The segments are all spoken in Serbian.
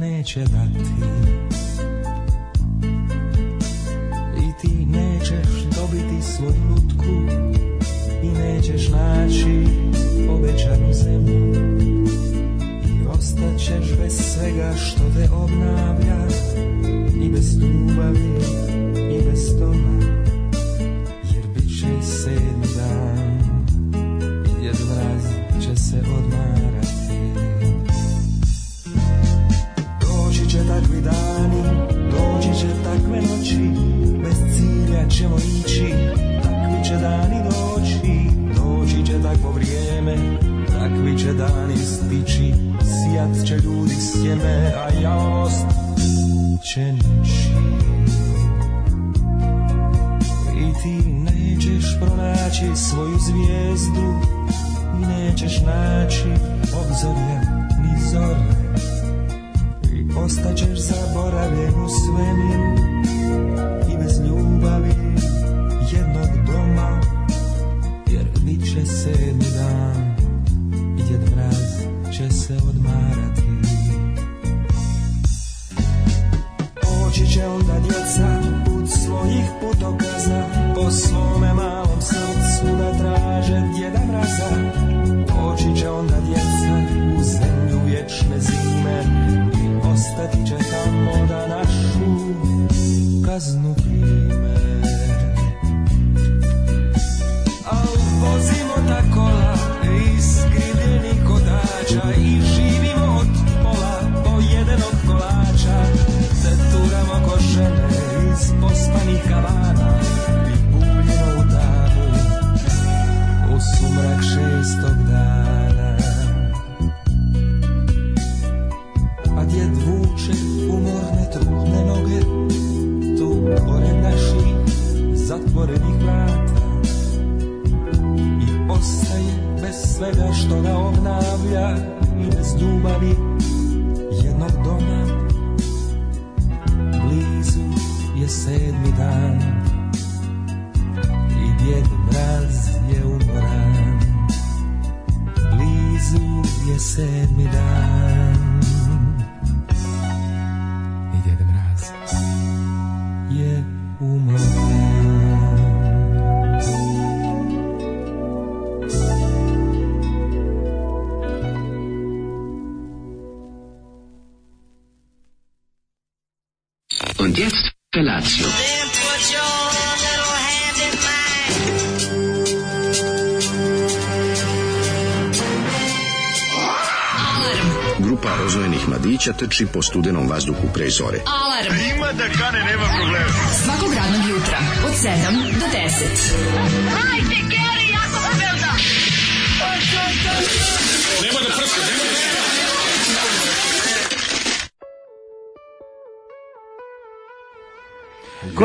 neće dati I ti nećeš dobiti svoju lutku I nećeš naći obećanu zemlju I ostaćeš bez svega što te obnavlja I bez ljubavi i bez toga Jer bit će i sedmi dan Jedan raz će se odmarati Doći će takvi dani, doći će takve noći, bez cilja ćemo ići, takvi će dani doći, doći će takvo vrijeme, takvi će dani stići, sijat će ljudi sjeme, a jalost će nići. I ti nećeš pronaći svoju zvijezdu, i nećeš naći obzorja ni zorne i ostaćeš zaboravljen u svemiru i bez ljubavi jednog doma jer bit će sedmi dan i djed mraz će se odmarati Poći će onda djeca put svojih putokaza po svome malom srcu da traže djeda mraza Poći će onda djeca u zemlju vječne zime i ostati će tamo da našu kaznu prime Al vozimo ta kola iz skrivljenih kotača i živimo od pola pojedenog kolača te turamo ko žene iz pospanih kavana i buljimo u danu u sumrak šestog dana a djed vuče umorne trudne noge tu pored naših zatvorenih vrata i ostaje bez svega što ga obnavlja i bez ljubavi jednog doma blizu je sedmi dan i djed mraz je umoran blizu je sedmi dan i djed mraz je umoran Und jetzt Felatio. Grupa rozvojenih mladića trči po studenom vazduhu pre zore. Alarm. Ima da kane, nema problema. Svakog radnog jutra, od 7 do 10. Ko,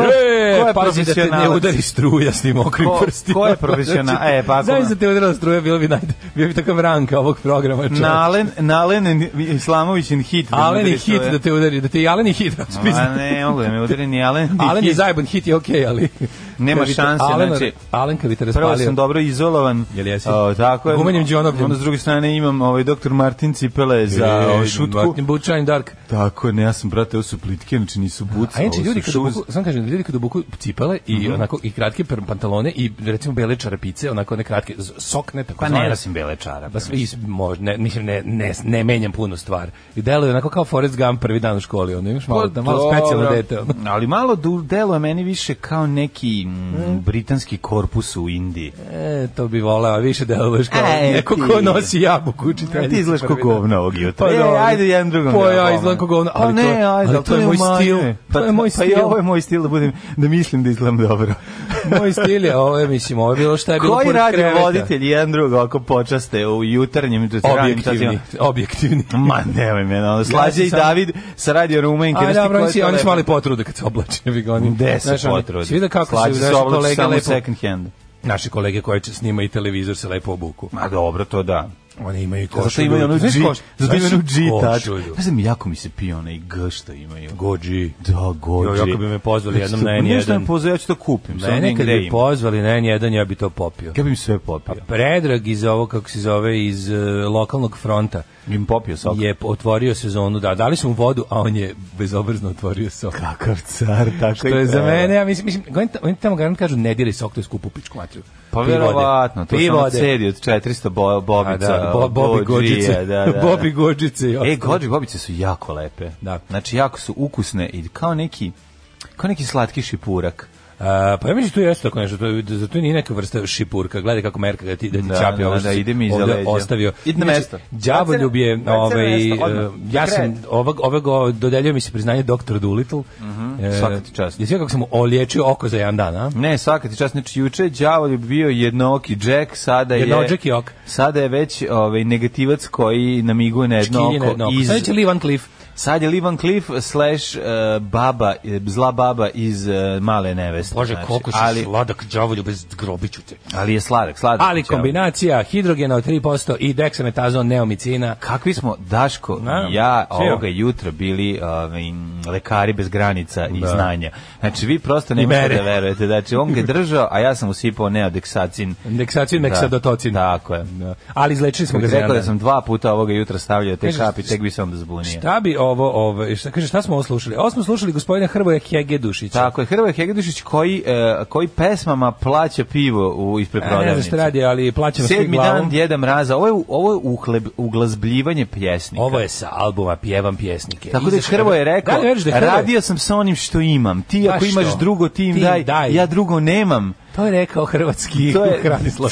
ko je je pazi da te ne profesionalac? udari struja s tim mokrim Ko- prstima. ko je profesionalac? E, pa ako- Znaš da te udarila struja, bilo bi, naj, bio bi takav ranka ovog programa. čovječe. Nalen, Nalen Islamovićin hit. Alen je Vidite hit što je. da te udari, da te i Alen je hit Ma raspizna. ne, mogu da me udari ni Alen. ni Alen je hit. zajeban hit je okej, ali... Nema Kad bi te- šanse, Alen, znači- Alen kad bi te Prvo raspalio... sam dobro izolovan. Jel jesi? O, tako je. Gumenjem đonobljem. Onda s druge strane imam ovaj doktor Martin Cipele za E, ovaj šutku. Martin Bučajn, Dark. Tako je, ne, ja sam, brate, ovo su plitke, znači nisu buca. A inače ovo su ljudi kada šuz. obuku, sam kažem, ljudi kada obuku cipele i onako i kratke pr- pantalone i recimo bele čarapice, onako one kratke z- sokne tako Pa ne nosim bele Pa čarape. sve is, možda, ne, mislim, ne, ne, ne menjam puno stvar. I deluje onako kao Forrest Gump prvi dan u školi, ono imaš malo, Pa malo dobro. specijalno dete. Ono. Ali malo du, deluje meni više kao neki mm, britanski korpus u Indiji. E, to bi voleo, više deluješ kao E, neko ti. ko nosi jabuku učiteljici. Ti izgledaš ko prvi dan. govno ovog jutra. Pa E, dobro. ajde jedan drugom. Pa da ja pomogne. izgledam ko govno, Pa ali ne, to je- ajde, ali ali to je ne moj umanjuje. stil. Pa, To je moj Pa i stil. ovo je moj stil da budem, da mislim da izgledam dobro. Moj stil je, ovo je, mislim, ovo je bilo šta je bilo Koji pored radio kreveta. voditelj jedan drugo ako počaste u jutarnjem to ranim Objektivni, satima? objektivni. Ma nemoj me, ono, Slađe sam i sam- David sa radio Rumenke. A znaš ti ko dobro, oni je si, to oni su lepo? mali potrude kad se oblače, vi ga oni. Gde se Znaš, oni- potrudi? si vidio kako Slađe su naši oblače kolege samo u lepo, second hand. naši kolege koji će snima i televizor se lepo obuku. Ma dobro, to da. Oni imaju košulju. Zato imaju ono G, Znaš koš- zato imaju znaš ono G tačku. košulju? Ja znam, jako mi se pio onaj G što imaju. Gođi. Da, Gođi. Jo, jako bi me pozvali jednom na Nešto N1. pa me pozvali, ja ću to kupim. samo Mene kad nigde bi ima. pozvali na N1, ja bi to popio. Ja bi im sve A popio. Predrag iz ovo, kako se zove, iz e, lokalnog fronta Im popio sok. je otvorio sezonu, da, dali su mu vodu, a on je bezobrazno otvorio sok. Kakav car, tako Što je za mene, ja mislim, mislim oni, ta- oni tamo garant kažu ne diraj sok, to je skupu pičku materiju. Pa Pij vode. verovatno, to Pij sam od vode. sedi od 400 bo, A bobica. Pa da, bo, Bobi Gođije, Gođice. Da, da, da. Bobi Gođice. i E, ostalo. gođi bobice su jako lepe. Da. Znači, jako su ukusne i kao neki, kao neki slatki šipurak. A, pa ja mislim tu jeste tako nešto, to, je- za to nije neka vrsta šipurka. Gledaj kako merka da ti da ti Da, čapi da, ovo što da, si ide mi iza ovde leđa. ostavio. Idi na Znači, mesto. Đavoljub je Baci na- baci na ovaj mesto, odmah, e, ja na kraj. sam ovog ovog dodeljuje mi se priznanje doktor Doolittle. Mhm. svaka ti čast. Jesi vidio kako sam mu oliječio oko za jedan dan, a? Ne, svaka ti čast, znači juče đavo je bio jednooki Jack, sada je Jednoođek i ok. Sada je već ovaj negativac koji namiguje na jedno Škiljine oko. jedno oko. Iz, Sad će Lee Van Cleef. sad je Livan Cliff slash eh, baba, eh, zla baba iz eh, male neveste. Bože, znači, koliko si ali, sladak đavoljub bez grobiću te. ali je sladak, sladak. Ali đavo. kombinacija hidrogena od 3% i deksametazon neomicina Kakvi smo, Daško Na, i ja, čio. ovoga jutra bili ovaj, m, lekari bez granica i znanja. Znači, vi prosto ne I možete mere. da verujete. Znači, on ga je držao, a ja sam usipao neodeksacin. Deksacin, Da. meksadotocin. Tako je. Ali izlečili smo Kako ga ti za jedan rekao da dan. sam dva puta ovoga jutra stavljao te Kažeš, kapi, tek bi se onda zbunio. Šta bi ovo, ovo šta, kaže, šta smo ovo slušali? Ovo smo slušali gospodina Hrvoja Hegedušića. Tako je, Hrvoje Hegedušić koji, e, koji pesmama plaća pivo u, ispred A E, ne znam prodavnice. šta radi, ali plaćam svi Sedmi dan glavom. Djeda Mraza, ovo je, u- ovo je uhleb, uglazbljivanje pjesnika. Ovo je sa albuma Pjevam pjesnike. Tako da je Izašao- Hrvoje rekao, Da li veriš da je Hrvoje- radio sam sa onim što imam. Ti Pa ako imaš što? drugo, ti im Ti im daj, daj. ja drugo nemam. To je rekao hrvatski To je, Hranislav.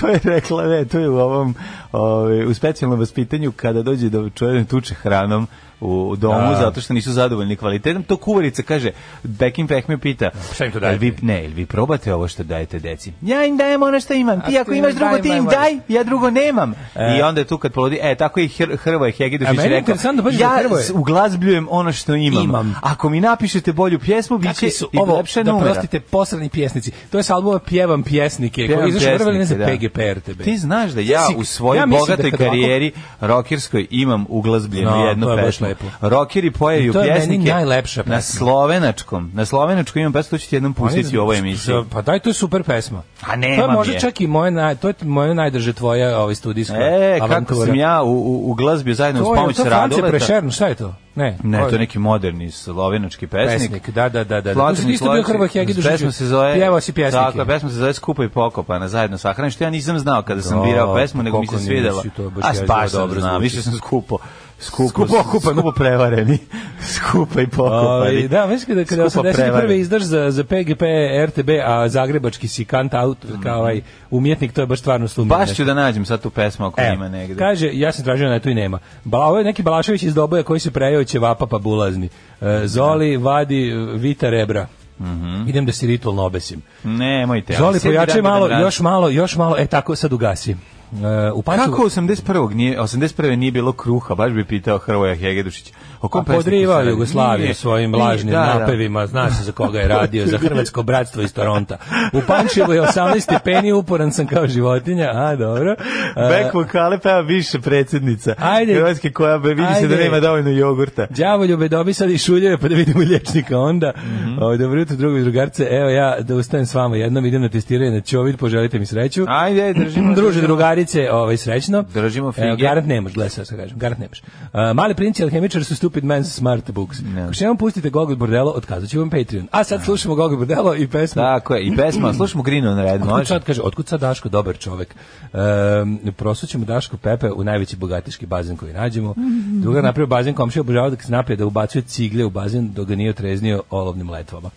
to je rekla, ne, to je u ovom, ovaj, u specijalnom vaspitanju kada dođe do čovjeka tuče hranom u domu Da. zato što nisu zadovoljni kvalitetom, to kuvarica kaže, Bekim Pehme pita, Šta im to "Jel vi, dajete?" ne, jel vi probate ovo što dajete deci? Ja im dajem ono što imam, ti A ako ti imaš im drugo, daj, ti im daj, daj, ja drugo nemam. I onda je tu kad polodi, e, tako je Hr- Hrvoje A Hegedošić meni je rekao, interesantno, pazi, da ja Hrvoje- s- uglazbljujem ono što imam. Imam. Ako mi napišete bolju pjesmu, bit će Kakvi su Znači, i ovo, lepše da numera. prostite, posredni pjesnici. To je sa albuma Pjevam pjesnike, koji Pjevam je izašao prvo, ne znam, pjesnike, da. PGP RTB. Ti znaš da ja Mislim- u svojoj ja mislim da bogatoj kad ovako- karijeri rokerskoj imam uglazbljenu No, jednu to je baš pesmu. lepo. Rokeri pojeju I to je meni pjesnike. najlepša Na pesma. slovenačkom. Na slovenačkom imam pesmu, to ću ti jednom pustiti u ovoj emisiji. Pa daj, to je super pesma. A To je nemam možda Pa je. čak i moje, naj, to je moje najdrže tvoja ovaj, studijska E, kako avantura. sam ja u, u, u glazbi zajedno To uz je- pomoć to je France Radoleta. Prešern, šta je to? Ne, Ne, ko je? to je neki moderni slovenački pesnik. pesnik. Da, da, da, da. Platini Tu si isto bio Slavci, Hrvoje Hegedušić. Pesma se zove Pjevao si pjesnike. Tako, je, pesma se zove Skupa i pokopana, zajedno sahrani, što ja nisam znao kada sam birao pesmu, nego mi se koliko svidela. nisi, to je baš A jezivo baš sam dobro znao, zvuči. više sam skupo. Skupo, Skupo okupano. skupo prevareni. skupa i Ovaj, pokopani. da, mislim kada kada Skupo 81. prevareni. izdaš za, za PGP, RTB, a zagrebački si kant out, kao ovaj umjetnik, to je baš stvarno slumljeno. Baš ću da nađem sad tu pesmu ako E, ima negde. kaže, ja sam tražio na tu i nema. Ba, ovo je neki Balašević iz Doboja koji se prejao ćevapa pa bulazni. E, Zoli vadi e, Vita rebra. Mhm. Idem da si ritualno obesim. Nemojte. ali Zoli, sedmi pojačaj dan malo, idem rad. još malo, još malo, e tako, sad ugasi. E, u Pančevu, Kako 81. nije 81. nije bilo kruha, baš bi pitao Hrvoja Hegedušić. O kom A pesniku se podrivao radi? Jugoslaviju Nije, svojim nije, lažnim da, da. napevima, zna se za koga je radio, za Hrvatsko bratstvo iz Toronta. U Pančevu je 18 stepeni, uporan sam kao životinja, a dobro. E, A, Bek vokale peva više predsjednica Ajde. Hrvatske koja be, vidi se da Ajde. nema dovoljno jogurta. Đavoljube dobi sad i šuljeve pa da vidimo lječnika onda. Mhm. O, dobro jutro drugovi i drugarce. Evo ja da ustajem s vama jednom, idem na testiranje na Ćovid, poželite mi sreću. Ajde, držimo. Druže drugarice, ovaj srećno. Držimo fige. Evo, garant nemaš, gledaj sad što kažem, garant nemaš. Uh, mali princi i alhemičar su stupid man's smart books. Ako što vam pustite Gogol Bordelo, otkazat ću vam Patreon. A sad slušamo Gogol Bordelo i pesmu. Tako je, i pesma, slušamo Green on Red, Otkud može? sad, kaže, otkud sad Daško dobar čovek? Um, prosućemo Daško Pepe u najveći bogatiški bazen koji nađemo. Druga je napravio bazen komšija obožava da se napije da ubacuje cigle u bazen dok ga nije otreznio olovnim letvama.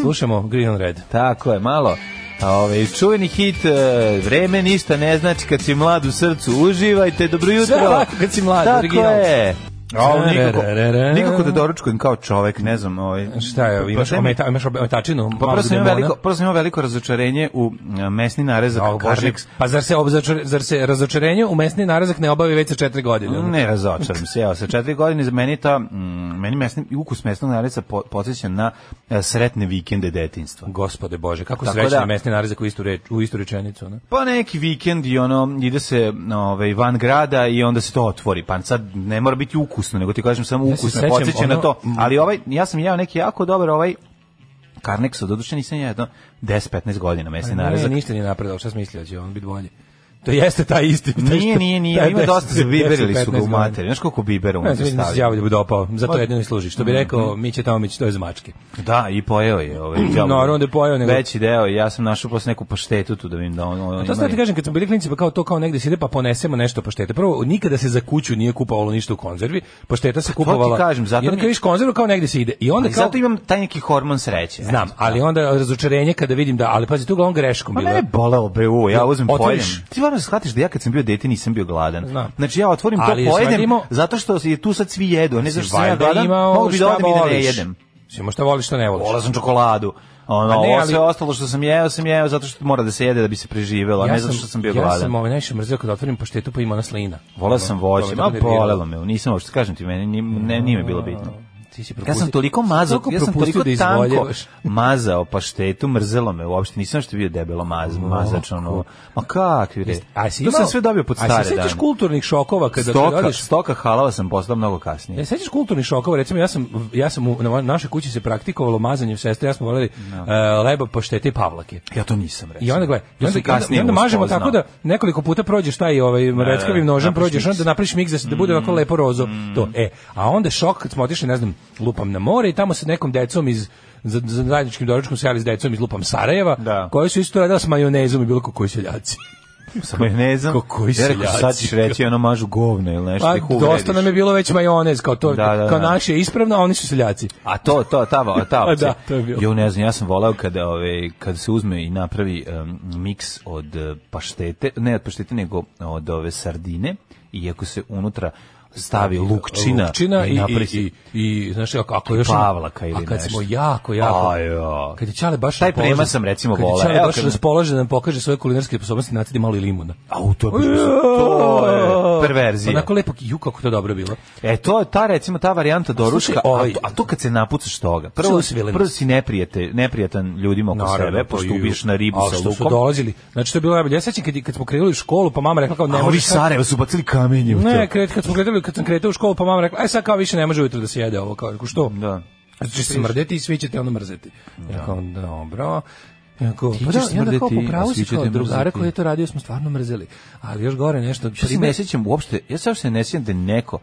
Slušamo Green on Red. Tako je, malo. A ovaj čuveni hit e, vreme ništa ne znači kad si mlad u srcu uživajte dobro jutro. Sve ovako kad si mlad, Tako original. je. A, on nikako, Ra, ra, ra, ra. nikako da doručkujem kao čovek, ne znam. Ovaj, Šta je, ovo, imaš, Pa, ometa, imaš ometačinu? Pa malog prvo sam, imao demona? veliko, prvo sam imao veliko razočarenje u e, mesni narezak A, oh, o Bože, Pa zar se, obzačar- zar se razočarenje u mesni narazak ne obavi već sa četiri godine? ono? Ne razočaram se, evo, sa četiri godine za meni ta, mm, meni mesni, ukus mesnog narezca po, podsjeća na e, sretne vikende detinstva. Gospode Bože, kako Tako srećni da- mesni narazak u istu, reč, u istu rečenicu. ono. Pa neki vikend i ono, ide se ovaj, van grada i onda se to otvori. Pa sad ne mora biti ukusno, nego ti kažem samo Ja se ukusno, sećam podsjeća na ono- to. Ali ovaj, ja sam jeo neki jako dobar ovaj Karnekso, doduše nisam jeo jedno 10-15 godina mesni Pa Ne, narezak. ništa nije napredao, šta sam mislio, da će on biti bolji. To jeste taj isti. taj Nije, što- nije, taj nije, ima deset- dosta za biberili su ga 15 u godina. materi. Znaš koliko bibera Ne, unutra znam, mislim da se Mhm. stavio? đavo da bude opao, zato Pa- jedino i služi. Što bi rekao, mi će tamo, mi će to je za mačke. Da, i pojeo je. Ovaj, đavo. Naravno da je pojeo, nego- Veći deo, ja sam našao posle neku paštetu tu da vidim da on... on To ima- sad ti kažem, kad smo bili klinici, pa kao to kao negde se ide, pa ponesemo nešto paštete. Prvo, nikada se za kuću nije kupovalo ništa u konzervi, pašteta se kupovala. kažem, zato I onda mi- kad vidiš konzervu, kao negde se ide. Pa I onda Ali kao... zato imam taj neki hormon sreće. e. Znam, ali onda razočarenje kada vidim da, ali pazi, tu ga on greškom Pa bilo. mene je boleo bre uvo, ja uzmem pojedem. Otvoriš. Ti moraš da shvatiš da ja kad sam bio dete nisam bio gladan. Znam. Znači ja otvorim to Ali je pojedem svaki imao- zato što je tu sad svi jedu, a ne zato što sam ja Valjda gladan, ima ono mogu bi da šta odem i da ne voliš. jedem. Mislim, ima šta voliš, šta ne voliš. Volao sam čokoladu. Ono, A Pa ne, ovo ali- sve ostalo što sam jeo, sam jeo zato što mora da se jede da bi se preživelo, a Pa ne zato što sam bio Ja gladan. sam ovaj najviše mrzio kad otvorim paštetu pa ima ona slina. Volao sam Ono, to voće, me ma nerviralo. bolelo me, nisam uopšte, kažem ti, meni nije, ne, nije mi bilo bitno. Ti si Ja sam propustio- toliko mazao, ja sam propustio toliko da tanko izvoljevaš. mazao paštetu, mrzelo me uopšte, nisam što bio debelo maz, mazač, ono, ma kakvi re. A si To sam imao- sve dobio pod A stare se sjećaš dane. kulturnih šokova kada kada Stoka, odeš- stoka halava sam postao mnogo Ja kasnije. sećaš kulturnih šokova, recimo ja sam ja sam u, na našoj kući se praktikovalo mazanje sestre, ja smo voleli e, leba, paštete i pavlake. Ja to nisam rekao. I onda gle, i to onda, sam i onda, i kasnije onda mažemo uspoznao. tako da nekoliko puta prođeš taj ovaj reckavim nožem napraviš prođeš miks. Mm. onda napraviš miks da se da bude ovako lepo rozo to. E, a onda šok kad smo otišli ne znam, lupam na more i tamo se nekom decom iz za, za zajedničkim doručkom sjeli s decom iz lupam Sarajeva, Da. koji su isto radili s majonezom i bilo kako koji seljaci. Samo ja ne znam. Ko- koji Ja rekao, seljaci. sad ćeš reći ono mažu govno ili nešto. Pa da ih dosta uvrediš. nam je bilo već majonez kao to, Da, da, kao da. naše je ispravno, a oni su seljaci. A to, to, ta, va- ta opcija. da, to je bilo. Jo, ne znam, ja sam volao kada, ove, kada se uzme i napravi em, miks od e, paštete, ne od paštete, nego od ove sardine, i ako se unutra stavi lukčina, Lukčina i, napravi i, se- i, i, znaš, ako, ako još... ima- Pavlaka ili A kad smo nešto. jako, jako... Ajo. Kad je Čale baš... Taj raspoložen- prema sam, recimo, kad je voleo. Čale Evo baš kad- raspoložen da nam pokaže svoje kulinarske sposobnosti, nacidi malo i limuna. Au, to je, baš- to je perverzija. Onako lepo, ju, kako to dobro bilo. E to je ta recimo ta varijanta doručka, Slušaj, ovaj- a, to, a to kad se napucaš toga. Prvo, Čuo si, Vilim? prvo si neprijete, neprijatan ljudima oko sebe, to pošto ju- ubiješ na ribu ali sa što su lukom. dolazili. Znači, to je bilo najbolje. Ja sećam kad, kad smo krenuli u školu, pa mama rekla kao ne A ovi možeš... sad- Sarajeva su bacili kamenje u to. Ne, kret, kad smo kretali, kad sam kretao u školu, pa mama rekla, aj sad kao više ne može ujutro da se jede ovo, kao, rekao, što? Da. Zato će se smrdeti i svi će te ono mrzeti. Ja kao, dobro. Ja kao, Ti pa ćeš da, i onda kao smrdeti, po pravu a svi si će kao te drugara mrzeti. koji je to radio, smo stvarno mrzeli. Ali još gore nešto. Ja se prime- ne sjećam uopšte, ja se uopšte ne sjećam da je neko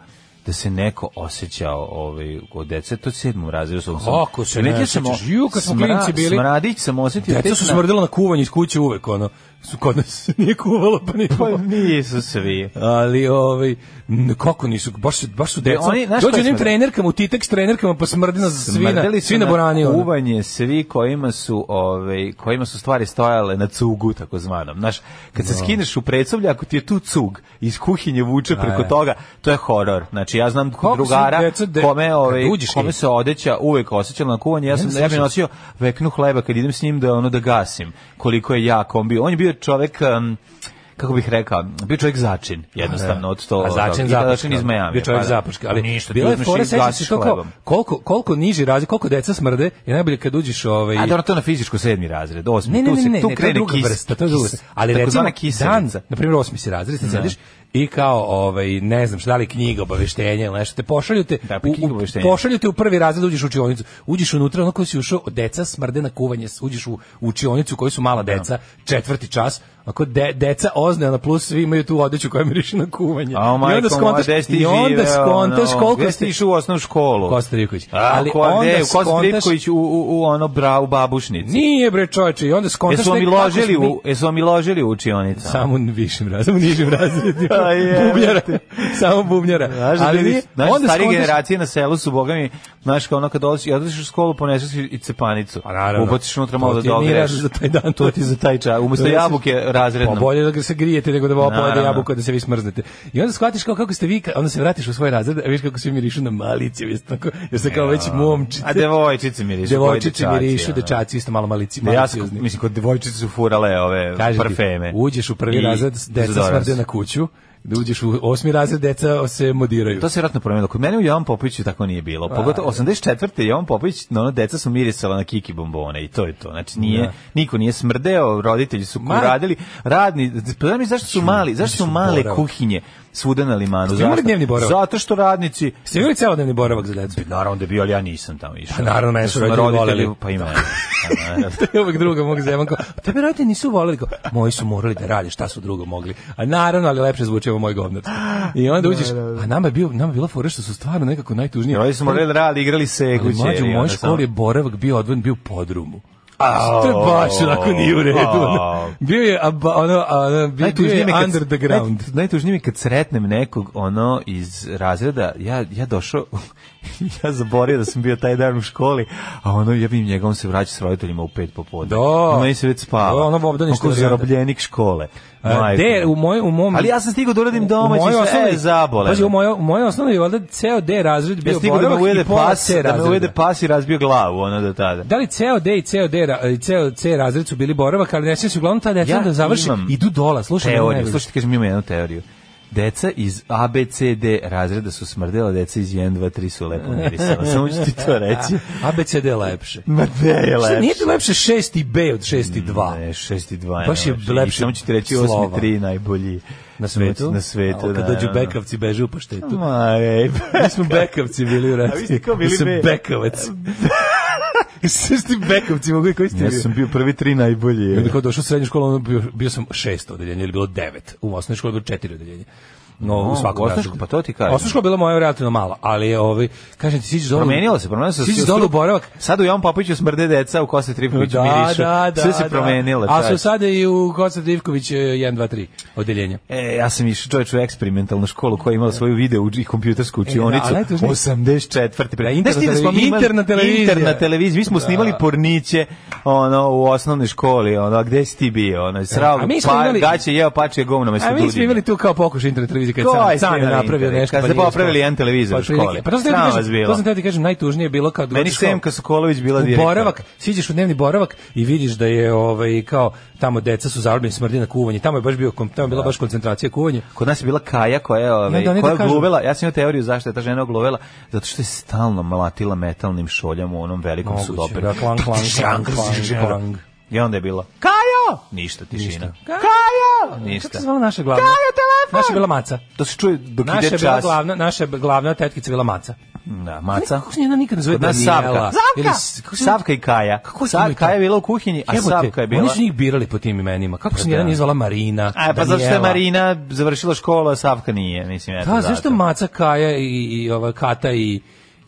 da se neko osjećao ovaj od dece to je sedmom razredu sam. Kako se ne Primetio sam o- sjećaš? Ju, kad smo klinci bili- Smradić sam osetio. Deca tek su na- smrdila na kuvanje iz kuće uvek, ono. Su kod nas se nije kuvalo, pa nije Pa kuvalo. nisu svi. Ali ovaj n- kako nisu baš su- baš su deca. oni, znaš Dođu koji onim smrde? trenerkama u titek s trenerkama pa smrdi na svina, Smrdeli su svina na borani. ono. Kuvanje svi kojima su, ovaj, kojima su stvari stojale na cugu, takozvanom. Znaš, kad se skineš u predsoblje, ako ti je tu cug iz kuhinje vuče preko je. toga, to je horor. Znači, ja znam Kako su drugara deca de- kome, kad ovaj, uđeš kome i- se odeća uvek osjećala na kuvanje. Ja Ne, sam ne, ja bih slušaj. nosio veknu hleba kad idem s njim da ono da gasim. Koliko je jak on bio. On je bio čovek... em, kako bih rekao, bio čovjek začin, jednostavno, od to. E. A začin i zapuška. iz Miami. Bio čovjek pa da. zapuška, ali ništa, ti bila je uzmeš fora i sećaš se gasiš to kao hlebom. koliko koliko niži razred, koliko deca smrde, je najbolje kad uđeš ovaj A dobro, to na fizičko sedmi razred, osmi. Ne, ne, tu ne, se, tu ne, ne, to je krene druga kis, vrsta, to je druga vrsta. Ali recimo, takozvana dan, kiselica. na primjer, osmi si razred, sad sediš i kao, ovaj, ne znam šta, da li knjiga, obaveštenja ili nešto, te pošalju te, Da, pa u- knjiga u, obaveštenja. pošalju te u prvi razred, uđeš u učionicu, uđeš unutra, ono koji si ušao, deca smrde na kuvanje, uđeš u, u učionicu koji su mala deca, četvrti čas, Ako de, deca ozne, na plus svi imaju tu odeću koja miriši na kuvanje. A o I onda majko moja, skontaš, gde si ti i onda živeo, skontaš ono, koliko gde si ste... ti išao u osnovnu školu? Kosta Rivković. A, Ali ko, onda gde, u Kosta skontaš- Rivković u, u, u ono bra, u babušnici. Nije bre čoveče, i onda skontaš... Jesu vam tek i kako ložili smo mi- u, jesu vam i ložili u učionicu? Samo u višim razredima, samo u nižim razredima. A je, bubnjara, samo bubnjara. Znaš, Ali ali nije, znaš, onda starije skontaš- generacije na selu su, boga mi, znaš, kao ono kad odlaziš, i odlaziš u školu, poneseš i i cepanicu. Pa naravno. Ubaciš unutra To malo da ti nije dogreš. razred za taj dan. to ti je za taj čas. Umesto To je- jabuke Pa razredno. bolje da se grijete, nego da vam Naravno. pojede jabuku, da se vi smrznete. I onda shvatiš kao kako ste vi, ka- onda se vratiš u svoj razred, a vidiš kako svi mirišu na malice, vi ste tako, jer ste kao već momčice. A devojčice mirišu, Devojčice koji dečaci, mirišu, ono. dečaci isto malo malici, Da ja sam, maliciozni. mislim, kod devojčice su furale ove Kažem ti, parfeme. uđeš u prvi I razred, deca Zodoras. smrde na kuću, da uđeš u osmi razred, deca se modiraju. To se vjerojatno promenilo. Kod mene u Jovan Popoviću tako nije Pa. bilo. Pogotovo 84. Jovan Popović, no, ono, deca su mirisala na kiki bombone i to je to. Znači, nije, Da. niko nije smrdeo, roditelji su Ma- radili. Radni, pa mi zašto su mali, zašto su su male borav. kuhinje svuda na limanu? Jeste imali Zašto? dnevni boravak? Zato što radnici... Ste vidjeli celodnevni boravak za decu? Naravno da je bio, ali ja nisam tamo išao. Pa naravno, mene Da su me roditelji voleli. Pa ima. I uvek druga mog zemanka. Tebe roditelji nisu voleli, kao, moji su morali da rade, šta su drugo mogli. A naravno, ali lepše zvuči ovo moj govnar. I onda uđeš, a nama je, bio, nama je bila fora što su stvarno nekako najtužnije. Roditelji su morali da rade, igrali se Ali kuće. mlađe, u mojoj školi je boravak bio odvojen, bio u podrumu. To je baš onako nije u redu. ono. Bio je, aba- ono, a, ono, bio, bio Najtužnije mi je je kad- under the ground. Naj, najtužnije mi je kad sretnem nekog ono iz razreda, ja, ja došao, ja zaborio da sam bio taj dan u školi, a ono ja vidim njega, on se vraća s roditeljima u pet popodne. Da. A meni se već spava. Da, ono obdani što Kako radi. zarobljenik škole. A, Majko. De, u moj, u mom... Ali ja sam stigao da uradim u domaći mojoj sve osnovnoj- e, zabole. Pazi, u mojoj, u mojoj osnovnoj je valjda ceo D razred bio ja ja sam stigao da me ujede i pola pas, C da me razreda. ujede pas i razbio glavu, ono do tada. Da li ceo D i ceo D ra- i ceo C razred su bili boravak, ali nećem se uglavnom ta deca Ja da završi, imam idu dola, slušaj, mene ne teoriju. voliš. Slušajte, kažem, imam jednu teoriju. Deca iz ABCD razreda su smrdela, deca iz 1, 2, 3 su lepo mirisala. Samo ću ti to reći. ABCD je lepše. Ma ne je Šta, lepše. Mm, nije ti lepše 6 i B od 6 i 2? Ne, 6 i 2. Baš je lepše Samo ću ti reći 8 slova. i 3 najbolji. Na svetu? Na svetu, A, da. Kad dođu da, da. bekavci, beže u paštetu. Ma, ej. Mi smo bekavci bili u ratu. A vi ste kao bili Ja sam be- bekavac. Sve ti bekavci mogu i koji ste Ja bili? sam bio prvi tri najbolji. I onda kao došao u srednju školu, ono bio, bio sam šesto odeljenje, ili bilo devet. U osnovnoj školi bilo četiri odeljenje. No, O, u svakom osnovna razredu. škola, pa to ti kažem. Osnovna škola je bila moja relativno mala, ali je, ovaj, kažem ti, siđeš dolu... Promenilo se, promenilo se. Siđeš Sve- dolu u boravak, Sad u Jovan Popoviću smrde deca, u Kosti Tripoviću Da, mirišu. da, da. Sve se da. promenilo. A čoveče. su sada i u Kosta Divković e, 1, 2, 3 odeljenje. E, ja sam išao čovječ u eksperimentalnu školu koja je imala svoju video uč- i kompjutersku učionicu. E, ali najtužnije- 84. pre- Da, interna Znaš ti smo mi televi- imali- interna televizija. Interna televizija. Mi smo snimali porniće ono, u osnovnoj školi. Ono, a gde si ti bio? Ono, srao, E, A mi smo pa, imali- gaće jeo pačije govno. mesto A Pa mi smo dudinja. imali tu kao pokušaj internet televizije kad Ko sam je sam snimao napravio internet? nešto. Kad pa ste nije popravili jedan televizor u otprilike. školi. Pa to sam teo ti Sram kažem- vas bilo. To sam teo ti kažem, najtužnije je bilo kad Meni dođeš kao- Semka Sokolović bila u direktor. boravak, siđeš u dnevni boravak i vidiš da je ovaj kao tamo deca su zarobljeni smrdi na kuvanje. Tamo je baš bio kom- tamo je bila baš koncentracija kuvanja. Kod nas je bila Kaja koja je, ove, onda koja oni da je kažu- gluvela, ja sam imao teoriju zašto je ta žena gluvela, zato što je stalno mlatila metalnim šoljama u onom velikom Moguće, sudoperu. da, klang, klang, klang, klang, klang. I onda je bila, Kajo! Ništa, tišina. Kajo! Ništa. Kako se zvala naša glavna? Kajo, telefon! Naša je bila maca. To se čuje dok Naša je ide bila čas. glavna, naša je glavna tetkica je bila maca. Da, maca. Kako se njena nikad ne zove Kod nas Danijela? Savka. Ili s- Savka! kako se- Savka i Kaja. Kako su Sa- imali to? Kaja je bila u kuhinji, a Jebote, Savka je bila... Oni su njih birali po tim imenima. Kako se jedan da. izvala Marina, A, pa zato što je Danijela. Marina završila školu, a Savka nije, mislim, eto Da, zato. zašto Maca Kaja i, i ova Kata i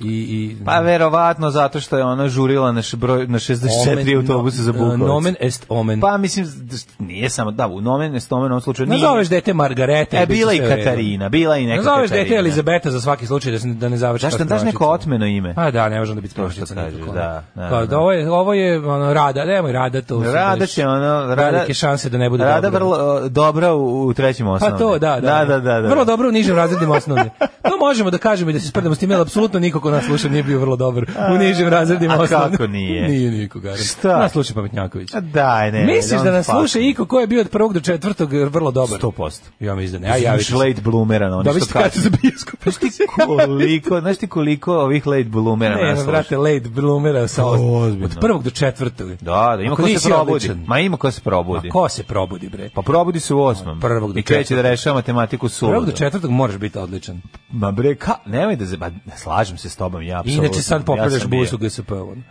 i, i Pa verovatno zato što je ona žurila na, š- broj, na 64 autobuse za Bukovac. Uh, Nomen est omen. Pa mislim, da s- nije samo, da, u Nomen je stomen u ovom slučaju nije. Nazoveš dete Margareta. E, i bit će bila i sve u redu. Katarina, bila i neka Nazoveš Katarina. dete Elizabeta za svaki slučaj da, se, da ne završi. Zašto kao daš neko stranačica. otmeno ime? Pa da, ne možemo da biti To što strašica. kažeš, da, da, Kao, da. Pa ovo je, ovo je ono, rada, nemoj rada to. su Rada baš će ono... Rada, Velike šanse da ne bude Rada dobro. vrlo e, dobra u, u trećem Pa osnovne. to, da, Da, da. da, da. da. Vrlo dobro u nižim razredima osnovne. To možemo da kažemo i da se sprdamo s tim, jer apsolutno niko ko nas sluša nije bio vrlo dobar u nižim razredima a kako osnovne. nije? Nije niko, garam. Šta? Nas sluša Pametnjaković. A Pa Daj, ne. Misliš E, don't da nas fuck sluša me. iko ko je bio od prvog do četvrtog e, vrlo dobar? 100%. Ja mislim da ne. Ja, Ja ja, javit ću se. late bloomera, no, Dobit nešto ću kartu za bioskop. Pa Koliko, znaš ti koliko ovih late bloomera Ne, nas ma, sluša? brate, late bloomera sa To od, Pa ozbiljno. od prvog do četvrtog. Da, da, ima Ako ko nisi se probudi. odličan. Ma ima ko se probudi. Ma ko se probudi, bre? Pa probudi se u osmom. Prvog do I kreće da četvrtog. rešava matematiku suludo. Prvog do četvrtog moraš biti odličan. Ma bre, ka, nemoj da se, ba, ne slažem se s tobom, ja apsolutno. Inače sad popravljaš ja sam bio. busu GSP-ovom.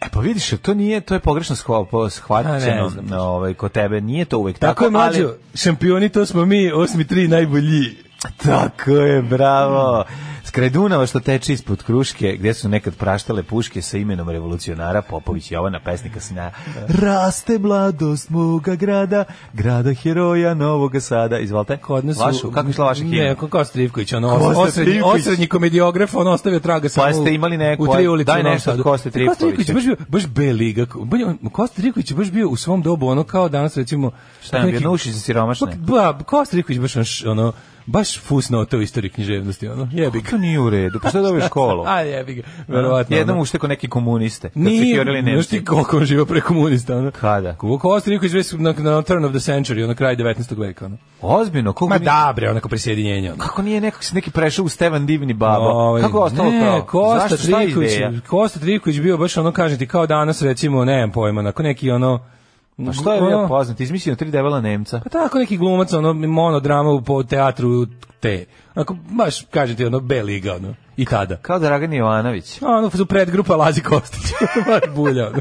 E pa vidiš, to nije, to je pogrešno shva- po- A, ne shvaćeno znam. na, ovaj, kod tebe, nije to uvek tako, Tako je mlađo, ali... šampioni to smo mi, osmi tri najbolji. Tako je, bravo. Skraj Dunava što teče ispod Kruške, gdje su nekad praštale puške sa imenom revolucionara Popović Jovana, pesnika sna. Raste mladost moga grada, grada heroja Novoga Sada. Izvolite. Kod nas su- Vašu, kako je šla vaša himna? Ne, kako Kosta Ivković, ono Kosta osrednji, Ivković. osrednji komediograf, on ostavio traga samo. Pa ste imali neku, u tri ulice E, daj u Novom nešto od Sadu. Koste Kosta Ivkovića Ivkovića. baš bio baš B liga. Baš je on- Kosta Ivković je baš bio u svom dobu ono kao danas recimo Šta nam je, jedno uši za siromašne? Pa, ba, Kosta Ivković baš ono, š- ono baš fusnota u istoriji književnosti, ono. Jebi ga. To nije u redu, pa što je dobio školu? A jebi ga. Verovatno. Jednom ono. ušte kod neki komuniste. Kad su Nije, fjorili znaš Nemci. ti koliko on živa pre komunista, ono. Kada? Koliko Ostrih koji na, na turn of the century, ono kraj 19. veka, ono. Ozbiljno, koliko Ma nije- da, bre, onako prisjedinjenje, ono. Kako nije neko neki prešao u Stevan Divni babo? Ovaj, Kako je ostalo ne, to? Kosta Zašto, šta je Trivković, ideja? Kosta Trivković bio baš ono, kažem ti, kao danas, recimo, nemam pojma, onako neki ono... Pa što je ono- bio poznat? Izmislio tri debela Nemca. Pa tako neki glumac, ono, monodrama u- po teatru te. Onako, baš, kažem ti, ono, B liga, ono, i tada. Kao Dragan Jovanović. A ono, su predgrupa Lazi Kostić, baš bulja, ono.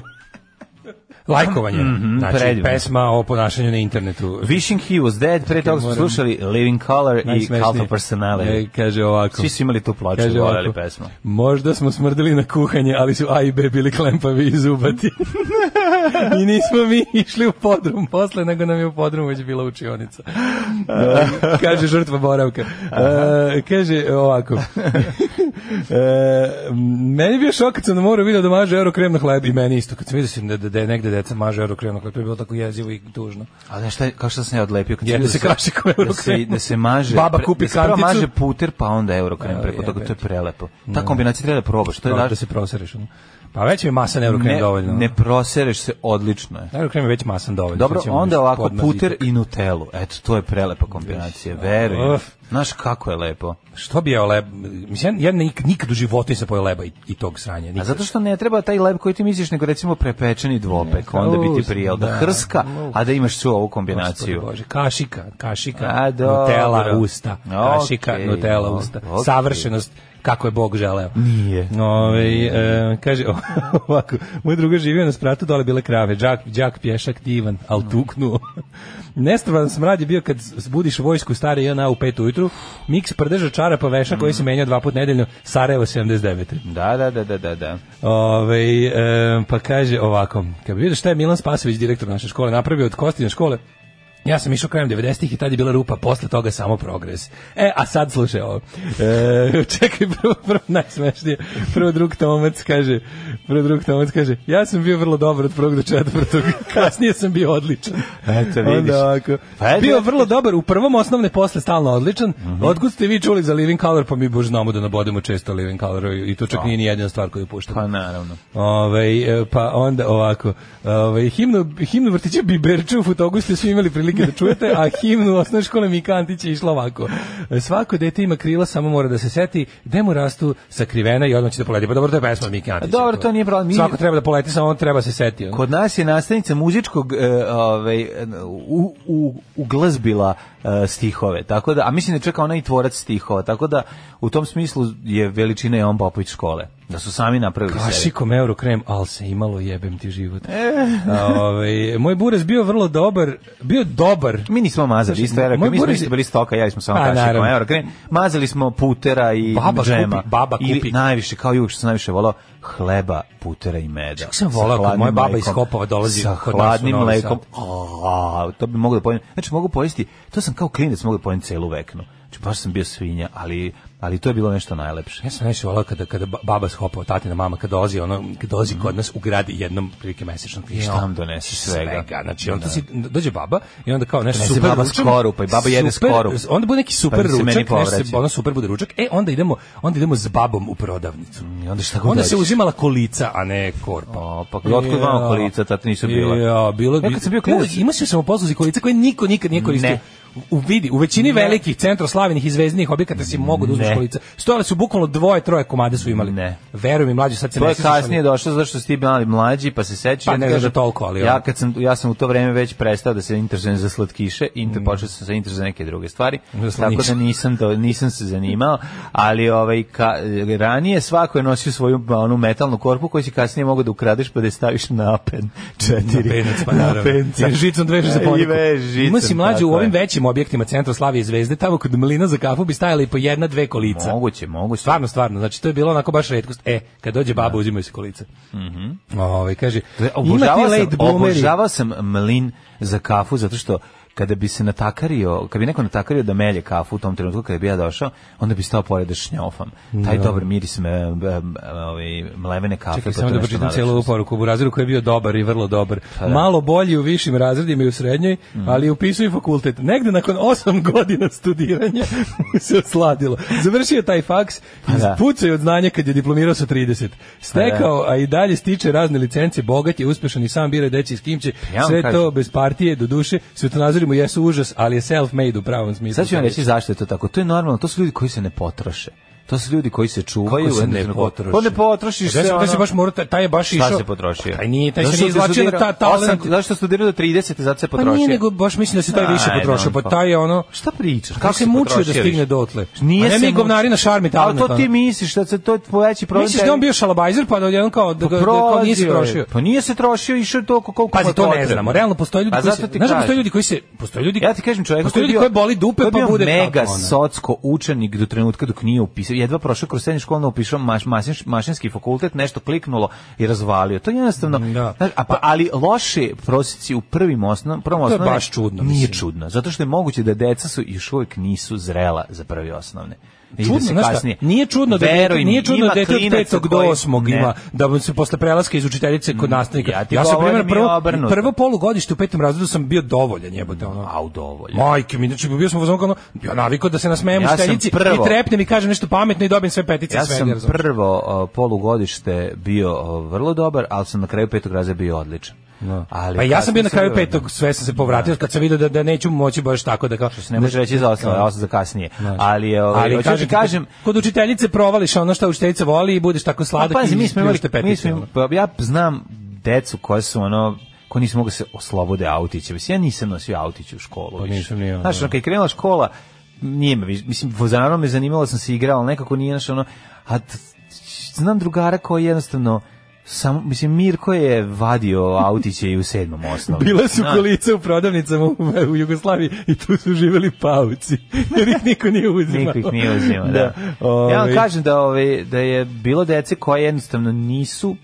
Lajkovanje, Mhm, znači predivno. pesma o ponašanju na internetu. Wishing he was dead, pre toga smo moram- slušali Living Color i Najsmešnije. Cult of Personality. E, kaže ovako. Svi su imali tu ploču, Kaže voleli ovako, pesmu. Možda smo smrdili na kuhanje, ali su A i B bili klempavi i zubati. I nismo mi išli u podrum posle, nego nam je u podrumu već bila učionica. E, kaže žrtva boravka. E, kaže ovako. E, meni je bio šok kad sam na moru vidio da maže euro krem na hleb i meni isto. Kad sam vidio sam da, da, da je negde deca maže euro krem na hleb, to je bilo tako jezivo i tužno. A znaš šta, je- kao što sam ja odlepio, kad sam Je, da vidio se kašikom da se, eurokrem. da se maže, Baba pre- kupi da se prvo kanticu. maže puter, pa onda eurokrem Evo, preko toga, to je jebem ti. prelepo. Ta kombinacija treba da probaš, to je Da, da, da se prosereš. ono. Pa već mi je masan eurokrem ne, dovoljno. ono. ne prosereš se, odlično je. Naravno, krem je već masan dovoljno. znači, ono, Dobro, Sad ćemo onda još ovako podmaziti. puter i Nutellu. Eto, to je prelepa kombinacija, verujem. Uf. Znaš kako je lepo. Što bi jeo leb? Mislim, ja, ja nik, nikad u životu nisam pojeo leba i, i tog sranja. A Nikad. zato što ne treba taj leb koji ti misliš, nego recimo prepečeni dvopek, onda bi ti prijel da Da. hrska, a da imaš svu ovu Gospode kombinaciju. Bože, kašika, kašika, A, dobro. nutela, usta, kašika, Okej, nutela, o- usta. okej. Savršenost kako je Bog želeo. Nije. Ove, e, kaže ovako, moj druga živio na spratu, dole bile krave, džak, džak pješak divan, al tuknuo. Nestravan smrad je bio kad budiš vojsku stare JNA u pet ujutru, miks prdeža čara pa veša koji se menja dva put nedeljno, Sarajevo 79. Da, da, da, da, da, da. Ove, e, pa kaže ovako, kad bi vidio šta je Milan Spasović, direktor naše škole, napravio od Kostine škole, ja sam išao krajem 90-ih i tad je bila rupa, posle toga samo progres. E, a sad slušaj ovo. E, čekaj, prvo, prvo najsmešnije. Prvo drug Tomac kaže, prvo drug Tomac kaže, ja sam bio vrlo dobar od prvog do četvrtog, kasnije sam bio odličan. Eto, vidiš. Onda ovako, Pa eto. bio vrlo dobar, u prvom osnovne posle stalno odličan. Otkud ste vi čuli za Living Color, pa mi bož znamo da nabodemo često Living Color i to čak nije ni jedina stvar koju puštamo. Pa naravno. Ovaj e, pa onda ovako. Ovaj himnu himnu vrtića Biberčuf u togu ste svi imali prilike da čujete, a himnu osnovne škole Mikantić je išla ovako. Svako dete ima krila, samo mora da se seti gde mu rastu sakrivena i odmah će da poleti. Pa dobro, to je pesma od Mikantića. Dobro, to nije problem. Mi- Svako treba da poleti, samo on treba se seti. ono. Kod nas je nastavnica muzičkog e, ovaj, u, u, uglazbila e, stihove, tako da, a mislim da čeka ona i tvorac stihova, tako da u tom smislu je veličina Jovan Popović škole, da su sami napravili sebi. Kašikom euro krem, al se imalo jebem ti život. Ovaj, moj buraz bio vrlo dobar, bio dobar. Mi nismo mazali, Znaš, isto je rekao, moj mi smo Boris isto je- bili stoka, jeli smo samo Pa, kašikom, naravno. evo, kren, mazali smo putera i Baba kupi, džema. baba kupi. Ili najviše, kao jugo što sam najviše volao, hleba, putera i meda. Kako sam Sa volao kad hladnim moja baba iz mlekom, Hopova dolazi Sa kod nas u hladnim Novi mlekom, Sad. a, to bi mogo da pojem. Znači, mogu pojesti, to sam kao klinac mogu da pojem celu veknu. Znači, baš sam bio svinja, ali, ali to je bilo nešto najlepše. Ja sam najviše volao kada, kada ba- baba shopao, tatina, mama, kada dolazi, ono, kada Mhm. dolazi kod nas u grad jednom prilike mesečno. I šta vam donese svega? Znači, onda si, dođe baba i onda kao nešto Donese super baba ručak. skoru, pa i baba jede super- skoru. Onda bude neki super Pa se meni ručak, nešto se, povraća. ono super bude ručak. E, onda idemo, onda idemo s babom u prodavnicu. I onda šta god Onda se dođeš. uzimala kolica, a ne korpa. O, pa otkud vama kolica, tad nisu bila. Ja, bilo Ja kad sam bio klinac- Ima se samo posluzi kolica koje niko nikad nije koristio. Ne. U, vidi, u većini velikih centroslavinih i zvezdinih objekata si mogu da uzmeš Ne. kolica. Stojale su bukvalno dvoje, troje komade su imali. Ne. Veruj mi, mlađi, sad se To ne je sjećam, ali- kasnije došlo zato što si ti mali mlađi, pa se sećaš. Pa ja ti ne kažem, znam toliko, ali ja ono. kad sam ja sam u to vreme već prestao da se interesujem za slatkiše, inter Mm. počeo sam se interesovati za neke druge stvari. Za tako slaniče. da nisam to nisam se zanimao, ali ovaj ka, ranije svako je nosio svoju onu metalnu korpu koju si kasnije mogao da ukradeš pa da je staviš na apen. Četiri. Na penac, pa naravno. penca. I žicom dveže za I poniku. vežeš žicom, Ima si mlađe u tako ovim je. većim ugostiteljskim objektima centra Slavije i Zvezde, tamo kod mlina za kafu bi stajali i po jedna, dve kolica. Moguće, moguće. Stvarno, stvarno. Znači, to je bilo onako baš redkost. E, kad dođe baba, uzimaju se kolice. Mm kaže, ima ti Mhm. Obožavao sam, late bloomeri. obožavao sam mlin za kafu zato što kada bi se natakario, kada bi neko natakario da melje kafu u tom trenutku kada bi ja došao, onda bi stao pored da šnjofam. Taj dobar miris me, m, m, ove, mlevene kafe. Čekaj, pa samo to nešto da pročitam nalepo. cijelu ovu poruku. U razredu koji je bio dobar i vrlo dobar. Pa Malo bolji u višim razredima i u srednjoj, Mhm. ali upisuje fakultet. Negde nakon osam godina studiranja mu se osladilo. Završio taj faks, Pa da. Pa ispucao je od znanja kad je diplomirao sa 30. Stekao, a i dalje stiče razne licence, bogat je, uspešan i sam bira deći s kim će. Pa Ja vam Sve kažem. to bez partije, do duše, svetonazori mu jesu užas, ali je self-made u pravom smislu. Sad ću vam reći zašto je to tako. To je normalno, to su ljudi koji se ne potroše. To su ljudi koji se čuvaju. Kako se jedno ne trenutku- potroši? Pa ne potrošiš Znaš, se. znaš, ono- baš mora, taj- taj je baš išao. Šta se potrošio? Taj nije, taj se Zašto nije studirao- izvlačio na ta talent. osam- Zašto studirao do 30, zato se Pa potrošio. nije, nego baš mislim da se taj više Ajde, potrošio, pa on, taj je ono... Šta pričaš? Kako se mučio da stigne dotle? Nije A ne mi mučio. govnari na šarmi Ali talent. to ti misliš, da se to je veći problem. ono. Misliš da je on bio šalabajzer, pa da je on kao, da, ga, da kao nije se Prolazio je. trošio? Pa nije se trošio, išao je toliko koliko mu Pazi, je to ne potrebno. znamo. Realno postoje ljudi A koji Pa zato se... ti Znaš da postoje kažem. ljudi koji se... Postoje ljudi, Ja ti kažem čovjek postoje koji je bio ljudi koji boli dupe koji je pa bio bude mega tako, ono. socko učenik do trenutka dok nije upisao jedva prošao kroz srednju školu onda upisao maš, mašinš- mašinski fakultet nešto kliknulo i razvalio to je jednostavno Da. znaš, a pa, ali loše prosjeci u prvim osnovnom prvom To je osnovne baš čudno, nije mislim. čudno zato što je moguće da deca su još uvijek nisu zrela za prvi osnovne I da Čudno, se znaš šta, kasnije- nije čudno da Veruj dete, mi, nije čudno ima da dete od klinaca 5. do koji- 8. Ne. Mm. ima da mu se posle prelaska iz učiteljice kod nastavnika. ja ti ja sam govorim, primjer je prvo obrnuto. prvo polugodište u petom razredu sam bio dovoljan, jebote ono. Au, dovoljno. Majke mi, znači bio sam u zonku, ja navikao da se nasmejem Ja u sam steljici i prvo- trepnem i kažem nešto pametno i dobijem sve petice i Ja sve. sam ne razumem. prvo o, polugodište bio o, vrlo dobar, ali sam na kraju petog razreda bio odličan. Ali pa ja sam bio na kraju kasnije- petog, sve sam se povratio kad sam video da, da neću moći baš tako da kao što se Ne može reći za osam, a osam za kasnije. Ali, je, ovaj, Ali hoću ti kažem, ti, kažem, kod učiteljice provališ ono što učiteljica voli i budeš tako pa, sladak pazi, i mi smo imali, pljušte mi petice. ono. smo, im- pa ja znam decu koja su ono, ko nisu mogli se oslobode autića. Mislim, ja nisam nosio autiće u školu. više. Pa nisam ni ja, Znaš, da. ono, kad je krenula škola, nije me, više- mislim, vozarano me zanimalo, sam se igrao, ali nekako nije, znaš, ono, a t- znam drugara koji jednostavno, samo mislim, Mirko je vadio autiće i u sedmom osnovu. Bile su Znaš, kolice u prodavnicama u, u Jugoslaviji i tu su živeli pauci, jer ih niko nije uzimao. Niko ih nije uzimao, da. Ja vam Ovaj, kažem da, ove, da je bilo dece koje jednostavno nisu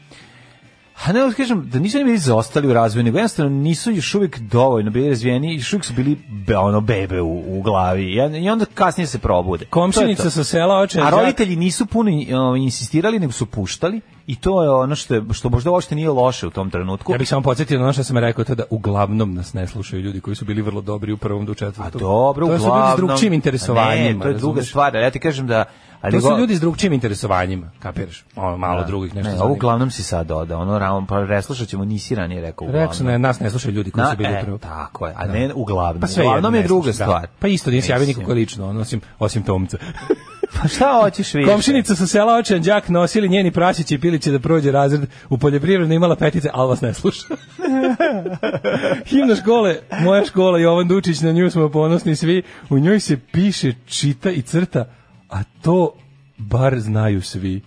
A ne, da kažem, da nisu ni bili zaostali u razvoju, nego jednostavno nisu još uvijek dovoljno bili razvijeni, još uvijek su bili be, ono, bebe u, u glavi. Ja- I onda kasnije se probude. To je Komšinica to. sa sela oče. A đak- roditelji nisu puno o, insistirali, nego su puštali i to je ono što, je- što možda uopšte nije loše u tom trenutku. Ja bih samo podsjetio na ono što sam rekao, to je da uglavnom nas ne slušaju ljudi koji su bili vrlo dobri u prvom do četvrtom. A dobro, to uglavnom... su ljudi s drugčijim A interesovanjima. Ne, to je druga razumeš? stvar, ja ti kažem da... ali To su go- ljudi s drugčijim interesovanjima, kapiraš? Ono, malo drugih nešto. Ne, zanima. ovo uglavnom si sad dodao, ono ravno, pa reslušat ćemo, nisi ranije rekao uglavnom. Rekao sam, ne, nas ne slušaju ljudi koji Na, su bili e, upravo. Tako je, a ne uglavnom. Pa sve uglavnom je jedno, ne druga slušaju, da. stvar. Pa isto nije se javio Mislim. niko lično, ono, osim, osim Tomca. Pa šta hoćeš vidjeti? Komšinica sa sela Očan Đak nosili njeni prasići i pilići da prođe razred. U poljoprivrednoj imala petice, ali vas ne sluša. Himna škole, moja škola, Jovan Dučić, na nju smo ponosni svi. U njoj se piše, čita i crta, a to bar znaju svi.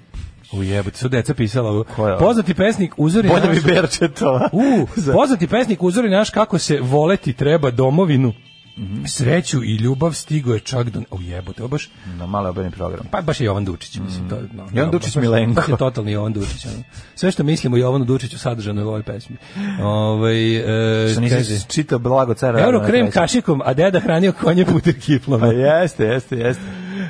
Ujebote, su deca pisala ovo. Ko je ovo? Poznati pesnik uzori Bolje naš- bi berče to. U, poznati pesnik uzori naš kako se voleti treba domovinu. Mhm. Sreću i ljubav stigo je čak do... O jebote, ovo baš... Na malo obrni program. Pa baš je Jovan Dučić, mislim. To, je, no, Mm. Jovan Dučić baš- Milenko. baš je totalni Jovan Dučić. ono. Sve što mislimo o Jovanu Dučiću sadržano je u ovoj pesmi. Ovaj, e, Što kaže, nisi čitao blago cara. Euro Radovana krem Treća. kašikom, a deda hranio konje puter Pa kiplama. jeste, jeste, jeste.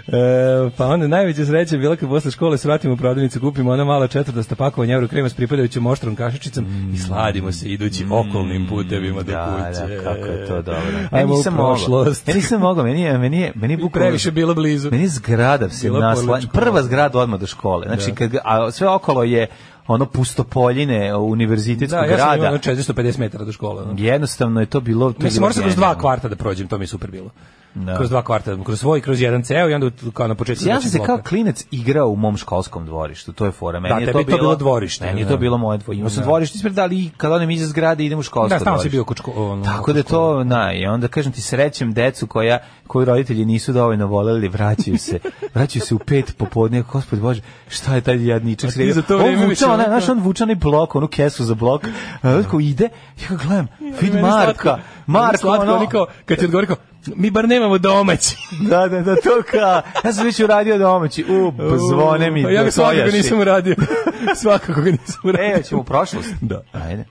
E, pa onda najveća sreća je bila kad posle škole svratimo u prodavnicu, kupimo ona mala četvrdasta pakovanja euro krema s pripadajućom oštrom kašičicom i sladimo se idući okolnim putevima do Mm. Da, kuće. da, kako je to dobro. Ja Ajmo u nisam mogao. prošlost. Ja nisam mogao, meni je, meni je, meni je bukvalno- Previše bilo blizu. Meni je zgrada se Bila nasla, porodična prva zgrada odmah do škole. Znači kad ga- a sve okolo je ono pustopoljine univerzitetskog Da, ja sam imao grada. ono 450 metara do škole. ono. Jednostavno je to bilo to je Mislim, bilo morao sam kroz dva genijalno. kvarta da prođem, to mi je super bilo. Kroz dva kvarta, kroz svoj, kroz jedan ceo i onda u- kao na početku. Ja znači, sam se kao bloka. klinac igrao u mom školskom dvorištu, to je fora. Meni Da, je tebi je to bilo dvorište, Meni je da. to bilo moje dvorište. Imao sam dvorište ispred, ali i kad onem iza zgrade idem u školsko Da, tamo si dvorište. bio kod ško- ono, Tako kod da je to, na, i onda kažem ti srećem decu koja, koju roditelji nisu dovoljno voleli, vraćaju se, vraćaju se u pet popodne, gospod Bože, šta je taj jadničak ti za to vreme on već vuče, onaj, ono- znaš, on vuče onaj blok, onu kesu za blok, a, ko ide, ja ga gledam, vid Meni je slatko, Marka, meni je Marko, slatko, ono, oni kao, kad ti odgovori kao, Mi bar nemamo domaći. Da, da, da, to kao, ja sam već uradio domaći, u, pa zvone mi, A Ja da ga svakako tojaši. nisam uradio. svakako ga nisam uradio. E, ćemo u prošlost. Da. Ajde.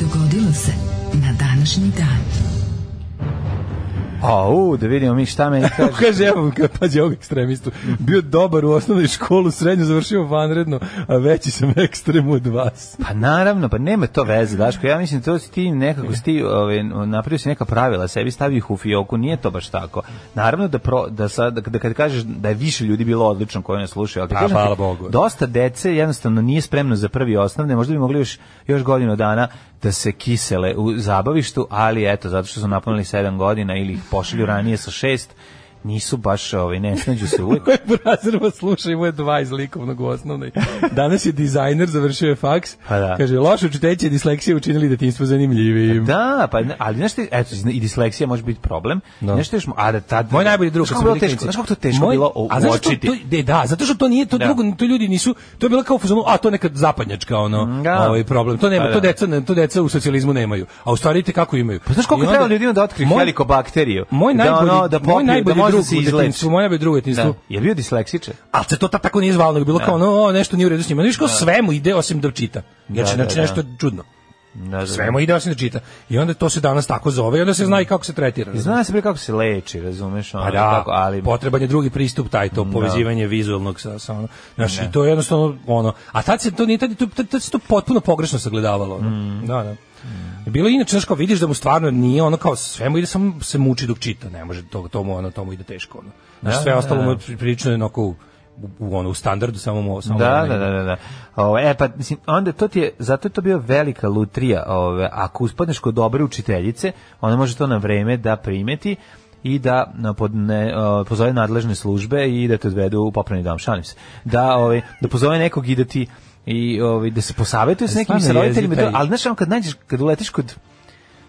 Dogodilo se na današnji dan. A, u, da vidimo mi šta meni E, kaže. Kaže, evo, kad pađe ovog ekstremistu, bio dobar u osnovnoj školu, srednju završio vanredno, a veći sam ekstrem od vas. Pa naravno, pa nema to veze, Daško. Ja mislim to si ti nekako si ti ovaj napravio si neka pravila, sebi stavio ih u fioku, nije to baš tako. Naravno da pro, da sad da kad kažeš da je više ljudi bilo odlično koji nas slušaju, ali kad Pa, kažem ti, hvala Bogu. Dosta dece jednostavno nije spremno za prvi osnovne, možda bi mogli još još godinu dana da se kisele u zabavištu, ali eto zato što su napunili 7 godina ili ih pošalju ranije sa 6 nisu baš ovaj ne snađu se uvek. Koji brazir vas sluša, imao je dva iz likovnog u osnovnoj. Danas je dizajner, završio je faks. Pa da. Kaže, loše učiteće i disleksije učinili detinstvo zanimljivim. Da, pa ne- ali znaš ti, eto, i disleksija može biti problem. Da. Nešto još, a da tad... Moj najbolji drug, Znaš kad kako sam bilo teško, klinac. znaš kako to teško bilo a znaš što uočiti? To, de, da, zato što to nije, to Da. drugo, to ljudi nisu, to je bilo kao u fazonu, a to neka zapadnjačka ono, Mm, Da. ovaj problem. To nema, Pa to da. deca, ne- to deca u socijalizmu nemaju. A u stvari te kako imaju. Pa znaš koliko I onda- treba ljudima da otkriju Moj- helikobakteriju? Moj Da najbolji, ono, da popiju, moj da najbolji može drug se u izleči. detinjstvu, moj najbolji drug u detinjstvu, Da. Je bio disleksičan? ali se to ta tako nije zvalo, nego bilo kao ono, o, nešto nije u redu s njima. Viš kao svemu ide osim da čita. Znači, da, znači da. nešto čudno. Da, da, Svemu ide osim da čita. I onda to se danas tako zove i onda se zna i kako se tretira. razumeš? Zna se prije kako se leči, razumeš? Ono, Pa da, tako, ali... potreban je drugi pristup taj to povezivanje vizuelnog sa sa ono. Znaš, i to je jednostavno ono. A tad se to nije tad, tad, tad se to potpuno pogrešno sagledavalo. ono. Mm. Da, da. Bilo je inače znaš kao vidiš da mu stvarno nije ono kao sve mu ide samo se muči dok čita, ne može to to mu ono to mu ide teško ono. Znaš, sve ostalo mu je prilično onako u, u, ono u standardu samo mu samo Da, ono, da, da, da, da. Ovo, e, pa, mislim, onda to ti je, zato je to bio velika lutrija, ove, ako uspadneš kod dobre učiteljice, ona može to na vreme da primeti i da na, pod, ne, o, pozove nadležne službe i da te odvedu u popravni dom, šalim se. Da, ove, da pozove nekog i da ti i ovaj da se posavetuju s E, nekim i sa stvarno jezik roditeljima, i to, taj. ali znaš ono kad nađeš kad uletiš kod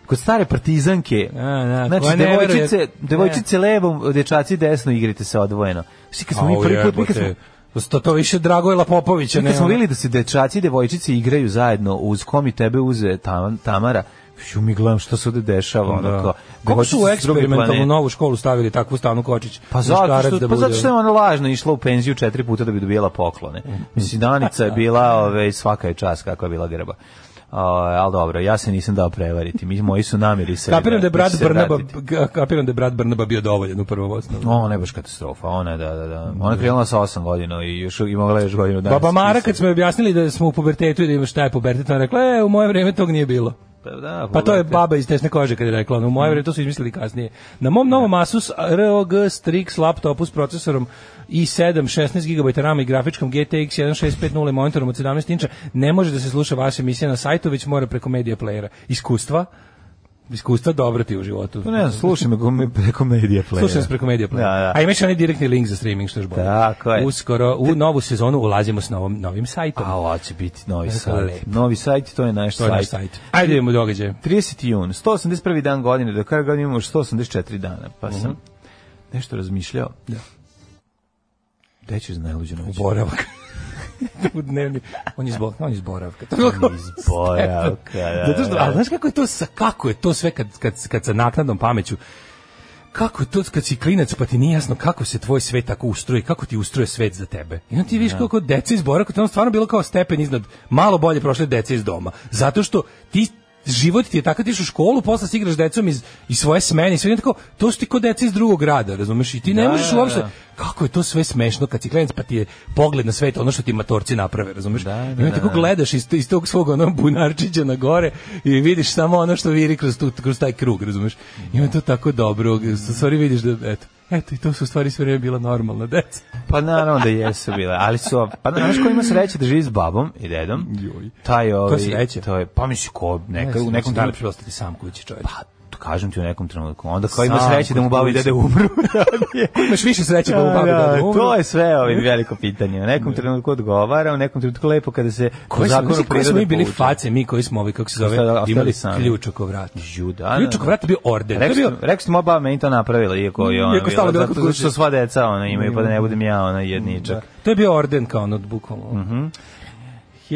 kod stare partizanke. A, da, koja znači, ne veruje. devojčice, devojčice levo, dečaci desno igrate se odvojeno. Svi kad smo mi Au, prvi put, mi kad smo, jebote. To, to više Dragojla Popovića, mi ne. kad smo ono. videli da se dečaci i devojčice igraju zajedno uz kom i tebe uze Tam- Tamara, ju mi gledam šta se ovde dešava. ono kao, Da. Kako su u devojčice s druge eksperimentalnu planete. novu školu stavili takvu Stanu Kočić? Pa zato, muškarac što, da pa bude- zato što je ona lažno išla u penziju četiri puta da bi dobijela poklone. Mislim, Danica je bila ove, svaka je čast kakva je bila grba. Uh, ali dobro, ja se nisam dao prevariti. Mi, moji su namiri se. Kapiram da je će brat se Brnaba, vratiti. ka- kapiram da je brat Brnaba bio dovoljan u prvom osnovu. Ona je baš katastrofa, ona je, da, da, da. Ona je krenula sa 8 godina i još i mogla je još godinu danas. Baba Mara kad smo joj objasnili da smo u pubertetu i da ima šta je pubertet, ona je rekla, e, u moje vreme tog nije bilo. Pa, da, Pa to je pogledajte. baba iz tesne kože kad je rekla, ono, u Mm. moje vreme to su izmislili kasnije. Na mom novom Asus ROG Strix laptopu s procesorom i7, 16 GB RAM i grafičkom GTX 1650 monitorom od 17 inča ne može da se sluša vaša emisija na sajtu, već mora preko media playera. Iskustva? Iskustva dobro ti u životu. Pa ne znam, slušam ga kom- preko medija playa. Slušaj nas preko Media Play. Da, da. A imaš onaj direktni link za streaming što je još bolje. Tako je. Uskoro u novu sezonu ulazimo s novom novim sajtom. A, ovo će biti novi Tako sajt. lepo. Novi sajt, to je naš to je naš sajt. sajt. Ajde idemo u događaje. 30. jun, 181. dan godine, do kraja godine imamo još 184 dana. Pa Mhm. sam nešto razmišljao. Da. Gde ćeš najluđu noć? Boravak. u dnevni. On je iz Bo- on je iz boravka. To je bilo kao- Iz boravka, da, Zato što, da, da. ali znaš kako je to sa, kako je to sve kad, kad, kad sa naknadnom pameću kako je to kad si klinac pa ti nije jasno kako se tvoj svet tako ustroji, kako ti ustroje svet za tebe. I onda ti vidiš kako deca iz Boraka, to je ono stvarno bilo kao stepen iznad, malo bolje prošle dece iz doma. Zato što ti život ti je takav, ti ideš u školu, posle si igraš s decom iz, iz svoje smene i sve i onda tako, to su ti ko deca iz drugog grada, razumeš? I ti ne Da, možeš da, uopšte, da. kako je to sve smešno kad si klinac pa ti je pogled na svet ono što ti matorci naprave, razumeš? Da, da, I onda da, tako da. gledaš iz, iz tog svog onog bunarčića na gore i vidiš samo ono što viri kroz, tu, kroz taj krug, razumeš? I onda je to tako dobro, u stvari vidiš da, eto, eto, i to su u stvari sve vreme bila normalna deca. Pa naravno da jesu bile, ali su, pa znaš ko ima sreće da živi s babom i dedom? Joj. Taj ovi, sreće. To je, pa misli ko, neka, u nekom danu trenutku će ostati sam kući čovjek. Pa, to kažem ti u nekom trenutku. Onda kao ima Sam sreće da mu kod bavi kuće. dede umru. Imaš više sreće da mu babi Da, da umre. To je sve ovaj veliko pitanje. U nekom trenutku odgovara, u nekom trenutku lepo kada se Koji smo, mislim, koji smo mi bili povuče. face, mi koji smo ovi, kako se Sad zove, ostali imali sami. ključ oko vrata. Ju, da, da, Ključ oko da. vrata je bio orden. To je Rekao bio Mm, sam- Rekao sam, moja baba meni to napravila, iako je ona Iako stala bila kod zato kuće. Mm. što sva deca ona imaju, pa da ne budem ja ona jedničak. To je bio orden kao ono, bukvalno. Mhm.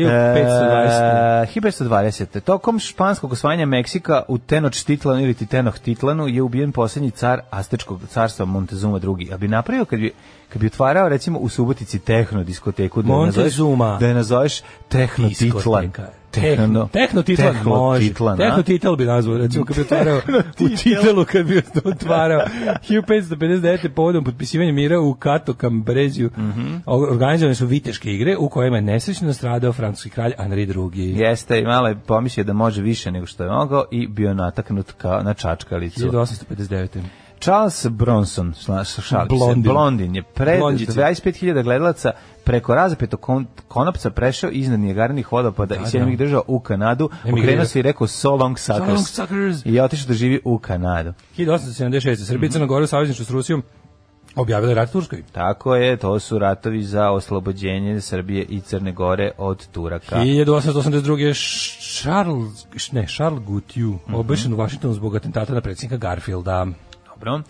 1520. E, 1520. Tokom španskog osvajanja Meksika u Tenochtitlanu ili Titanochtitlanu je ubijen posljednji car Aztečkog carstva Montezuma II. A bi napravio kad bi, kad bi otvarao recimo u Subotici tehno diskoteku da je Montezuma. nazoveš, da je nazoveš tehno titlan. Diskoteka. Tehno, tehno E, titlan može. Tehno titel bi nazvao, recimo, kad bi otvarao u titelu, kad bi otvarao 1559. povodom potpisivanja mira u Kato Kambreziju organizovane su viteške igre u kojima je nesrećno stradao francuski kralj Henri II. Jeste, i malo je pomislio da može više nego što je mogao i bio nataknut kao na čačkalicu. 1859. Charles Bronson, šla- š- šalim se, Blondin. blondin. je pred Blondjica. 25.000 gledalaca preko razapetog kon- konopca prešao iznad Nijagarnih vodopada i sjednom ih držao u Kanadu, Emigrirao. okrenuo se i rekao so long suckers, So long suckers. i je otišao da živi u Kanadu. 1876. Srbija i Crna Gora u savezništvu s Rusijom objavila je rat Turskoj. Tako je, to su ratovi za oslobođenje Srbije i Crne Gore od Turaka. 1882. je Š- Charles, ne, Charles Gutju Mhm. obešen u Vašingtonu zbog atentata na predsjednika Garfielda. Dobro.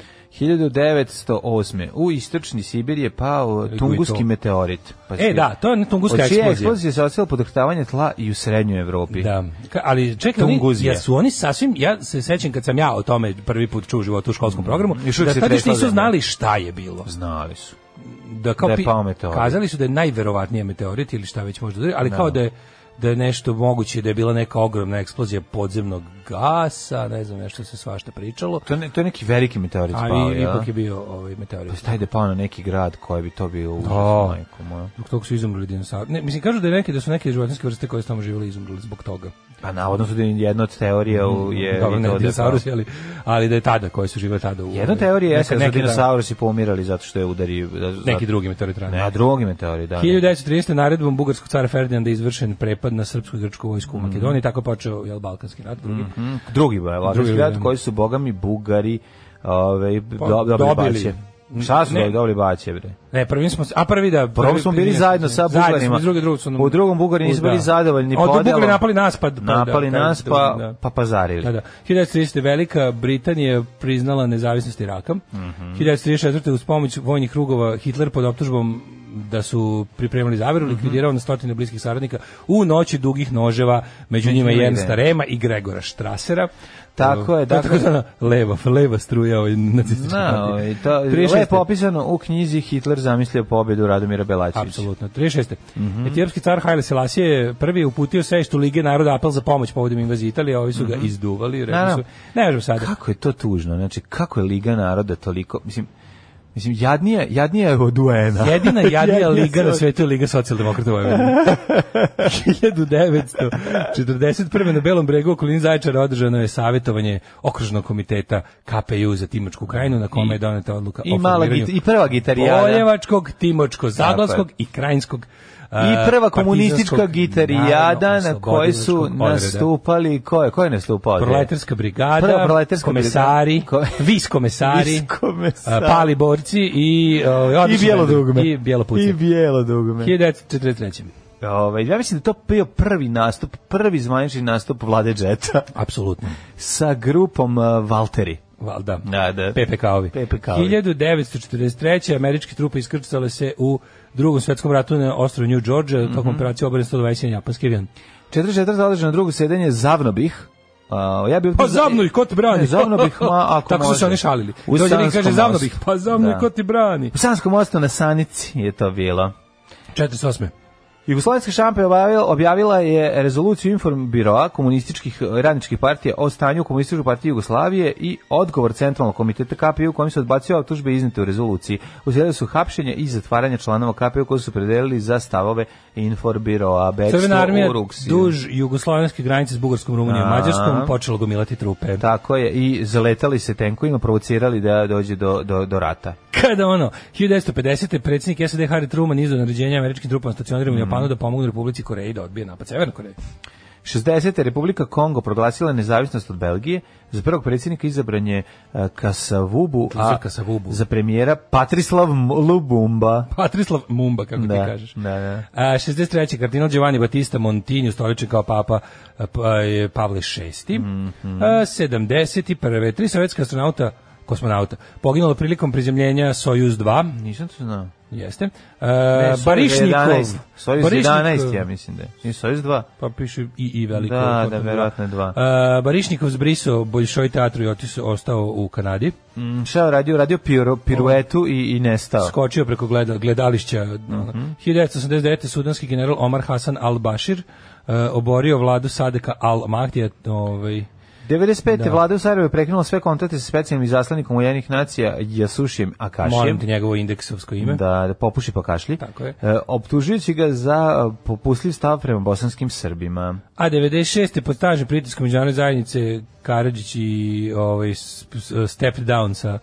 1908. U istočni Sibir je pao je to. tunguski meteorit. Pa E, da, to je tunguska Od čije eksplozija. eksplozije se odsjelo podrhtavanje tla i u srednjoj Evropi. Da. Ka- Ali čekaj, oni, Tunguzija. jesu oni sasvim, ja se sećam kad sam ja o tome prvi put čuo u životu u školskom Mhm. programu, Još uvijek da se tad još tresla nisu zemlja. znali šta je bilo. Znali su. Da, kao Da je pi- pao meteorit. Kazali su da je najverovatnije meteorit ili šta već možda, ali kao da je da je nešto moguće, da je bila neka ogromna eksplozija podzemnog gasa, ne znam, nešto se svašta pričalo. To, je ne, to je neki veliki meteorit pao, Ali jel? ipak je bio ovaj meteorit. Pa Staj da je pao na neki grad koji bi to bio užasno, majko moja. Zbog toga su izumrli dinosauri. Ne, mislim, kažu da, je neke, da su neke životinske vrste koje su tamo živjeli izumrli zbog toga. Pa navodno su da je jedna od teorija u- je... Mm, Dobro, i ne to da- dinosaurus, ali, ali da je tada, koje su živjeli tada. U, Jedna teorija je neka- da su neki dan- dinosaurusi pomirali zato što je udari... Da, Neki drugi meteorit ranije. Ne, a drugi meteorit, da. 1930. naredbom bugarskog cara Ferdinanda je izvršen prepad na srpsko-grčku vojsku Mhm. u Makedoniji, tako je počeo jel, Balkanski rat, drugi. Mm, Drugi ba, Drugi, Vakarski grad da. koji su bogami Bugari ove, do, dobili, Pa, dobili. baće. Šta su Ne. dobili, dobili baće, bre? Ne, prvi smo, a prvi da... Prvo smo bili zajedno sa Zajedno smo, Bugarima. iz druge, drugo su nam- U drugom Bugari nisu Da. bili zadovoljni A, od podelom. Bugari napali nas, pa... pa da, Napali kao nas, što drugim, pa, da. pa pazarili. Da, da. 1930. Velika Britanija priznala nezavisnost Iraka. Mhm. 1934. uz pomoć vojnih krugova Hitler pod optužbom da su pripremili zaveru, Mhm. likvidirao na stotine bliskih saradnika u noći dugih noževa, među njima njima i Jernsta Rema. Rema i Gregora Štrasera. Tako je, To dakle- tako zvana leva, leva struja ovaj nacističke Na, partije. ovaj, to, 36.. lepo opisano u knjizi Hitler zamislio pobjedu Radomira Belačevića. Apsolutno. 36. Etiopski car Haile Selassie je prvi uputio sveštu Lige naroda apel za pomoć povodom invazije Italije, a ovi su ga izduvali, rekli su, Naravno. ne možemo sada. Kako je to tužno, znači kako je Liga naroda toliko, mislim, mislim jadnija, jadnija je od UN-a. Jedina jadnija liga na sve- svetu je Liga socijaldemokrata Vojvodine. 1941. na Belom bregu u okolini Zaječara održano je savjetovanje okružnog komiteta KPU za Timočku krajinu na kome je doneta odluka I o mala formiranju git- i prva gitarijada. Poljevačkog, Timočko-Zaglavskog Tako i Krajinskog e, I Pa, prva komunistička gitarijada na kojoj kojoj su nastupali, ko je, ko je nastupao? Proletarska brigada, Prva proletarska komesari, brigada. Ko- vis komesari, Vis komesari. a, pa, pali borci i uh, I bijelo dugme. I bijelo puce. I bijelo dugme. 1943. Ovaj, ja mislim da je to bio prvi nastup, prvi zvanični nastup Vlade Džeta Apsolutno. sa grupom uh, Valteri. Valda. Da, da. PPK-ovi. PPK-ovi. 1943. američke trupe iskrcale se u drugom svetskom ratu na ostrovu New Georgia Mhm. tokom operacije obrane 121 japanski avion. 44 zadržano drugo sedenje Zavnobih. Uh, ja bi Pa zavno ih, ko ti brani? Ne, zavno bih, ma, ako Tako su može. se oni šalili. U Dođe njih i kaže, Sanskom zavno mostu. bih, pa zavno Da. ih, ko ti brani? U Sanskom mostu na Sanici je to bilo. 48. Jugoslovenska šampa je objavila, objavila je rezoluciju inform biroa komunističkih eh, radničkih partija o stanju u komunističkoj partiji Jugoslavije i odgovor centralnog komiteta KPU u kojem se odbacio optužbe iznete u rezoluciji. Uzeli su hapšenje i zatvaranje članova KPU koji su predelili za stavove inform biroa. Crvena armija u Ruksiju. duž jugoslovenske granice s Bugarskom, Rumunijom i A. Mađarskom počela gomilati trupe. Tako je, i zaletali se tenkovima, provocirali da dođe do, do, do rata. Kada ono, 1950. predsjednik SAD Mhm. Harry Truman izdao naređenje američkim trupama stacioniranima u Japanu da pomognu Republici Koreji da odbije napad Severne Koreje. 60. Republika Kongo proglasila nezavisnost od Belgije. Za prvog predsjednika izabran je e, Kasavubu, Joseph Kasavubu. za premijera Patrislav M- Lubumba. Patrislav Mumba, kako Da, ti kažeš. da, da. A, 63. kardinal Giovanni Battista Montini, ustoličen kao papa a, pa je Pavle VI. Mm Mhm. 71. Tri sovjetska astronauta, kosmonauta, poginulo prilikom prizemljenja Sojuz 2, Nisam to znao. jeste. Ne, A, Sojuz E, Barišnikov. 11. Sojuz Barišnikov- 11, ja mislim da je. Nije Sojuz 2. Pa piše i, i veliko. Da, potpuno da, verovatno je dva. A, Barišnikov zbrisao Boljšoj teatru i otis- ostao u Kanadi. Mm, Šta je radio? Radio piru, piruetu i, i nestao. skočio preko gleda, gledališća. Mhm. 1989. sudanski general Omar Hasan al-Bashir e, oborio vladu Sadeka al-Mahdija, ovaj, 95. vlada u Sarajevu je prekinula sve kontakte sa specijalnim izaslanikom Ujedinjenih nacija Jasušijem molim Akašijem. te njegovo indeksovsko ime. Da, da popuši pa kašlji. Tako je. E, optužujući ga za e, popustljiv stav prema bosanskim Srbima. A 96. pod stažem pritiskom međunarodne zajednice Karadžić i ovaj, s- s- step down sa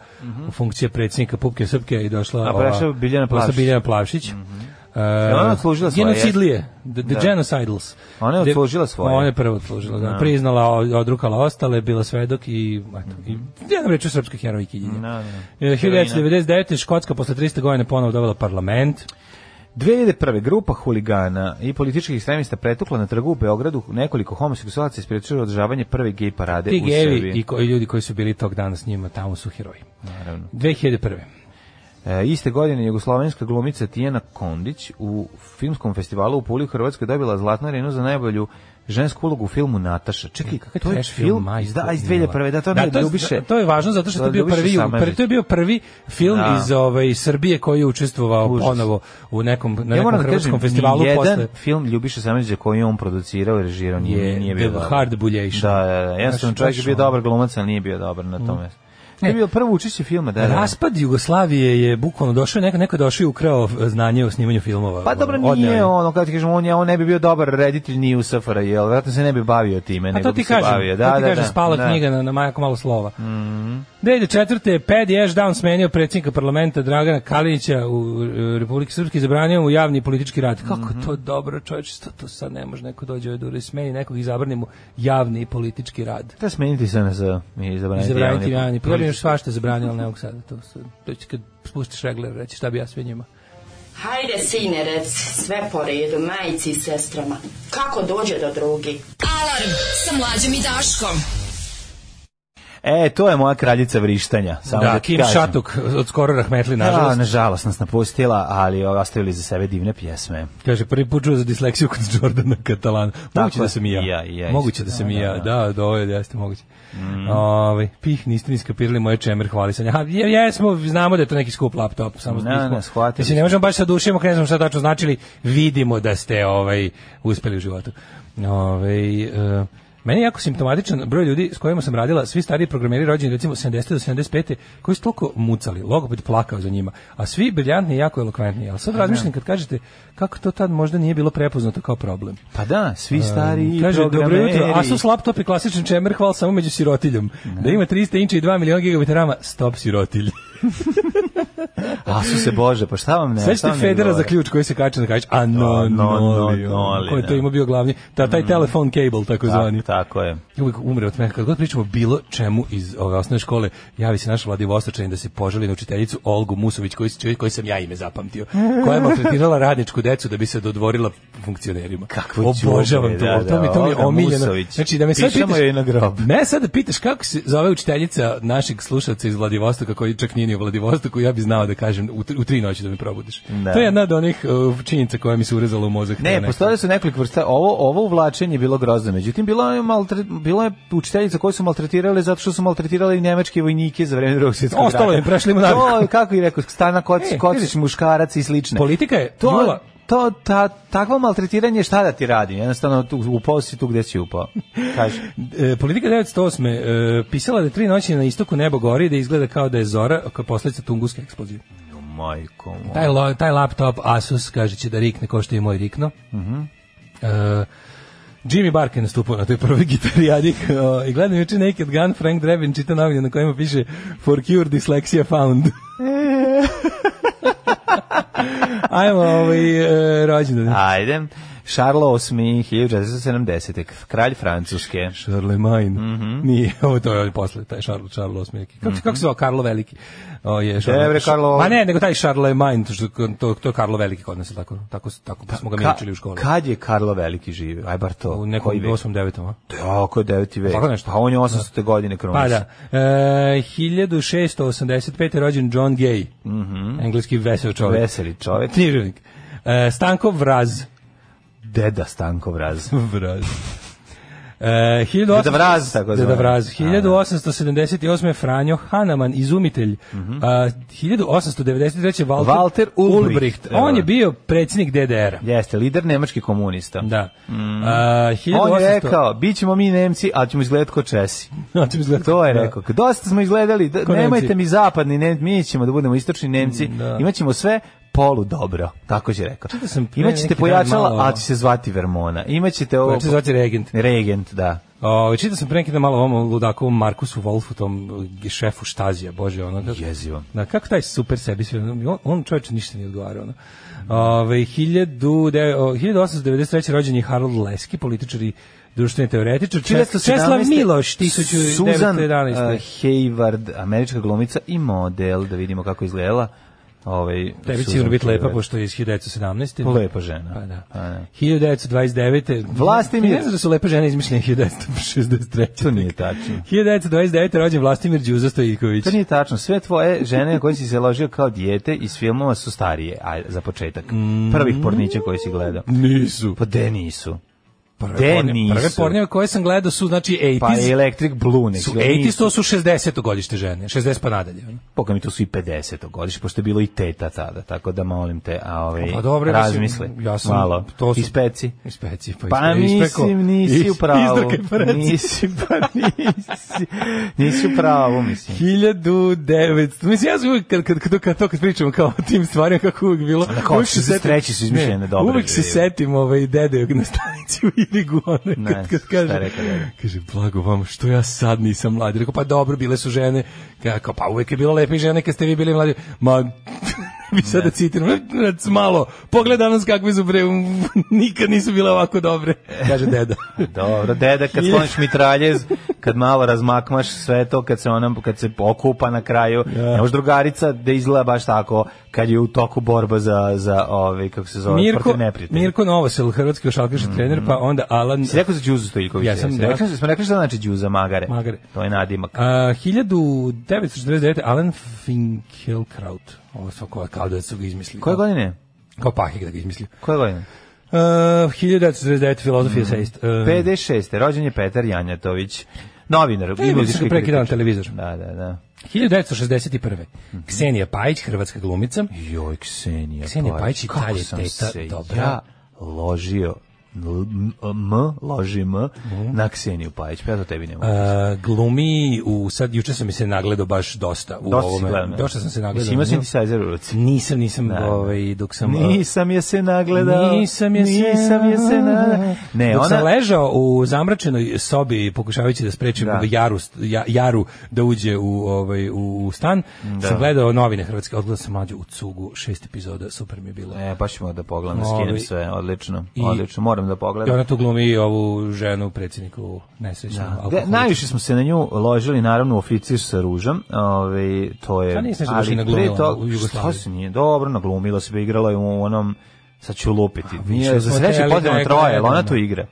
funkcije predsjednika Pupke Srpke i došla Mhm. A prešla ova- Biljana došla Plavšić. Mhm. Biljana Plavšić. E, ona odslužila svoje, genocidlije, the, the Da. genocidals. Ona je De- odslužila svoje. Ona je prvo odslužila, da. Priznala, o- odrukala ostale, bila svedok i, eto, i jednom reču srpske herojkinje. Mhm. Da, da. E, 1999. Škotska posle 300 godina ponovo dovela parlament. 2001. grupa huligana i političkih ekstremista pretukla na trgu u Beogradu nekoliko homoseksualaca ispred održavanje prve gej parade Ti u gevi Srbiji. i koji, ljudi koji su bili tog dana s njima tamo su heroji. Naravno. 2001. E, iste godine jugoslovenska glumica Tijena Kondić u filmskom festivalu u Puli u Hrvatskoj dobila zlatnu arenu za najbolju žensku ulogu u filmu Nataša. Čekaj, E, Kakav to je trash film majko iz, da, iz mila. 2001. Da, to je da, to, Ljubiše. to je važno zato što je to bio Ljubiše prvi Samardžić. prvi- to je bio prvi film Da. iz ove Srbije koji je učestvovao Užas. ponovo u nekom na ja nekom moram da hrvatskom kažem, festivalu jedan posle film Ljubiše Samardžića koji je on producirao i režirao nije, Je nije The bio dobar. Hard Buljejša. Da, da, da. Jednostavno Baš- čovjek je baš bio ono. Mm. dobar glumac, ali nije bio dobar na tome. To Ne. je bio prvo učešće filma, da, da. da. Raspad Jugoslavije je bukvalno došao, neko, neko je došao i ukrao e, znanje o snimanju filmova. Pa dobro, Ono, odneo nije je. ono, kako ti kažem, on, je, on ne bi bio dobar reditelj ni u SFRJ, jel vjerojatno se ne bi bavio time, A nego to bi ti se bavio. kažem, Da, to ti da, kažem, da, spala da. Mhm. knjiga na, na majako malo slova. Mm četvrte, Pedi Ashdown smenio predsjednika parlamenta Dragana Kalinića u e, Republike Srpske i zabranio mu javni politički rad. Kako Mhm. to dobro, čovječe, to, to sad ne može neko dođe ovdje da smeni nekog i zabrani mu javni i politički rad. Da smeniti se na za i zabraniti, Zabraniti javni- javni. Prvo još svašta zabranio, ali ne mogu sad. To, sad- to će kad spustiš regler, reći šta bi ja sve njima. Hajde, sine, rec, sve po redu, majici i sestrama. Kako dođe do drugi? Alarm sa mlađom i Daškom. E, to je moja kraljica vrištanja. Samo da, da, ti Kim kažem. Šatuk od skoro Rahmetli, nažalost. Da, nažalost nas napustila, ali ovo, ostavili za sebe divne pjesme. Kaže, prvi put čuo za disleksiju kod Jordana Katalana. Moguće Tako da je. sam i ja. I ja, i ja moguće isto. da sam i ja. Da, da, ovo je, jeste moguće. Mhm. Ovaj, pih, niste ni skapirali moje čemer hvalisanja. Ha, je- jesmo, znamo da je to neki skup laptop. Samo Ne, nismo- ne, shvatili Mislim, ne možemo baš sa dušima, kad ne znamo šta tačno značili, vidimo da ste ovaj, uspeli u životu. Ovaj, e, meni je jako simptomatičan broj ljudi s kojima sam radila, svi stariji programeri rođeni recimo 70 do 75 koji su toliko mucali, logoped plakao za njima, a svi briljantni i jako elokventni. Ali sad razmišljam kad kažete kako to tad možda nije bilo prepoznato kao problem. Pa da, svi stari Kaže, dobro programeri. jutro, Asus laptop je klasičan čemer, hvala samo među sirotiljom. Da ima 300 inča i 2 miliona gigabita rama, stop sirotilj. Asuse Bože, pa šta vam ne? šta Sećate vam ne Federa za odgovara? ključ koji se kače na kač, a no, Da, no, no, Mm. noli, ko je to da. ima bio glavni, ta, taj telefon cable, tako zvani. Tako, tako je. Uvijek umre od mene. Kad god pričamo bilo čemu iz ove osnovne škole, javi se naš Vladivostočanin da se poželi na učiteljicu Olgu Musović, koji, čovjek koji sam ja ime zapamtio, koja je maltretirala radničku decu da bi se dodvorila funkcionerima. Kakvo Obožavam đubre, to. da, to mi, to mi je da, Olga omiljeno. Musović. Znači, da me sad Pišemo pitaš, joj na grob. ne sad da pitaš kako se zove učiteljica našeg slušalca iz Vladivostoka, koji čak nije ni u Vladivostoku, ja bi znao da kažem u, tri- u tri noći da me probudiš. Da. To je jedna od onih uh, činjenica koja mi se urezala u mozak. Ne, Ona- postojale su nekoliko vrsta. Ovo ovo uvlačenje je bilo grozno. Međutim bilo je maltre, bilo je učiteljica koji su maltretirali zato što su maltretirali nemačke vojnike za vreme Drugog svjetskog rata. Ostalo je, prešli mu naviku. To je, kako i rekao Stana Kocić, E, Kocić vidiš. muškarac i slične. Politika je to jula- to ta takvo maltretiranje šta da ti radi? Jednostavno tu upao si tu gde si upao. Kaže. E, politika 908. E, pisala da je tri noći na istoku nebo gori da izgleda kao da je zora kao posledica tunguske eksplozije. Majko. moja. Taj, lo- taj laptop Asus kaže će da rikne kao što je i moj rikno. Mhm. E, Jimmy Barker nastupao na toj prvoj gitarijadi i gledam juče Naked Gun, Frank Drebin čita novine na kojima piše For Cure Dyslexia Found. Ajmo ovaj e, rođendan. Ajde. Šarlo VIII, 1470. Kralj Francuske. Charlemagne. Mhm. Nije, ovo to je posle, taj Charles, Charles Osmi neki. Kako, kako se zove Karlo Veliki? O, je, bre, Charles- Mhm. Karlo- Ma ne, nego taj Charlemagne, to, što- to, to je Karlo Veliki kod nas, je tako, tako, tako pa smo ga mi Ka- učili u školi. Kad je Karlo Veliki živio? Aj bar to. U nekom Koji vek? 8-9, a? Tako je 9. vek. Tako nešto. Pa on je 800. godine kronisan. Pa da. E, 1685. je rođen John Gay. Mhm. Engleski vesel čovjek. Veseli čovjek. Književnik. E, Stanko Vraz. Deda Stanko Vraz. Vraz. E, 1800 Deda Vraz, tako Deda zvan. Vraz. 1878. je Franjo Hanaman, izumitelj. A, 1893. Walter, Mhm. Walter Ulbricht. Evo On ga. je bio predsjednik DDR-a. Jeste, lider nemački komunista. Da. A, 1800... Mm. On je rekao, bit ćemo mi Nemci, ali ćemo izgledati ko Česi. Znači, izgleda- Pa To je Da. rekao. Dosta smo izgledali, da- Ko Nemci. nemojte mi zapadni, ne, mi ćemo da budemo istočni Nemci, da. imat ćemo sve polu dobro, tako je rekao. Čitao sam pre neki Imaćete dan pojačala, malo- a će se zvati Vermona. Imaćete ovo... Koja će se zvati Regent. Regent, da. O, čitao sam pre neki dan malo ovom ludakovom Markusu Wolfu, tom e, šefu štazija, bože, ono... Kako, Jezivo. Na, kako taj super sebi sve, on, on čovječe ništa nije odgovarao, ono. Ove, 1000 o, 1893. rođen je Harold Leski, političar i društveni teoretičar. Čes- Česlav 1917. Miloš, Susan uh, 1911. Hayward, američka glumica i model, da vidimo kako izgledala. Ovaj, Tebi će Susan sigurno biti lepa, Hayward. pošto je iz 1917. Lepa žena. Pa da. Pa da. 1929. Vlastimir- Ne znam da su lepe žene izmišljene 1963. To nije tačno. 1929. rođen Vlastimir Đuza Stojiković. To nije tačno. Sve tvoje žene na koje si se ložio kao dijete iz filmova su starije, a za početak. Mm. Prvih pornića koji si gledao. Nisu. Pa de nisu. Prve, De pornje- prve nisu. pornjeve koje sam gledao su znači 80s. Pa je Electric Blue nek su gleda, 80s, nisu. to su 60. godište žene, 60 pa nadalje. ono. Boga mi to su i 50 godište, pošto je bilo i teta tada, tako da molim te, a ovaj, Pa dobro, mislim, razmisli. ja sam, malo. to su- I speci. Ispeci, pa, Pa ispe- ispeko. mislim, nisi Is- u pravu. izdrkaj pa reci. Nisi, pa nisi. Nisi u pravu, mislim. 1900. Mislim, ja sam uvijek, kad, kad, kad, kad, to kad pričamo kao o tim stvarima, kako uvijek bilo. kao uvijek se 63 setim- su izmišljene ne, dobre Uvijek se ideje. setim ovaj, dede na stanici u Irigu. One, Ne, kad, kad šta je kaže, rekao deda? kaže, blago vam, što ja sad nisam mlad. Rekao, pa dobro, bile su žene. Kako, pa uvijek je bilo lepe žene kad ste vi bili mladi. Ma, bi sada citiram, rec malo, pogledaj nas kakve su bre, nikad nisu bile ovako dobre, kaže deda. Dobro, deda, kad skloniš mitraljez, kad malo razmakmaš sve to, kad se ona, kad se okupa na kraju, ne može drugarica da izgleda baš tako, kad je u toku borba za, za ove, kako se zove, Mirko, protiv neprijatelja. Mm, Mirko Novosel, hrvatski košarkaški trener, pa onda Alan... Si rekao za Đuzu Stojković? Ja sam, jesi? da. Rekli smo- smo rekli šta znači Đuza Magare. Magare. To je nadimak. A, 1949. Alan Finkielkraut. Ovo sam kao, kao da su ga izmislili. Koje godine? Kao Pahik da ga izmislio. Koje godine? Uh, 1949. filozof i Mm. eseist. Uh, 56. Rođen je Petar Janjatović. Novinar. i vidiš muzički ga preki dan kritičar. televizor. Da, da, da. 1961. Mhm. Ksenija Pajić, hrvatska glumica. Joj, Ksenija, pa Ksenija Pajić i kako dalje sam teta se dobra. ja ložio L- m, m, loži m, Mhm. na Kseniju Pajić, pa ja to tebi ne mogu. Uh, glumi u sad juče sam mi se nagledao baš dosta u Dosta si ovome. gledao, ne? Dosta sam se nagledao. Jesi imao na nju. synthesizer u ruci? Nisam, nisam, Ne. ovaj, dok sam... uh, Nisam je se nagledao. Nisam je se, Nisam je se nagledao. Ne, Dok ona... sam ležao u zamračenoj sobi pokušavajući da sprečim Da. Jaru, ja, Jaru da uđe u, ovaj, u stan, sam gledao novine Hrvatske, odgledao sam mlađu u cugu, šest epizoda, super mi je bilo. E, pa ćemo da pogledam, da Ovi- skinem sve, odlično, Ovaj, I- odlično, moram da I pogledam. ona tu glumi ovu ženu, predsjedniku nesrećnog Da. De, alkoholiča. najviše smo se na nju ložili, naravno, u oficir sa ružom. Ove, to je, Pa nisi nešto baš i ali naglumila pre toga- u Jugoslaviji. Šta se nije? Dobro, naglumila se, pa igrala je u onom, sad ću lupiti. Nije, što za smo sreće hteli da potrebno je troje, ali ona gledamo. to igra.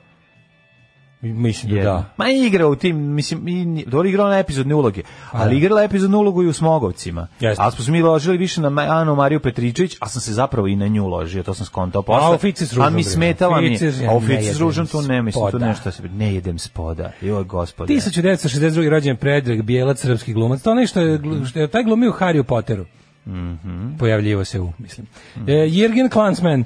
Mislim da Jedna. da. Ma igra u tim, mislim, i, ni- dobro igrala na epizodne uloge, ali igrala je epizodnu ulogu i u Smogovcima. Jeste. Ali smo se mi ložili više na Ma- Anu Mariju Petričić, a sam se zapravo i na nju ložio, to sam skontao posle. A oficir s ružom, A mi bre. smetala mi, Oficir, ja a ne oficir s jedem ružom tu ne, mislim, tu spoda. nešto se, ne jedem spoda, joj gospode. 1962. rođen Predrag Bijelac, srpski glumac. To nešto je, glu- što je taj glumio u Harry Potteru. Mhm. Pojavljivo se u, mislim. E, Jürgen Klansman, e,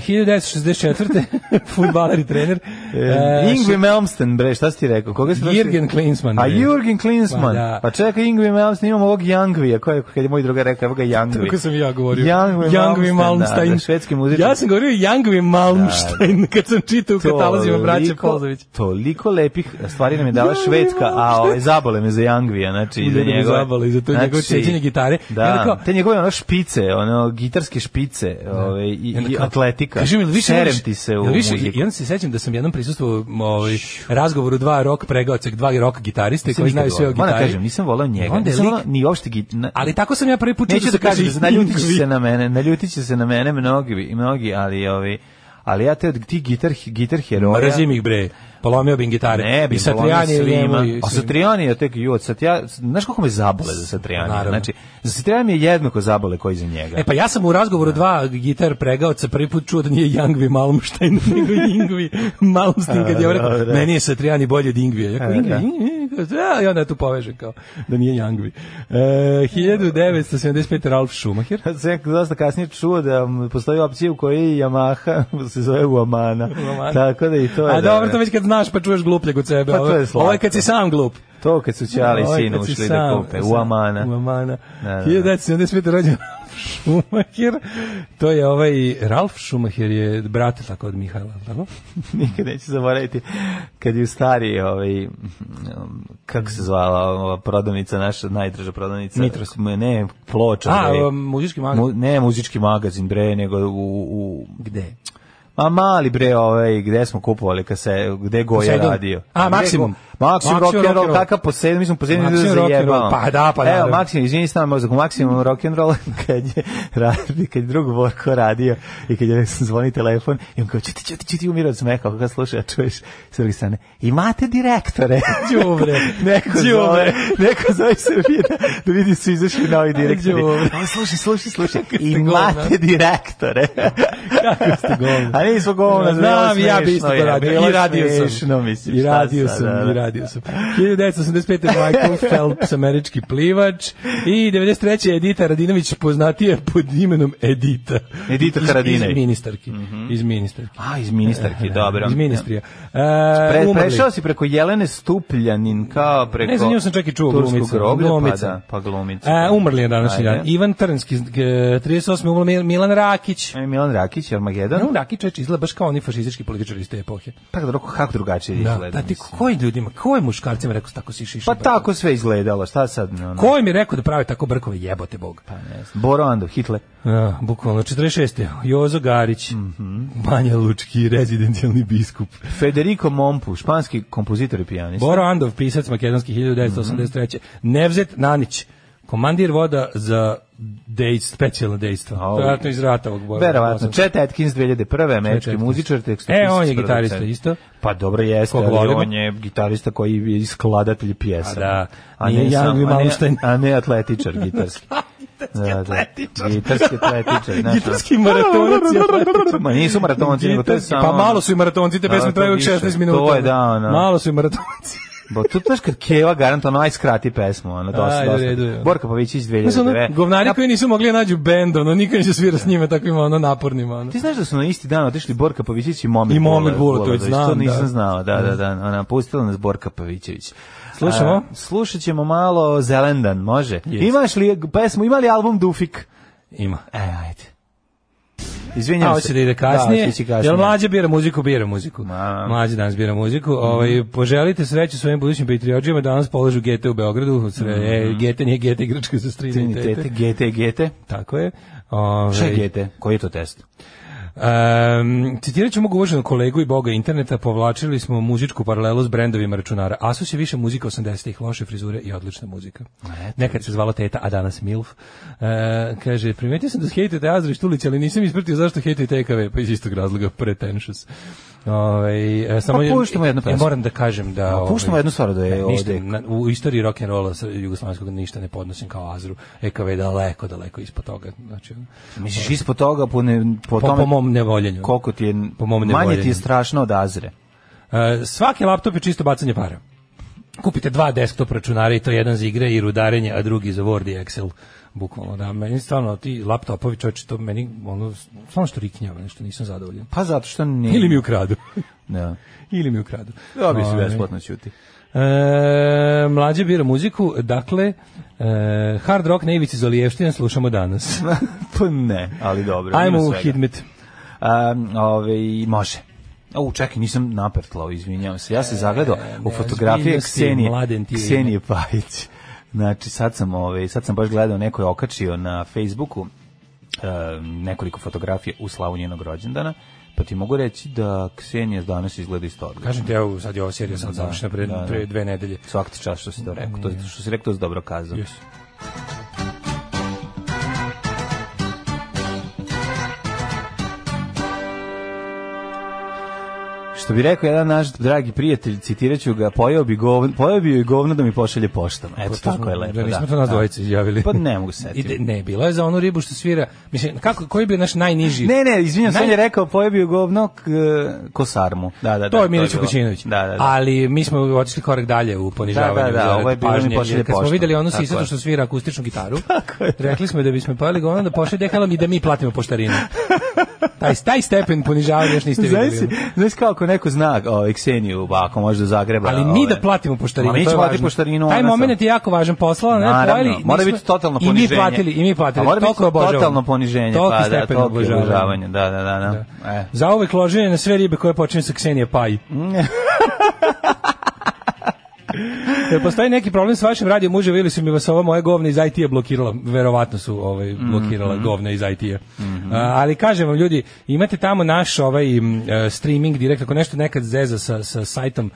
1964. futbaler i trener. E, E, Ingvi Melmsten, bre, šta si ti rekao? Koga si Jürgen prošli? Klinsmann, A bre. Jürgen Klinsmann. Pa Pa, da. čekaj, Ingvi Melmsten, imamo ovog Youngvija, koji je, kad je moj drugar rekao, evo ga Youngvi. Tako sam i ja govorio. Youngvi Youngvi Malmsteen, da, Malmsteen. da, švedski muzičar. Ja sam govorio Youngvi Malmsteen kad sam čitao u katalozima braće Toliko- Polzović. Toliko lepih stvari nam je dala Youngvi Švedska, a Malmsteen. ove zabole me za Youngvija, znači i za Uljede me njegove. zabole i za to njegovo Znači, ceđenje gitare. I onda Da, kao, te njegove ono špice, ono gitarske špice, ovaj i, i onda kao- atletika. Kaži mi, jel više Serem voliš- ti se jel u više, muziku. I onda se sećam da sam jednom prisustvovao ovaj, razgovoru dva rock pregaoca, dva rock gitariste koji znaju sve o Moram da gitari. Pa kažem, nisam volao njega, Onda je nisam lik- volao ni uopšte gitar. Ali tako sam ja prvi put čuo Neću da se kaže kažem, da Steve naljutit će Vai. se na mene, naljutit će se na mene mnogi, i mnogi, ali ovi, ali ja te od tih gitar, gitar heroja... Mrzim Pa ih bre. Polomio bi im gitare. Ne, bi I Satriani je njemu i- A Satrijan je tek ju od Satrija, znaš kako me zabole za Satrijan. Naravno. Znači, za Satrijan je jednako zabole koji za njega. E pa ja sam u razgovoru dva gitar pregaoca prvi put čuo da nije Youngvi Malmštajn nego Ingvi Malmsteen kad je on rekao Da, da. meni je Satriani bolji od Ingvija. Ja kao Da, Ingvi, E, da. Ingvi, Ingvi, ja, i onda tu poveže kao da nije Youngvi. E, 1975 Ralf Schumacher. Sad sam ja dosta kasnije čuo da m, postoji opcija u kojoj i Yamaha se zove Uamana. Uamana. Tako da i to je... A dobro, to već kad znaš pa čuješ glupljeg od sebe. Pa to Ovo- je slatko. Ovo je kad si sam glup. To kad su Ćale i Ovo je sin kad si ušli da sam- kupe. sam- Uamana. Uamana. Da, da, da. 1975. rođen Ralf Schumacher. To je ovaj, Ralf Schumacher je brat tako od Mihajla, tako? Nikad neću zaboraviti kad je stari ovaj um, kako se zvala ova prodavnica naša najdraža prodavnica Mitros. M, ne ploča A, bre. um, muzički magazin. Pa, e, Mu- ne muzički magazin bre nego u, u Gde? Ma mali bre, ovaj gde smo kupovali kad se gde Goja Poseidon. radio. A, Gde Maksimum. Go- Maksimum rock and roll, kakav Poseidon, mi smo Poseidon Maksimum da rock and roll, zajebamo. pa da, pa Evo naravno. Maksimum, izvinite nam mozak, Maksimum rock and roll kad je radi, kad je drug Borko radio i kad je zvoni telefon i on kao čiti čiti čiti umira od smeha kako ga sluša, čuješ s druge strane. Imate direktore. Đubre. neko Đubre. zove, neko zove Srbije da, da vidi su izašli novi direktori. Đubre. Ovo, slušaj, slušaj, slušaj. ste govna. Imate direktore. Kako ste govno? A nismo ono govna, Znam, ja bi isto to radio. I radio Smešno, sam. mislim, I šta radio sad, ono. sam, da, da. i radio sam. 1985. Michael Phelps, američki plivač. I 93. Edita Radinović, poznatija pod imenom Edita. Edita Iz- Haradinaj. Iz ministarki. Iz ministarki. A, iz ministarke, dobro. Iz ministrija. Pre, E, umrli. prešao si preko Jelene Stupljanin, kao preko... Ne, za nju sam čak i čuo Turskog glumicu. groblja, Glumica. Pa, da, pa glumica. E, umrli je današnji Ajde. dan. Ivan Trnski, e, 38. umrli Mil- Milan Rakić. E, Milan Rakić, Armagedon. Milan Rakić čeč izgleda baš kao oni fašistički političari iz te epohe. Pa da roko, kako drugačije Da, izgleda. da ti mislim. kojim ljudima, kojim muškarcima rekao tako si Pa šiša? tako sve izgledalo, šta sad? Ono, Ko im je rekao da prave tako brkove, jebote bog. Pa ne znam. Boro Andov, Hitler. Da, bukvalno 46. Jozo Garić, Banja Lučki, rezidencijalni biskup. Federico Mompu, španski kompozitor i pijanista. Boro Andov, pisac makedonski 1983. Nevzet Nanić, komandir voda za dejst, specijalno dejstvo. Au. Verovatno iz rata ovog Bora. Verovatno. Chet Atkins 2001. američki Atkins. muzičar, tekst. E, on je gitarista isto. Pa dobro jeste, Koga ali volimo. on je gitarista koji je i skladatelj pjesama. A da. A Nije ne, sam, Young i a, ne, Malmsteen. a ne atletičar gitarski. Gitarski atletičar. Gitarski atletičar. znaš, Gitarski maratonac i atletičar. Ma nisu maratonci, nego to je Gitarski- samo... Pa malo su i maratonci, te Da, pesme to traju više. 16 minuta. To je, da, ono. Malo su i maratonci. Bo tu znaš kad Keva garanta ono aj skrati pesmu, ono dosta, Ajde, u redu dosta. je. Borka Pavićić Mislim, 2009. ono, govnari koji nisu mogli nađu bend, ono, niko neće svira s njima takvim, ono, napornima, ono. Ti znaš da su na isti dan otišli Borka Pavićević i Momir I Momir Bulatović, To znam, nisam da. Mhm. znao, da, da, da. Ona pustila nas Borka Pavićević. Slušamo? A, slušat ćemo malo Zelendan, može? Jest. Imaš li pesmu, ima li album Dufik? Ima. E, ajde. Izvinjam A se. hoće da ide kasnije. Da, hoće ići kasnije. Jel mlađe bira muziku, bira muziku. Ma. Mhm. Mlađe danas bira muziku. Ovaj poželite sreću svojim budućim patriotima danas polažu GT u Beogradu. Sre, e, GT nije GT igračka za strine i tete. Mhm. Tete, Gete, Gete. Tako je. Ovaj Šta je Gete? Koji je to test? Um, citirat ću mog uvaženog kolegu i boga interneta, povlačili smo muzičku paralelu s brendovima računara. Asus je više muzika 80-ih, loše frizure i odlična muzika. Nekad se zvala teta, a danas milf. Uh, kaže, primetio sam da hejtujete Azra i Štulić, ali nisam ispratio zašto hejtujete TKV, pa iz istog razloga, pretentious. Ovaj, e, samo Pa puštamo jednu e, pesmu. moram da kažem da... Pa puštamo ovaj, jednu stvar da je ne, ništa, ovde- na- u istoriji rock and rolla jugoslovenskog ništa ne podnosim kao Azru. EKV je daleko, daleko ispod toga. Znači, Misliš, ispod toga, po, ne, po, po, tome po mom nevoljenju. koliko ti je, Po mom manje ti je nevoljenju. strašno od Azre. E, svaki laptop je čisto bacanje para. Kupite dva desktop računara i to jedan za igre i rudarenje, a drugi za Word i Excel. Bukvalno, da. Meni stvarno ti laptopovi, čoče, to meni, ono, stvarno što riknjava, nešto nisam zadovoljan. Pa zato što ne... Ili mi ukradu. Da. Ili mi ukradu. Dobio si Ovaj. besplatno ćuti. E, mlađe bira muziku, dakle, e, hard rock na ivici Zolijevštine slušamo danas. pa ne, ali dobro. Ajmo ima u svega. Hidmet. Um, ove, može. U, čekaj, nisam napertlao, izvinjavam se. Ja se zagledao u fotografije ozbiljno si, Ksenije, E, mladen ti je. Ksenije Pajić. Znači, sad sam, ovaj, sad sam baš gledao, neko je okačio na Facebooku e, nekoliko fotografija u slavu njenog rođendana, pa ti mogu reći da Ksenija danas izgleda isto odlično. Kažem ti, evo, sad je ova serija sad Da, završena pre, da, da. pre dve nedelje. Svaka ti čast što si to rekao. To što si rekao, to si dobro kazao. Yes. Što bi rekao jedan naš dragi prijatelj, citirat ću ga, pojeo bi, govn, pojeo bi joj govno da mi pošalje poštom. Eto, To tako smo- je lepo. Da nismo to nas dvojice izjavili. Pa ne mogu se I setiti. de- ne, bila je za onu ribu što svira. Mislim, kako, koji bi naš najniži? Ne, ne, izvinjam se, Naj- on je rekao pojeo bi joj govno k, kosarmu. Da, da, da. to je Milić bilo. Vukućinović. Da, da, da. Ali mi smo otišli korak dalje u ponižavanju. Da, da, da, zarad ovo je bilo pažnje, mi pošalje jer Kad smo poštom. videli ono Tako sisato je. što svira akustičnu gitaru, rekli smo da bismo pojeli govno da pošalje dekalom i da mi platimo poštarinu. taj, taj stepen ponižavanja još niste Znaš, videli. si- znaš kako neko zna o, Kseniju, ako može da zagreba. Ali mi ove- da platimo poštarinu, Ma, ovaj. mi to je ćemo platiti važno. poštarinu. Taj ona moment sam- je jako važan poslao, ne, Naravno, pojeli, mora nismo- biti totalno I mi poniženje. platili, i mi platili. A mora biti Toliko obožavamo. totalno poniženje, Toliki pa da, stepen toliko obožavanja. obožavanja, da, da, da. da. E. Za uvek loženje na sve ribe koje počinju sa Ksenije Paj. Jel postoji neki problem s vašim radijom muževa ili su mi vas ova moje govne iz IT-a blokirala? Verovatno su ovaj, Mhm. blokirala govne iz IT-a. A, ali kažem vam ljudi, imate tamo naš ovaj m, e, streaming direkt, ako nešto nekad zeza sa, sa sajtom,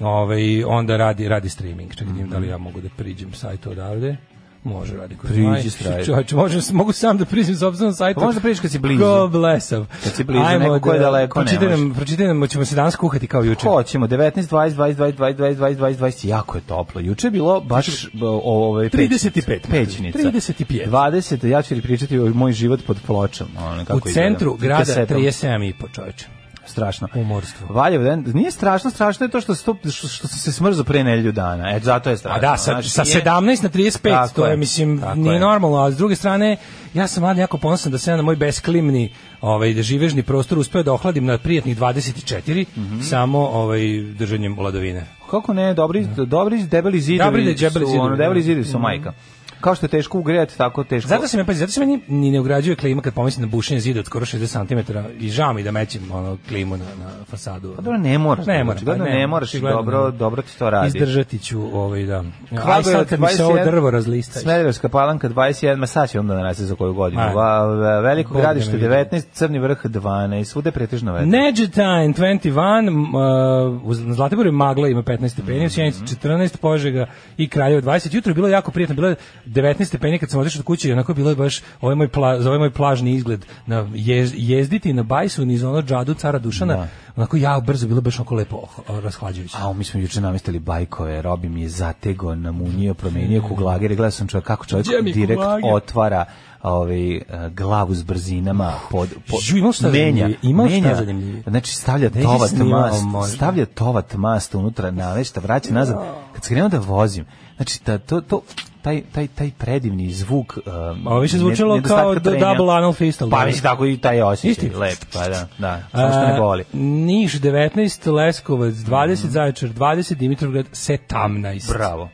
ovaj, onda radi, radi streaming. Čekaj, da vidim da li ja mogu da priđem sajtu odavde? Može radi kod Mhm. Priđi Maj. straj. Čovječe, može, mogu sam da priđem sopstvenom sajtu. Pa možda priđeš kad si blizu. Go blessav. Kad si blizu, neko ko je daleko, ne pročitaj nam, može. pročitaj nam, ćemo se danas kuhati kao juče. Hoćemo 19 20 20 20 20 20 20 20 20 jako je toplo. Juče je bilo baš b- ovaj 35. pećnica. 35. 20 ja ću ti pričati o moj život pod pločom, ono kako U izgleda. centru I grada kasetom. 37 i po čoveče. strašno. Umorstvo. Valjevo, nije strašno, strašno je to što stup, što, što sam se smrzao pre nedelju dana. E, zato je A strašno. da, sa, Znači, sa nije- 17 na 35, Tako to je, je, mislim, tako nije je. normalno, a s druge strane, ja sam mlad jako ponosan da sam ja na moj besklimni ovaj, živežni prostor uspeo da ohladim na prijatnih 24, Mhm. samo ovaj, držanjem ladovine. Kako ne, dobri, dobri debeli zidovi. Dobri debeli su, zidovi, Ono, debeli da. Mhm. zidovi su majka. Kao što je teško ugrejati, tako teško. Zato se me pazi, zato se meni ni ne ugrađuje klima kad pomislim na bušenje zida od skoro 60 cm i žao mi da mećem ono klimu na, na fasadu. Pa dobro, ne moraš. Ne Ne moram, moraš. Ne, pa ne ne moram, moraš i očigledno. dobro, dobro ti to radi. Izdržati ću ovaj da. Aj Kragujevac sad kad mi se ovo 21, drvo razlista. Smederevska palanka 21, ma sad će onda narasti za koju godinu. Ma, Va, va- veliko Bog da gradište me vidi. 19, Crni vrh 12, svude pretežno vetro. Neđetajn 21, m, uh, uz- na Zlatiboru je magla ima 15 stepeni, Mm. u Sjenici 14, Požega i Kraljevo 20. Jutro je bilo jako prijatno, bilo je 19 stepeni kad sam otišao od kuće i onako je bilo je baš ovaj moj, pla, za ovaj moj plažni izgled na jez, jezditi na bajsu niz ono džadu cara Dušana, onako ja brzo bilo je baš onako lepo oh, rashlađujuće. A mi smo juče namestili bajkove, Robi mi je zatego, namunio, promenio kuglagere, gledao sam čovjek, kako čovjek Mm. Gdje mi direkt kuglagir? otvara ovaj, eh, glavu s brzinama pod, pod Ju, imao šta menja, zanimljivije, imao šta menja, zanimljivije. znači stavlja Da je tovat snimao mast, možda. stavlja tovat mast unutra navešta, vraća nazad, kad se krenuo da vozim, znači da, to, to, taj, taj, taj predivni zvuk eh, Ovo više ne- zvučalo nedostatka kao do- trenja. double anal fistel. pa mislim tako i taj osjećaj, Isti? lep, pa da, da, samo što ne boli. Mhm. A, Niš 19, Leskovac 20, Zaječar 20, Dimitrovgrad 17. Bravo.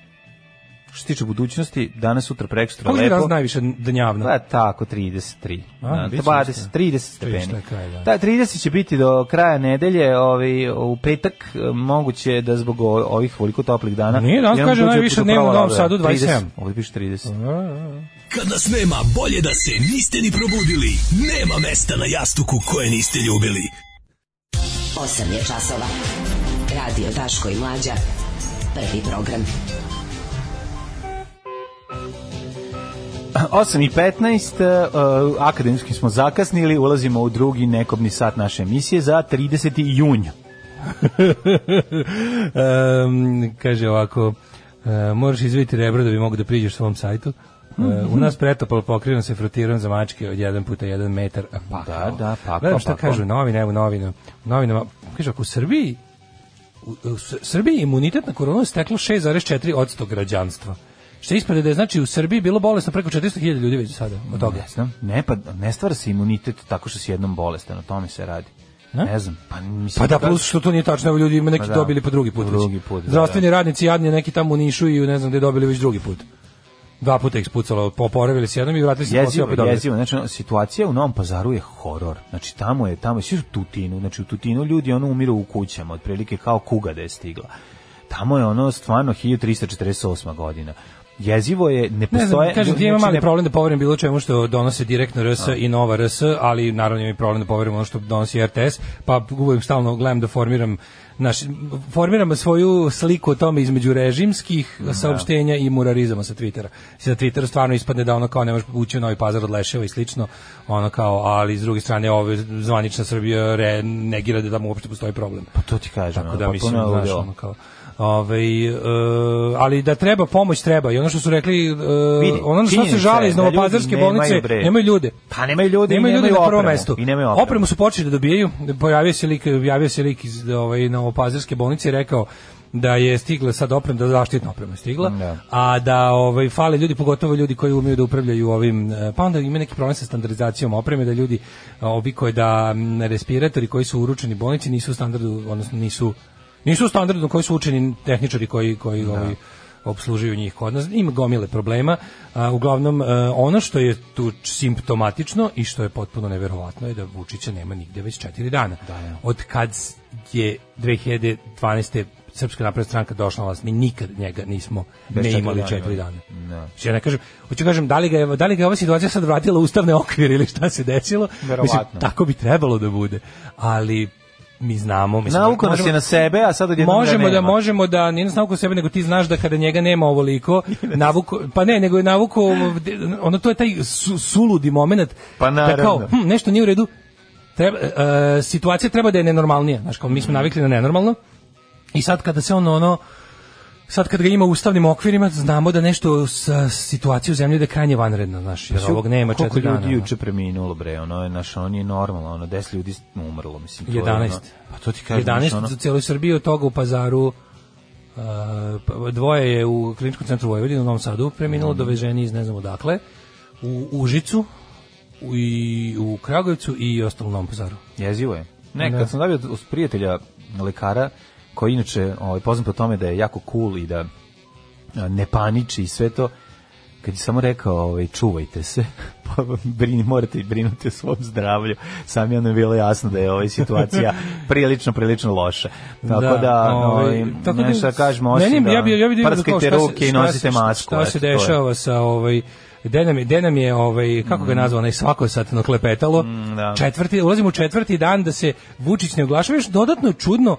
Što se tiče budućnosti, danas, sutra, prekosutra, Kako je lepo. danas najviše dnjavno? Pa tako 33. A, Da, bit će 20, ništa. 30 Šta stepeni. je kraj, da. Da, 30 će biti do kraja nedelje, ovaj u petak e, moguće je da zbog o- ovih koliko toplih dana. Nije, danas jednom kaže dođe najviše do dnevno u prava Novom lavra. Sadu 27. 30, Ovdje piše 30. Kad nas nema, bolje da se niste ni probudili. Nema mesta na jastuku koje niste ljubili. 8 je časova. Radio Daško i Mlađa. Prvi program. 8 i 15, uh, akademski smo zakasnili, ulazimo u drugi nekobni sat naše emisije za 30. junj. Em, kaže ovako, e, moraš izviditi rebro da bi mogu da priđeš svom sajtu. E, Mhm. u nas pretopalo pokriveno se frotirom za mačke od 1 puta 1 metar. a pa Pakao. Da, pa da, pakao, Gledam šta pakao. kažu novine, evo novina. U novinama, kaže ako u Srbiji u, u S- Srbiji imunitet na koronu je steklo 6,4% građanstva. Što ispada da je znači u Srbiji bilo bolesno preko 400.000 ljudi već sada od toga. Ne znam, ne, pa ne stvara se imunitet tako što si jednom bolestan, o tome se radi. Ne? Ne znam, pa mislim... Pa da, kako- plus što to nije tačno, evo ljudi ima neki Pa da. dobili po drugi put. već. Drugi put, da, Zdravstveni radnici jadni neki tamo u Nišu i u ne znam gde dobili već drugi put. Dva puta ih spucalo, poporavili se jednom i vratili se na posao i Jezivo, opet dobili. jezivo. Znači, ono, situacija u Novom Pazaru je horor. Znači, tamo je, tamo je, svi su u tutinu. Znači, u tutinu ljudi ono umiru u kućama, otprilike kao kuga da je stigla. tamo je ono stvarno 1348. godina. Jezivo je, ne Ne znam, postoje... kažem ti ja imam znači, mali ne- problem da poverujem bilo čemu što donose direktno RS i Nova RS, ali naravno imam i problem da poverujem ono što donosi RTS, pa uvek stalno gledam da formiram naš, formiram svoju sliku o tome između režimskih saopštenja i murarizama sa Twittera. Sa Twittera stvarno ispadne da ono kao ne možeš ući u Novi Pazar od Leševa i slično, ono kao, ali s druge strane ove zvanična Srbija re, negira da tamo uopšte postoji problem. Pa to ti kažem. Tako ono, da mislim, potpuno je znaš, ludilo. ono kao... Ovaj, e, ali da treba pomoć treba i ono što su rekli e, Vidi, ono na što se činjenica žale je iz da ljudi novopazarske nemaju, bolnice bre. nemaju ljude Pa nemaju ljude i nemaju ljude nemaju na prvom opremu. mestu I nemaju opremu. su počeli da dobijaju pojavio se lik javio se lik iz ovaj novopazarske bolnice i rekao da je stigla sad oprema da zaštitna oprema je stigla Da. a da ovaj fale ljudi pogotovo ljudi koji umeju da upravljaju ovim e, pa onda ima neki problem sa standardizacijom opreme da ljudi e, obikuje da m, respiratori koji su uručeni bolnici nisu u standardu odnosno nisu nisu u standardu koji su učeni tehničari koji koji ovaj obslužuju njih kod nas. Ima gomile problema. A, uglavnom, e, ono što je tu č- simptomatično i što je potpuno neverovatno je da Vučića nema nigde već četiri dana. Od kad s- je 2012. Srpska napredna stranka došla na vlast, mi nikad njega nismo Bez ne četiri imali dana, četiri da. dana. Znači, Ja ne kažem, hoću kažem, da li ga, je, da li ga je ova situacija sad vratila u ustavne okvire ili šta se desilo? Verovatno. Mislim, tako bi trebalo da bude. Ali mi znamo, mislim, Navuko nas možemo- je na sebe, a sad odjednom možemo ga da nema. možemo da nije nas navuko sebe nego ti znaš da kada njega nema ovoliko navuko pa ne nego je navuko ono to je taj su- suludi momenat Pa da kao naravno. hm, nešto nije u redu treba, e, situacija treba da je nenormalnija znaš kao mi Mhm. smo navikli na nenormalno i sad kada se on ono sad kad ga ima u ustavnim okvirima znamo da nešto sa situacije u zemlji da je krajnje vanredno znaš jer ovog nema Pa Koliko četiri dana ljudi ono. juče preminulo bre, ono je naš, on je normalno, ono 10 ljudi umrlo, mislim. to je, 11. ono- Pa to ti kažem, 11 znaš, ono, za cijelu Srbiju, od toga u Pazaru uh, pa dvoje je u kliničkom centru Vojvodine u Novom Sadu Mhm. preminulo, doveženi iz ne znam odakle, u Užicu u, i u Kragujevcu i ostalo u Novom Pazaru. Jezivo je. Ne, kad sam dobio od prijatelja lekara, koji inače ovaj, poznat po tome da je jako cool i da a, ne paniči i sve to, kad je samo rekao, ovaj, čuvajte se, pa brini, morate brinuti o svom zdravlju. Sam je ono bilo jasno da je ova situacija prilično, prilično loša. Tako da, ovaj, tako da- ne, šta kažemo, osim meni, da ja bi, ja bi da kao prskajte šta se- ruke i šta nosite se- masku. Šta eto, se to je. dešava sa ovaj Gde nam, je- gde nam je, ovaj, kako ga je nazvao, onaj svako satno klepetalo, Mm. da. četvrti, ulazimo u četvrti dan da se Vučić ne oglašava, još dodatno je čudno,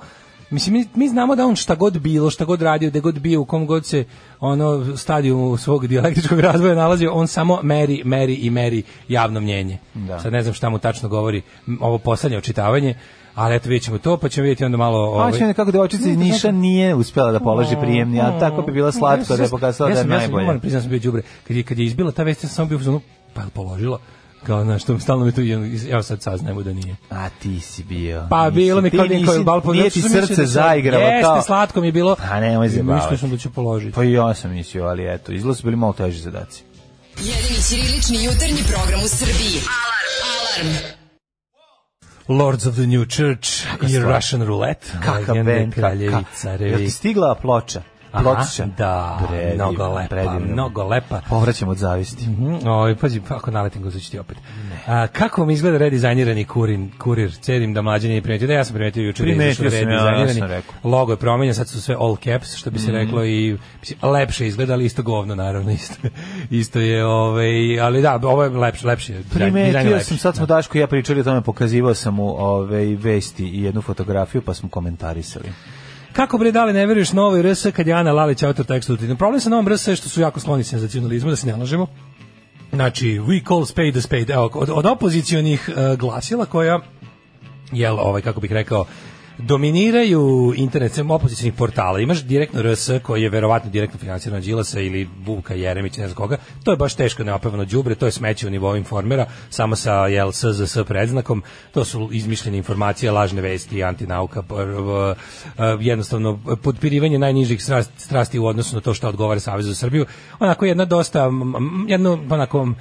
mislim, mi, mi znamo da on šta god bilo, šta god radio, gde god bio, u kom god se ono stadiju svog dijalektičkog razvoja nalazio, on samo meri, meri i meri javno mnjenje. Da. Sad ne znam šta mu tačno govori m, ovo poslednje očitavanje, ali eto vidjet ćemo to, pa ćemo vidjeti onda malo... Pa će nekako devojčica iz Niša nije uspjela da položi prijemni, a tako bi bila slatko da je pokazala da je najbolje. Ja Mm. sam, najbolja. moram priznati, sam bio đubre. Kad je, kad je izbila ta vest, ja sam samo bio u fazonu, pa je li položila? Kao, znaš, što stalno mi to, ja sad saznajemo da nije. A ti si bio. Pa Nisi, bilo mi ti kao znači, neko nisi- je bal Nije ti srce zaigralo Jeste, kao. slatko mi je bilo. A nemoj I zajebavati. Mislio sam da će položiti. Pa i ja sam mislio, ali eto, izgleda su bili malo teži zadaci. Jedini ćirilični jutarnji program u Srbiji. Alarm. Alarm. Lords of the New Church i stvar. Russian Roulette. Kakav Legende, band, kraljevica, kakav. Jel ti revica. stigla ploča? Aha, Pločića? da, Predivno, mnogo lepa, predivno. mnogo lepa. Povraćam od zavisti. Mhm, Oj, pazi, pa ako naletim ga ću ti opet. A, kako mi izgleda redizajnirani kurin, kurir? Cedim da mlađe nije primetio. Da, ja sam primetio juče da je izašao Primetio sam, ja, ja redizajnirani. sam rekao. Mhm. Logo je promenjen, sad su sve all caps, što bi se reklo i mislim, lepše izgleda, ali isto govno naravno isto. Isto je ovaj, ali da, ovo je lepše, lepše. je, dizajn- dizajn je Primetio lepši. sam, sad smo Daško i ja pričali o tome, pokazivao sam mu ove vesti i jednu fotografiju, pa smo komentarisali. Kako bre dali ne veruješ novoj RS kad je Ana Lalić autor teksta utrinu? Problem sa novom RS je što su jako skloni senzacionalizmu, da se ne lažemo. Znači, we call spade a spade. Evo, od, od opozicionih e, glasila koja, jel, ovaj, kako bih rekao, dominiraju internet sem opozicionih portala. Imaš direktno RS koji je verovatno direktno financiran od Đilasa ili Vuka Jeremića, ne znam koga. To je baš teško neopevano đubre, to je smeće u nivou informera, samo sa jel, SZS predznakom. To su izmišljene informacije, lažne vesti, antinauka, p- r- v- eh, jednostavno podpirivanje najnižih strast- strasti u odnosu na to što odgovara Savezu za Srbiju. Onako jedna dosta, mm, mm, jedno onako m-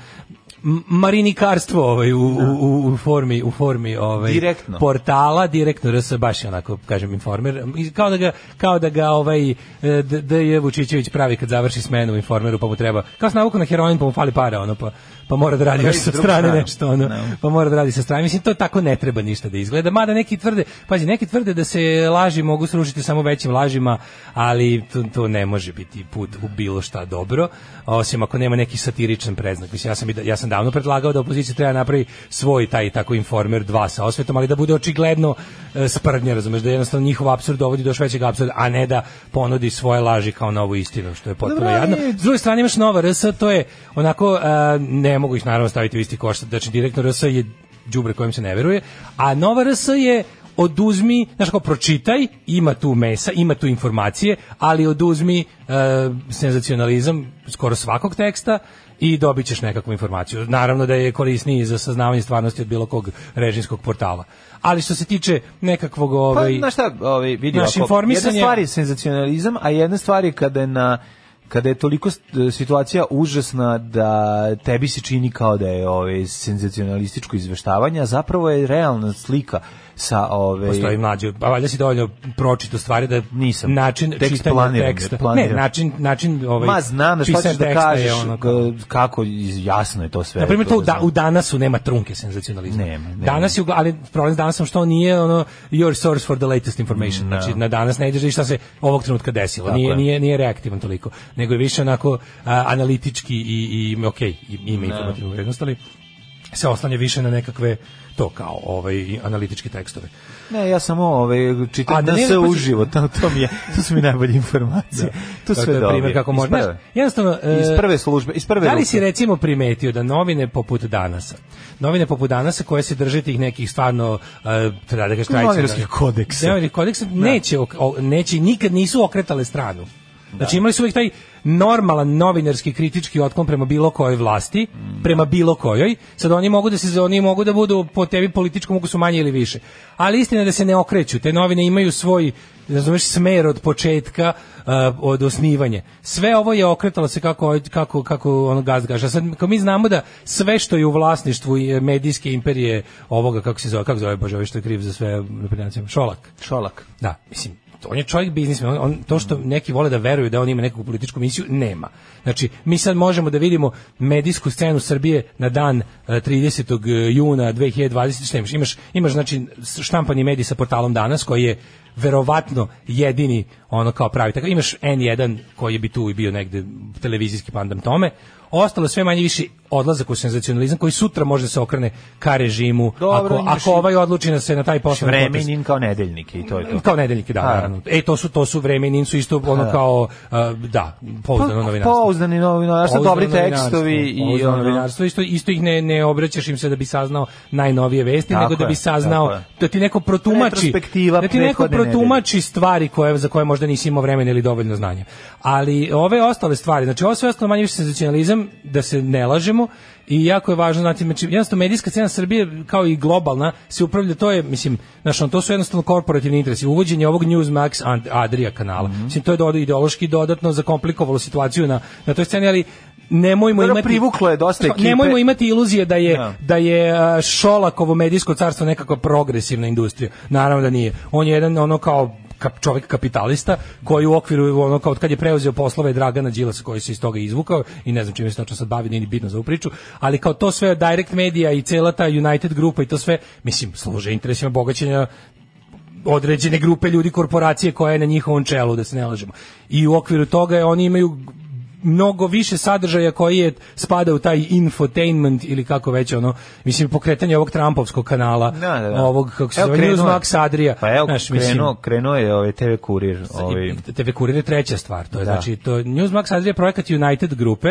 marinikarstvo ovaj, u, u, u, u formi, u formi ovaj, Direktno. portala, direktno RS, baš je onako, kažem, informer. I Kao da ga, kao da ga ovaj, e, d- da je Vučićević pravi kad završi smenu u informeru, pa mu treba, kao se navuku na heroin, pa mu fali para, ono, pa, pa mora da radi Pa još ide sa drugu strane stranu. nešto, ono, Ne. pa mora da radi sa strane. Mislim, to tako ne treba ništa da izgleda. Mada neki tvrde, pazi, neki tvrde da se laži mogu srušiti samo većim lažima, ali to, to ne može biti put u bilo šta dobro, osim ako nema neki satiričan preznak. Mislim, ja sam, i da- ja sam davno predlagao da opozicija treba napravi svoj taj tako informer 2 sa osvetom, ali da bude očigledno e, sprdnja, razumeš, da jednostavno njihov apsurd dovodi do još većeg apsurda, a ne da ponudi svoje laži kao novu istinu, što je potpuno Dobro, ali- jadno. S druge strane imaš Nova RS, to je onako, e, ne mogu ih naravno staviti u isti koš, znači direktno RS je đubre kojem se ne veruje, a Nova RS je oduzmi, znaš kao pročitaj, ima tu mesa, ima tu informacije, ali oduzmi e, senzacionalizam skoro svakog teksta i dobit ćeš nekakvu informaciju. Naravno da je korisniji za saznavanje stvarnosti od bilo kog režimskog portala. Ali što se tiče nekakvog... Pa, Ovaj, znaš šta, ovaj, vidi, Naš ovako, informisanje- jedna stvar je senzacionalizam, a jedna stvar je kada je na kada je toliko st- situacija užasna da tebi se čini kao da je ovaj senzacionalističko izveštavanje, a zapravo je realna slika sa ovaj, ove postoji mlađe, pa valjda si dovoljno pročito stvari da Nisam. način Tekst čitanja planiram, teksta. planiram. Ne, način, način ovaj, Ma znam, šta pisanja ćeš da teksta je kažeš, ono kao- g- kako, iz- jasno je to sve. Na primjer, to u, da, znam. u danasu nema trunke senzacionalizma. Nema, nema. Danas je, ugla- ali problem s danasom što on nije ono your source for the latest information. Znači, na danas ne ideš i šta se ovog trenutka desilo. Tako Nije, je. nije, nije reaktivan toliko, nego je više onako a, analitički i, i ok, i- ima informativnu vrednost, ali se oslanja više na nekakve to kao ovaj i analitičke tekstove. Ne, ja samo ovaj, A čitam da ne, se pazi- uživo, to, to, mi je, to su mi najbolje informacije. To Tako sve je dobro. primer kako može. Znaš, Jednostavno, e, Iz prve službe, iz prve Da li ruke. si recimo primetio da novine poput danasa, novine poput danasa koje se drže tih nekih stvarno e, treba da kažeš Novinarskih kodeksa. Novinarskih kodeksa neće, ok- o- neće nikad nisu okretale stranu. Znači imali su uvijek taj normalan novinarski kritički otklon prema bilo kojoj vlasti, prema bilo kojoj. Sad oni mogu da se oni mogu da budu po tebi političkom mogu su manje ili više. Ali istina je da se ne okreću. Te novine imaju svoj razumeš smer od početka uh, od osnivanja. Sve ovo je okretalo se kako kako kako ono gaz gaša. Sad kao mi znamo da sve što je u vlasništvu i medijske imperije ovoga kako se zove kako zove bože ovaj što je kriv za sve naprednjacima Šolak. Šolak. Da, mislim, on je čovjek biznismen, on, on, to Mhm. što neki vole da veruju da on ima neku političku misiju, nema. Znači, mi sad možemo da vidimo medijsku scenu Srbije na dan e, 30. juna 2020, šta imaš? Imaš, imaš znači, štampani medij sa portalom danas koji je verovatno jedini ono kao pravi. Tako, imaš N1 koji bi tu i bio negde televizijski pandam tome, ostalo sve manje više odlazak u senzacionalizam koji sutra može da se okrene ka režimu Dobro, ako, imaš ako i- ovaj odluči da se na taj posao Vremenin Znači, ono, kao nedeljnik i to je to. kao nedeljnike, da, A. naravno. E, to su, to su vremenin, su isto ono kao, a, da, pouzdano novinarstvo. Pouzdani novinarstvo, Pouzdano Pa, dobri novinarstvo, tekstovi i pouzdano ono. novinarstvo, isto, isto ih ne, ne obraćaš im se da bi saznao najnovije vesti, Tako nego da bi je, saznao, tako je. da ti neko protumači, Retrospektiva da ti neko prethodne protumači stvari koje, za koje možda nisi imao vremena ili dovoljno znanja. Ali ove ostale stvari, znači ovo sve ostalo manje više senzacionalizam, da se ne lažemo, i jako je važno znati, znači, jednostavno medijska scena Srbije kao i globalna se upravlja, to je, mislim, znaš, on, to su jednostavno korporativni interesi, uvođenje ovog Newsmax Ant- Adria kanala, Mhm. mislim, to je doda, ideološki dodatno zakomplikovalo situaciju na, na toj sceni, ali nemojmo Dobro, imati privuklo je dosta ekipe. nemojmo imati iluzije da je Da. da je a, Šolakovo medijsko carstvo nekako progresivna industrija. Naravno da nije. On je jedan ono kao kap, čovjek kapitalista koji u okviru ono kao od kad je preuzeo poslove Dragana Đilasa koji se iz toga izvukao i ne znam čime se tačno sad bavi, nije ni bitno za ovu priču, ali kao to sve Direct Media i cela ta United grupa i to sve, mislim, služe interesima bogaćenja određene grupe ljudi, korporacije koja je na njihovom čelu, da se ne lažemo. I u okviru toga je, oni imaju mnogo više sadržaja koji je spada u taj infotainment ili kako već ono, mislim pokretanje ovog Trumpovskog kanala, Da, da, da. ovog kako se Evo, zove krenuo je. Newsmax Adria. Pa evo, znaš, mislim, krenuo, krenuo je ovaj TV kurir. Ovaj, i TV Kurir je treća stvar. To je Da. znači to Newsmax Adria je projekat United grupe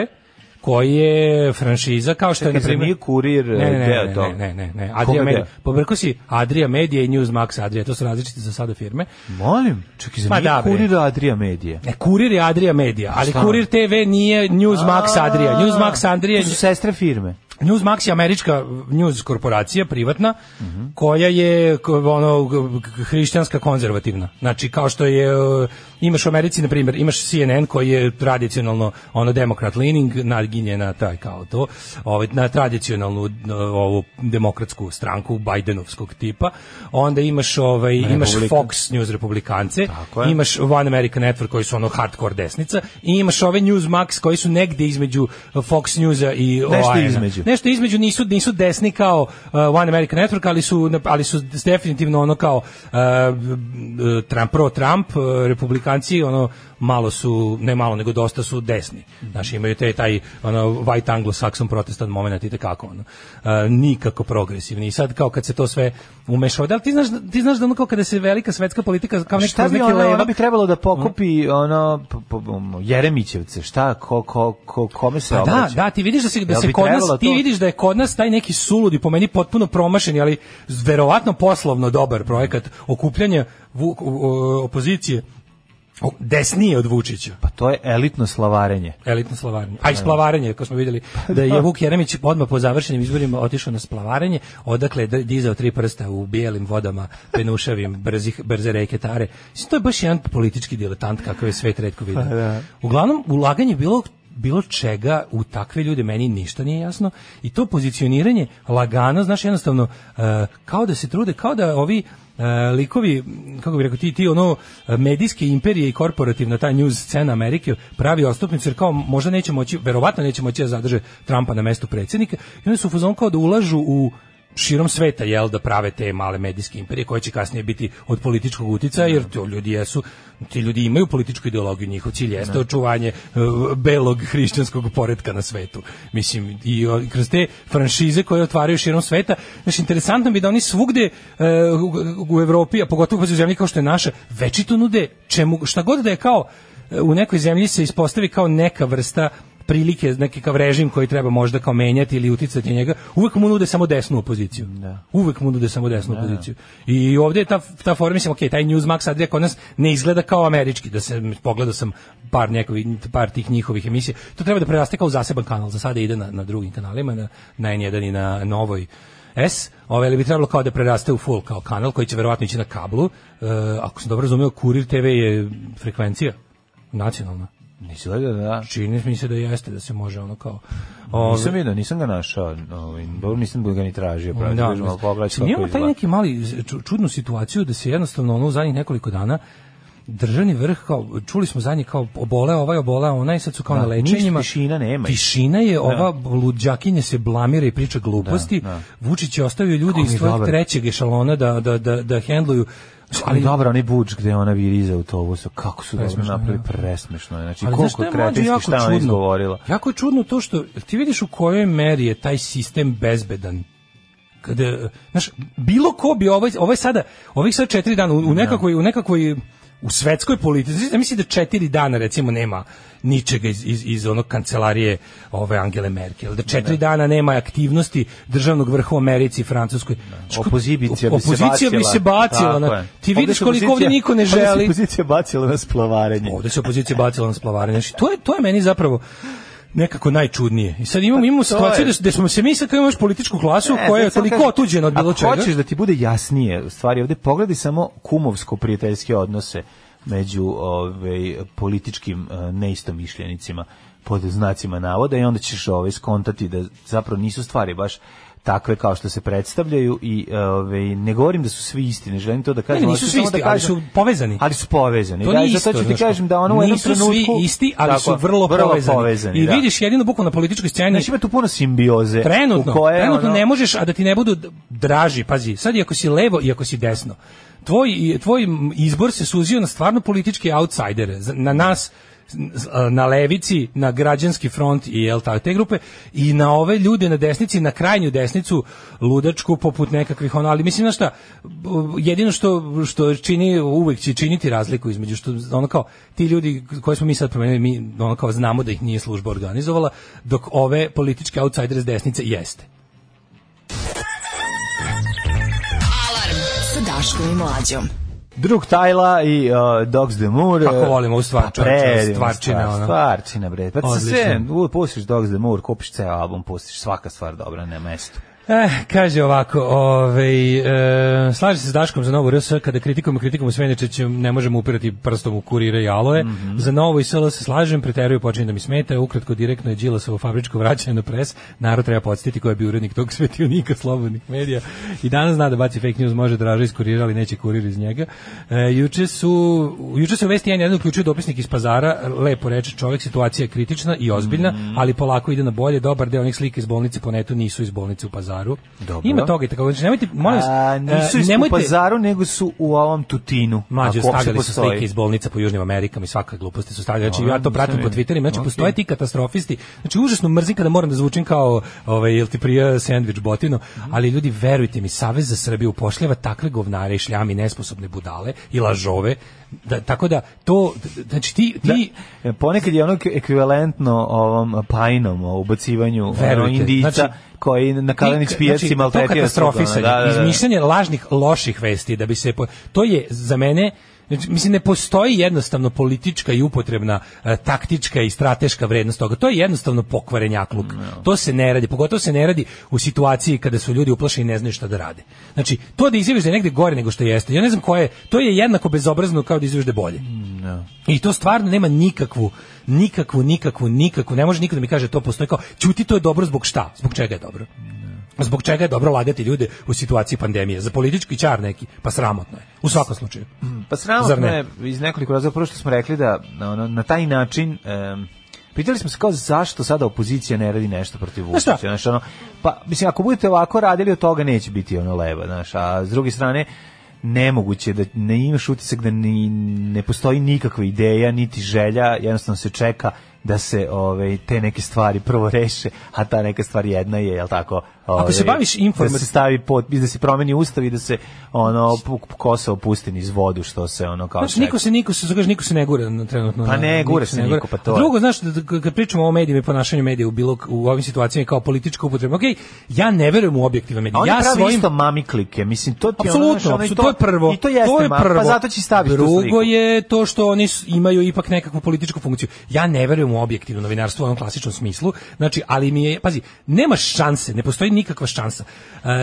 koji je franšiza kao što je na Čekaj, zar primjer nije kurir e, ne, ne, ne, deo ne, toga? ne, ne, ne, Koga deo? Adria Media. Pobrko si Adria Media i Newsmax Adria, to su različite za sada firme. Molim, čekaj, Ma za nije Pa da, bre. kurir Adria Medije. Ne, E, Kurir je Adria Media, ali Šta? Kurir TV nije Newsmax Adria. Newsmax Adria To su sestre firme. Newsmax je američka news korporacija privatna koja je k- ono k- k- hrišćanska konzervativna. Znači kao što je e, imaš u Americi na primjer, imaš CNN koji je tradicionalno ono demokrat leaning naginje na taj kao to, ovaj na tradicionalnu n- ovu demokratsku stranku Bidenovskog tipa. Onda imaš ovaj imaš Republika. Fox News republikance, Tako je. imaš One American Network koji su ono hardcore desnica i imaš ove Newsmax koji su negde između Fox Newsa i Nešto OAN-a. između. ovaj, Nešto između nisu nisu desni kao uh, One American Network, ali su ali su definitivno ono kao uh, Trump pro Trump uh, republikanci ono malo su ne malo nego dosta su desni. Znaš, imaju taj taj ono white anglo-saxon protestant momenat i tekako ono. Uh, nikako progresivni. I sad kao kad se to sve umeša, da li ti znaš ti znaš da ono kao kada se velika svetska politika kao neki Šta kroz bi neki ono, ono levak- bi trebalo da pokupi ono p- p- um, Jeremićevce, šta ko ko ko kome se Pa da, obraća? da, ti vidiš da se da Jel se bi kod nas trebalo ti to? vidiš da je kod nas taj neki suludi po meni potpuno promašen, ali verovatno poslovno dobar projekat okupljanja vu- u- u- opozicije o- desnije od Vučića. Pa to je elitno slavarenje. Elitno splavarenje. A i splavarenje, kao smo vidjeli, da je Vuk Jeremić odmah po završenim izborima otišao na splavarenje, odakle je d- dizao tri prsta u bijelim vodama, penušavim, brzih, brze reke Tare. Mislim, to je baš jedan politički diletant kakav je svet redko vidio. Uglavnom, ulaganje bilo bilo čega u takve ljude meni ništa nije jasno i to pozicioniranje lagano znaš jednostavno e, kao da se trude kao da ovi e, likovi m, kako bi rekao ti ti ono e, medijske imperije i korporativna ta news scena Amerike pravi ostupnicu jer kao možda neće moći verovatno neće moći da zadrže Trumpa na mestu predsjednika i oni su u fazonu kao da ulažu u širom sveta jel da prave te male medijske imperije koje će kasnije biti od političkog uticaja jer to ljudi jesu ti ljudi imaju političku ideologiju njihov cilj jeste očuvanje e, belog hrišćanskog poretka na svetu mislim i o, kroz te franšize koje otvaraju širom sveta znači interesantno bi da oni svugde e, u- u Evropi a pogotovo u zemlji kao što je naša večito nude čemu šta god da je kao e, u nekoj zemlji se ispostavi kao neka vrsta prilike, nekakav režim koji treba možda kao menjati ili uticati na njega, uvek mu nude samo desnu opoziciju. Uvek mu nude samo desnu opoziciju. I ovdje je ta, ta forma, mislim, ok, taj Newsmax sad je kod nas ne izgleda kao američki, da se pogledao sam par, nekovi, par tih njihovih emisija. To treba da preraste kao zaseban kanal, za sada ide na, na drugim kanalima, na, na N1 i na Novoj. S, ovaj ali bi trebalo kao da preraste u full kao kanal koji će verovatno ići na kablu. E, ako sam dobro razumio, Kurir TV je frekvencija nacionalna. Nisi da da. Čini mi se da jeste, da se može ono kao... Ove, Nisam vidio, nisam ga našao, ovaj, dobro, nisam ga ni tražio, pravo, ovaj, da, kažem, ali pogledaj Mi kako imamo taj izgleda. neki mali e, ču- čudnu situaciju da se jednostavno ono u zadnjih nekoliko dana državni vrh kao čuli smo zadnji kao oboleo ovaj oboleo onaj sad su kao na Da, lečenjima ništa tišina nema. tišina je ova luđakinja se blamira i priča gluposti Vučić je ostavio ljudi Kako iz mi svog dobar. trećeg ešalona da da da da hendluju Ali dobro, onaj buč gde ona viriza u to, su, kako su dobro Presmešno, napravili, da. presmešno je. Znači, Ali znaš koliko šta je je mlađe kretinski jako šta je ona čudno? izgovorila. Jako je čudno to što ti vidiš u kojoj meri je taj sistem bezbedan. Kada, eh, znaš, bilo ko bi ovaj, ovaj sada, ovih sad četiri dana, u, u nekakvoj, u nekakvoj u svetskoj politici, znači, mislim da četiri dana recimo nema ničega iz, iz, iz onog kancelarije ove Angele Merkel, da četiri dana nema aktivnosti državnog vrha u Americi i Francuskoj. Znaš, ko- Opozicija bi se bacila. opozicija bi se bacila. na- Tako je. ti Ovde vidiš se koliko ovdje opozicija- pa niko ne Ovde se želi. opozicija bacila na splavarenje. Ovde se opozicija bacila na splavarenje. Znači, to je, to je meni zapravo nekako najčudnije. I sad imamo, imamo situaciju je. da, da smo se mi sad kao imaš političku klasu Ne, koja je E, sad samo toliko kažem, otuđena od bilo čega. Ako hoćeš da ti bude jasnije, u stvari ovde pogledaj samo kumovsko-prijateljske odnose među ovaj, političkim eh, neistomišljenicima pod znacima navoda i onda ćeš ovaj, skontati da zapravo nisu stvari baš takve kao što se predstavljaju i ovaj, ne govorim da su svi isti, ne želim to da kažem. Ne, ali nisu ću svi samo da isti, ali kažem- su povezani. Ali su povezani. To da, nije i isto. zato ću ti znaš kažem da ono u jednom nisu svi trenutku- isti, ali su Tako, vrlo, povezani. I da. vidiš jedino bukvalno na političkoj sceni Znači ima tu puno simbioze. Trenutno, u koje, trenutno ono, ne možeš, a da ti ne budu d- draži, pazi, sad i ako si levo i ako si desno, tvoj, i- tvoj m, izbor se suzio na stvarno političke outsidere, za- na nas, n- z- a, na levici, na građanski front i jel tako, te grupe, i na ove ljude na desnici, na krajnju desnicu, ludačku, poput nekakvih ono, ali mislim, znaš šta, b- jedino što, što čini, uvek će činiti razliku između, što, ono kao, ti ljudi koje smo mi sad promenili, mi ono kao znamo da ih nije služba organizovala, dok ove političke outsidere s desnice jeste. Alarm sa Daškom i Mlađom. Drug Tajla i uh, Dogs the Moor. Kako volimo ovu stvar, Pa, čovječe, predivna stvarčina, stvar, ono. Stvarčina, bre. Pa se Odlično. sve, u, pustiš Dogs the Moor, kupiš ceo album, pustiš svaka stvar dobra na mestu. Eh, kaže ovako, ovaj, e, slaže se s Daškom za novu RS, kada kritikujemo kritikom Svenjačića ne možemo upirati prstom u kurire i aloe. Za novo i SL se slažem, preteruju počinje da mi smeta, ukratko direktno je Đilasovo fabričko vraćanje na pres, narod treba podsjetiti ko je bio urednik tog svetionika slobodnih medija. I danas zna da baci fake news, može draže iz kurira, ali neće kurir iz njega. E, juče su, juče se u Vesti 1 uključio dopisnik iz pazara, lepo reče čovjek, situacija je kritična i ozbiljna, Mhm. ali polako ide na bolje, dobar deo onih slika iz bolnice po netu nisu iz bolnice u pazaru. Dobro. Ima toga i tako. Znači, nemojte, molim vas, A, nisu e, iz nemojte- Pazaru, nego su u ovom Tutinu. Mlađe ako uopšte stavljali su postoji. slike iz bolnica po Južnim Amerikama i svaka gluposti su stavljali. Znači Dobro, ja to pratim nisam po vidio. Twitteru, znači Ok. postoje ti katastrofisti. Znači užasno mrzim kada moram da zvučim kao ovaj jel ti prija sendvič botino, Mhm. ali ljudi verujte mi, Savez za Srbiju upošljava takve govnare i šljame i nesposobne budale i lažove. Da, tako da to znači ti ti E, Ponekad je ono k- ekvivalentno ovom pajnom o ubacivanju ono, Verujte, indijica znači- koji na Kalenić Ti- pijaci znači, maltretira to katastrofisanje, sluga, ono, da, da, da. izmišljanje lažnih loših vesti da bi se po- to je za mene znači, mislim ne postoji jednostavno politička i upotrebna e, taktička i strateška vrednost toga. To je jednostavno pokvarenjakluk. Mm, To se ne radi, pogotovo se ne radi u situaciji kada su ljudi uplašeni i ne znaju šta da rade. Znači, to da izjaviš da je negde gore nego što jeste. Ja ne znam koje je, to je jednako bezobrazno kao da izjaviš da je bolje. Mm, I to stvarno nema nikakvu, nikakvu, nikakvu, nikakvu, ne može niko da mi kaže to postoji kao, ćuti to je dobro zbog šta, zbog čega je dobro. Zbog čega je dobro lagati ljude u situaciji pandemije? Za politički čar neki, pa sramotno je. U svakom slučaju. Pa Zar sramotno ne? je iz nekoliko razloga, prvo što smo rekli da ono, na taj način... em, Pitali smo se kao zašto sada opozicija ne radi nešto protiv šta? Vučića, znaš, ono, pa mislim ako budete ovako radili od toga neće biti ono leba, znaš, a s druge strane nemoguće je da ne imaš utisak da ni, ne postoji nikakva ideja niti želja, jednostavno se čeka da se ove te neke stvari prvo reše, a ta neka stvar jedna je, jel tako? Ako se ovaj, baviš informa- da se stavi pod, da se promeni ustav i da se ono p- kosa opusti niz vodu što se ono kao Znači, niko se, niko se, kaže, niko se ne gura na- trenutno. Pa ne, na- gura se niko, pa to je. Drugo, znaš, da- da- kad pričamo o medijima i ponašanju medija u, bilo, u ovim situacijama kao politička upotreba, okej, ja ne verujem u objektivne medije. A oni ja pravi svojim, isto mami klike, mislim, to ti je ono, znaš, Apsolutno, ono, i apsolutno, to, je prvo. I to jeste je mami, prvo. pa zato će staviti tu Drugo sliku. je to što oni s- imaju ipak nekakvu političku funkciju. Ja ne verujem u objektivno novinarstvo u onom klasičnom smislu, znači, ali mi je, pazi, nema šanse, ne postoji nikakva šansa.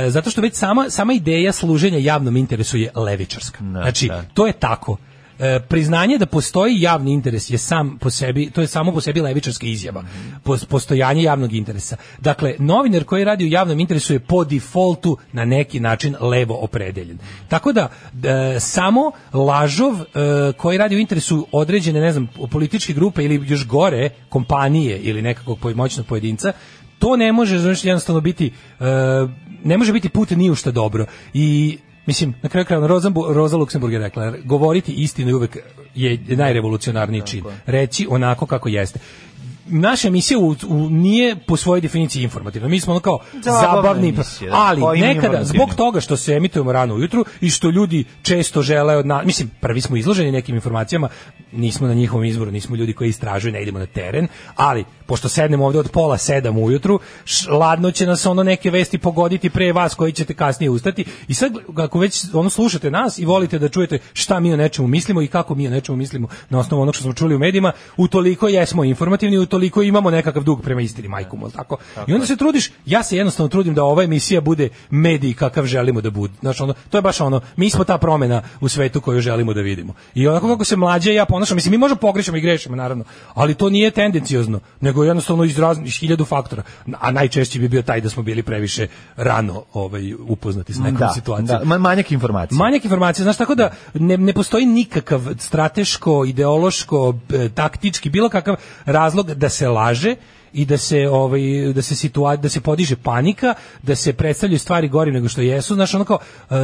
E, zato što već sama, sama ideja služenja javnom interesu je levičarska. znači, da. to je tako. E, priznanje da postoji javni interes je sam po sebi, to je samo po sebi levičarska izjava. Pos- postojanje javnog interesa. Dakle, novinar koji radi u javnom interesu je po defaultu na neki način levo opredeljen. Tako da e, samo lažov e, koji radi u interesu određene, ne znam, političke grupe ili još gore kompanije ili nekakvog poj- moćnog pojedinca, to ne može znači jednostavno biti e, ne može biti put ni u šta dobro. I Mislim, na kraju krajeva, Rozambu- Roza Luksemburg je rekla, govoriti istinu je uvek je najrevolucionarniji čin. Reći onako kako jeste. Naša emisija u, u- nije po svojoj definiciji informativna. Mi smo ono kao Zabavna zabavni, emisija, da. Pa i ali nekada, informativna. zbog toga što se emitujemo rano ujutru i što ljudi često žele od nas, mislim, prvi smo izloženi nekim informacijama, nismo na njihovom izboru, nismo ljudi koji istražuju, ne idemo na teren, ali pošto sednemo ovde od pola sedam ujutru, š- ladno će nas ono neke vesti pogoditi pre vas koji ćete kasnije ustati i sad ako već ono slušate nas i volite da čujete šta mi o nečemu mislimo i kako mi o nečemu mislimo na osnovu onog što smo čuli u medijima, utoliko jesmo informativni, utoliko imamo nekakav dug prema istini, majku mu, jel tako? I onda se trudiš, ja se jednostavno trudim da ova emisija bude medij kakav želimo da bude. Znači, ono, to je baš ono, mi smo ta promena u svetu koju želimo da vidimo. I onako kako se mlađe i ja ponašam, mislim, mi možemo pogrešimo i grešimo, naravno, ali to nije tendencijozno, nego jednostavno iz, raznih, iz hiljadu faktora. A najčešći bi bio taj da smo bili previše rano ovaj, upoznati s nekom da, situacijom. Da, ma- manjak informacija. Manjak informacija, znaš, tako da ne, ne postoji nikakav strateško, ideološko, e, taktički, bilo kakav razlog da se laže i da se ovaj da se situa da se podiže panika, da se predstavljaju stvari gorim nego što jesu, znaš, ono kao e,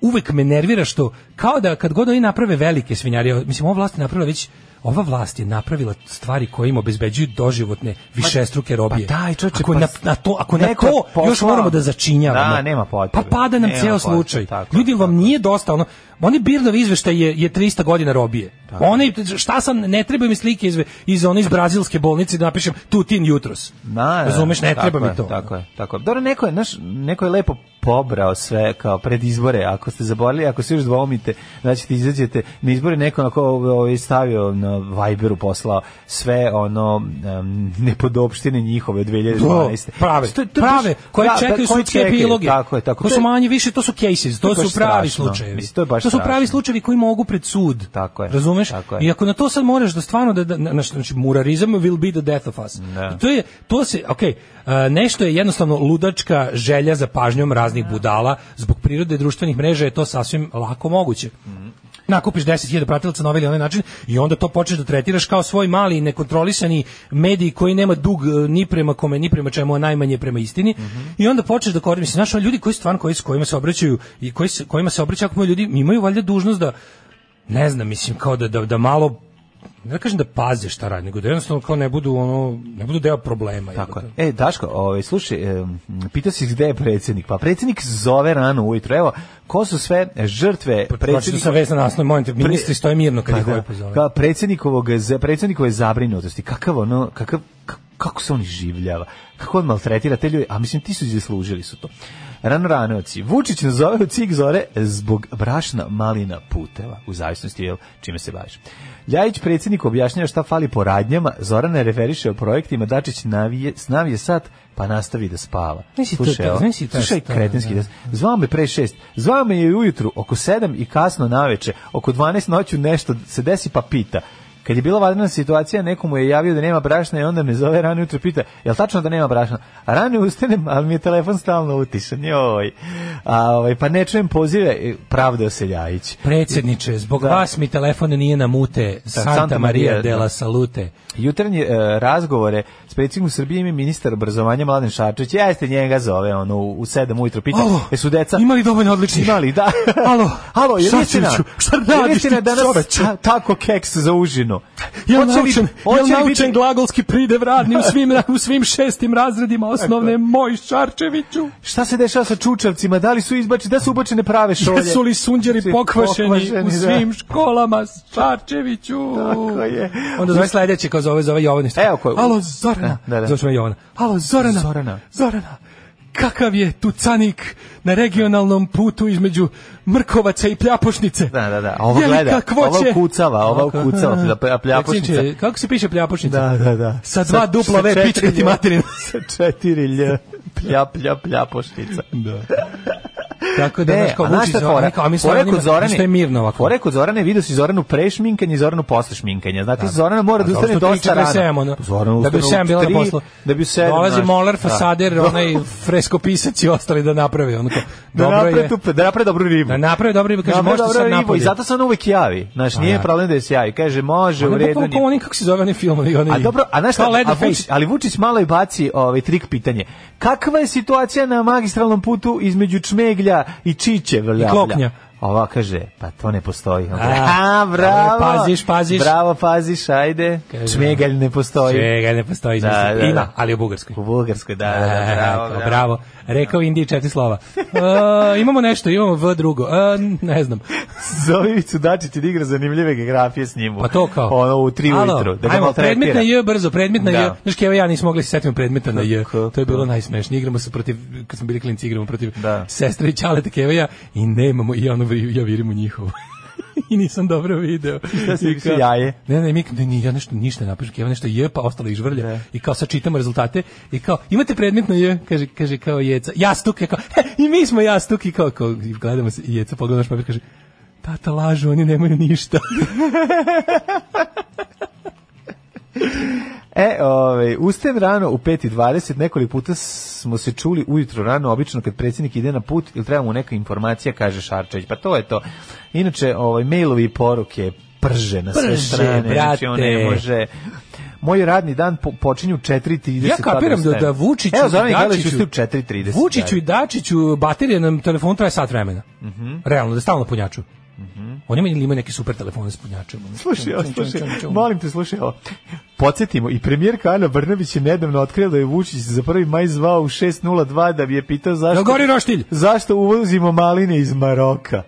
uvek me nervira što kao da kad god oni naprave velike svinjarije, mislim ova vlast je napravila već ova vlast je napravila stvari koje im obezbeđuju doživotne višestruke robije. pa daj, čoveče, ako pa na, na to, ako na neko to je još poslao. moramo da začinjavamo. Da, nema potrebe. Pa pada nam Nema ceo potrebe, slučaj. tako je. Ljudi, vam nije dosta ono oni Birdov izveštaj je je 300 godina robije One, šta sam, ne treba mi slike iz, iz one iz brazilske bolnice da napišem Tutin jutros. Na, Razumeš, ne tako treba je, mi to. Tako je, tako je. Dobro, neko je, znaš, neko je lepo pobrao sve kao pred izbore. Ako ste zaboravili, ako se još dvomite, da ćete izađete na izbore, neko onako ovaj, stavio na Viberu poslao sve ono um, nepodopštine njihove od 2012. To, prave, Što je- to je prave, baš- koje da, da, čekaju koje sudske čekaju, epiloge. Tako je, tako To je. su manje više, to su cases, To to, je baš su pravi strašno. slučajevi. Mislim, to je baš su pravi strašno. slučajevi koji mogu pred sud. Tako je, Razumeš? tako je. I ako na to sad moraš da stvarno da, da na- znači murarizam will be the death of us. Da. I to je to se, okej, a, nešto je jednostavno ludačka želja za pažnjom raznih budala zbog prirode društvenih mreža je to sasvim lako moguće Mhm. nakupiš 10.000 pratilaca na ovaj ili onaj način i onda to počneš da tretiraš kao svoj mali nekontrolisani medij koji nema dug e, ni prema kome, ni prema čemu, a najmanje prema istini. I onda počneš da koristiš, znaš, ono, ljudi koji stvarno koji s kojima se obraćaju i koji se, kojima se obraćaju ako imaju ljudi imaju valjda dužnost da ne znam, mislim kao da da, da malo ne da kažem da paze šta radi, nego da jednostavno kao ne budu ono, ne budu deo problema. Tako jebote. je. E, Daško, ovaj, slušaj, em, pitao si gde je predsjednik. Pa predsjednik zove rano ujutro. Evo, ko su sve žrtve Pročito predsjednika? sam vez na nasnoj, molim te, ministri stoje mirno kad Pa ih da, ovaj pozove. Kao predsjednikovog, za- predsjednikove zabrinutosti. Kakav ono, kakav, k- kako se on življava, kako on maltretira te ljude, a mislim ti su i zaslužili su to. Rano ranoci. Vučić nas zove u cik zore zbog brašna malina puteva, u zavisnosti jel, čime se baviš. Ljajić predsjednik objašnjava šta fali po radnjama, Zorana referiše o projektima, Dačić navije, snavije sat, pa nastavi da spava. Znaš si to- Slušaj, ovo, znaš si taj slušaj stav, kretenski da. da Zvao me pre šest. Zvao me je ujutru oko sedam i kasno naveče. Oko 12 noću nešto se desi pa pita. Kad je bila vanredna situacija, nekomu je javio da nema brašna i onda me zove rano jutro i pita, jel tačno da nema brašna? A rano ustanem, ali mi je telefon stalno utišan, joj. A, ovaj, pa ne čujem pozive, e, pravde oseljajić. Predsjedniče, zbog Da. vas mi telefon nije na mute. Santa, Santa Maria, Maria, da. della Salute. Jutarnje e, razgovore s predsjednikom Srbije ima ministar obrazovanja Mladen Šarčević, E, jeste njega zove ono, u 7 ujutro, pita, Alo, jesu deca... Imali dovoljno odličnih. Imali, da. Alo, Alo, je li istina? Šarčeviću, šta Je li radiš ti, istina danas čoveče? ta- tako keks za užinu? Ja Hoće li- naučen, hoće ja li biti- naučen glagolski pridev radni u svim, u svim šestim razredima osnovne moj Šarčeviću. Šta se dešava sa čučavcima? Da li su izbačeni, da su ubačene prave šolje? Jesu li sunđeri Svi pokvašeni, u da. svim školama Šarčeviću? Tako je. Onda zove sledeće, kao zove, zove Jovan. i šta? Evo ko je- Alo, Zorana. Da, da. Zoveš me Jovana. Alo, Zorana. Zorana. Zorana. Kakav je tucanik na regionalnom putu između Mrkovaca i Pljapošnice? Da, da, da. A ovo Je li gleda, kakvo ova će- ukucava, ova Ovako, ukucava, aha. pla- pla- Pljapošnica. Predsjedniče, Kako se piše Pljapošnica? Da, da, da. Sa dva dupla sa V, četiri pička ti lj. materina. sa četiri lj. Plja, plja, plja, poštica. Da. Tako da, znaš, kao E, a znaš Vučić šta Zorana, fora? kao, a mi Fora Zorana kod ima- Zorane- što je mirno ovako. Fora kod Zorane, vidio si Zoranu pre šminkanja i Zoranu posle šminkanja. Znate, Zorana mora da A ustane dobro, dosta 3:47 rano. ono. Zorana da bi ustane u 7 bila na tri, poslu. Da bi u 7. Dolazi znaš. Moller, Da. fasader, onaj freskopisac i ostali da naprave. Onako, Da dobro napravi, je. tu, da napravi dobru ribu. Da naprave dobro i kaže, Napravi možete dobru sad ribu napolje. I zato se on uvek javi. Znaš, Pa nije da. problem da se javi. Kaže, može, u Ono redu. bukvalno nije- kao oni, kako se zove oni filmovi? Oni, A dobro, a znaš šta, Mm. kao a Leatherface. Vučić, ali Vučić malo i baci ovaj trik pitanje. Kakva je situacija na magistralnom putu između Čmeglja i Čičevlja? I Kloknja. Ova kaže, pa to ne postoji. A, A, bravo. paziš, paziš. Bravo, paziš, ajde. Kaže, Čmegalj ne postoji. Čega ne postoji, ovaj- Da, mislim. da, da. Ima, ali u Bugarskoj. U Bugarskoj, da, da, da, E, bravo, kao, bravo. bravo. Rekao Indiji četiri slova. E, imamo nešto, imamo V drugo. E, ne znam. Zove Ivicu Dačića da igra zanimljive geografije s njim. Pa to kao. Ono, u tri Alo, ujutru. Da ga ajmo, maltretira. predmet na J, brzo, predmet na Da. J. Znaš, Keva i ja nismo mogli se setimo predmeta na J. Tako, To je bilo da. najsmešnije. Igramo se protiv, kad smo bili klinci, igramo protiv Da. sestre i čaleta Keva i ja i nemamo, i ono, vri- ja virim u njihovo. I nisam dobro video. Šta si I mislio, kao- jaje? Ne, ne, mi, ne, ni- ja nešto, ništa ne napišem, Keva nešto J, pa ostalo i žvrlja. I kao sad čitamo rezultate i kao, imate predmet na J, kaže, kaže kao Jeca, jastuk, ja kao, "He, i mi smo jastuk, i kao, kao i gledamo se, i Jeca pogleda naš papir, kaže, tata lažu, oni nemaju ništa. E, ovaj, ustajem rano u 5.20, nekoliko puta smo se čuli ujutro rano, obično kad predsjednik ide na put ili treba mu neka informacija, kaže Šarčević, pa to je to. Inače, ovaj, mailovi i poruke prže na sve Prže, strane, znači on ne brate. može... Moj radni dan po, počinju u 4.30. Ja tada kapiram da, ustajem. da Vučiću Evo, i Zoran Galić Dačiću- ustaje u 4.30. Vučiću i Dačiću baterija na telefonu traje sat vremena. Mhm. Realno, da stalno punjaču. On ima ili ima neki super telefon s punjačem. ono. Slušaj, ovo, Čum, čum, slušaj, čum, čum. molim te, slušaj ovo. Podsjetimo, i premijerka Ana Brnabić je nedavno otkrila da je Vučić za prvi maj zvao u 6.02 da bi je pitao zašto... Jel gori roštilj? zašto uvozimo maline iz Maroka.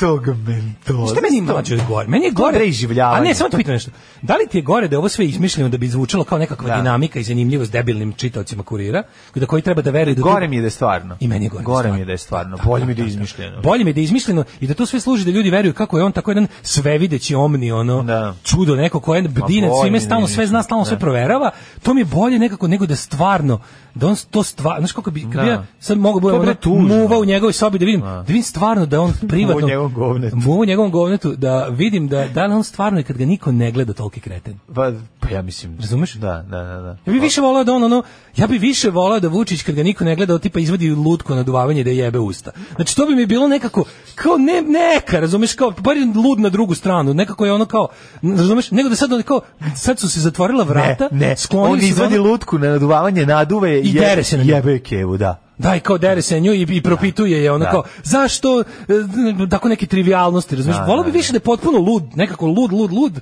tog mentora. Šta meni mlađe od gore? Meni je gore. Dobre iživljavanje. A ne, samo te pitam nešto. Da li ti je gore da je ovo sve izmišljeno da bi zvučalo kao nekakva Da. dinamika i zanimljivost debilnim čitaocima kurira, da koji treba da veruje da Gore mi je da je stvarno. I meni je gore. Gore mi stvarno. je da je stvarno. Bolje mi je da je izmišljeno. Bolje mi je da je izmišljeno i da to sve služi da ljudi veruju kako je on tako jedan svevideći omni ono Da. čudo neko koje bdi nad bolje mi svime je stalno sve zna, stalno sve proverava. To mi je bolje nekako nego da stvarno da on to stvarno, znaš kako bi kad bi Da. ja sad mogu To je, bre, budem tužno. muva u njegovoj sobi da vidim, da vidim stvarno da on privatno Muvao u njegovom govnetu. Muvao u njegovom govnetu da vidim da da li on stvarno i kad ga niko ne gleda toliki kreten. Pa, pa ja mislim... Razumeš? Da, da, da. da. Ja bi više volao da on ono, ja bi više volao da Vučić kad ga niko ne gleda, on tipa izvadi lutko na duvavanje da jebe usta. Znači to bi mi bilo nekako kao ne neka, razumeš kao bar je lud na drugu stranu, nekako je ono kao razumeš, nego da sad on kao sad su se zatvorila Ne, vrata, ne, on sklonili su izvadi ono- lutku na naduvavanje, naduve je I dere se na nju. jebe je kevu, da. Da, i kao dere se nju i, i propituje je ono Da. kao, zašto, e, tako neke trivialnosti, razumiješ? Da, Volao bi da, više da je potpuno lud, nekako lud, lud, lud,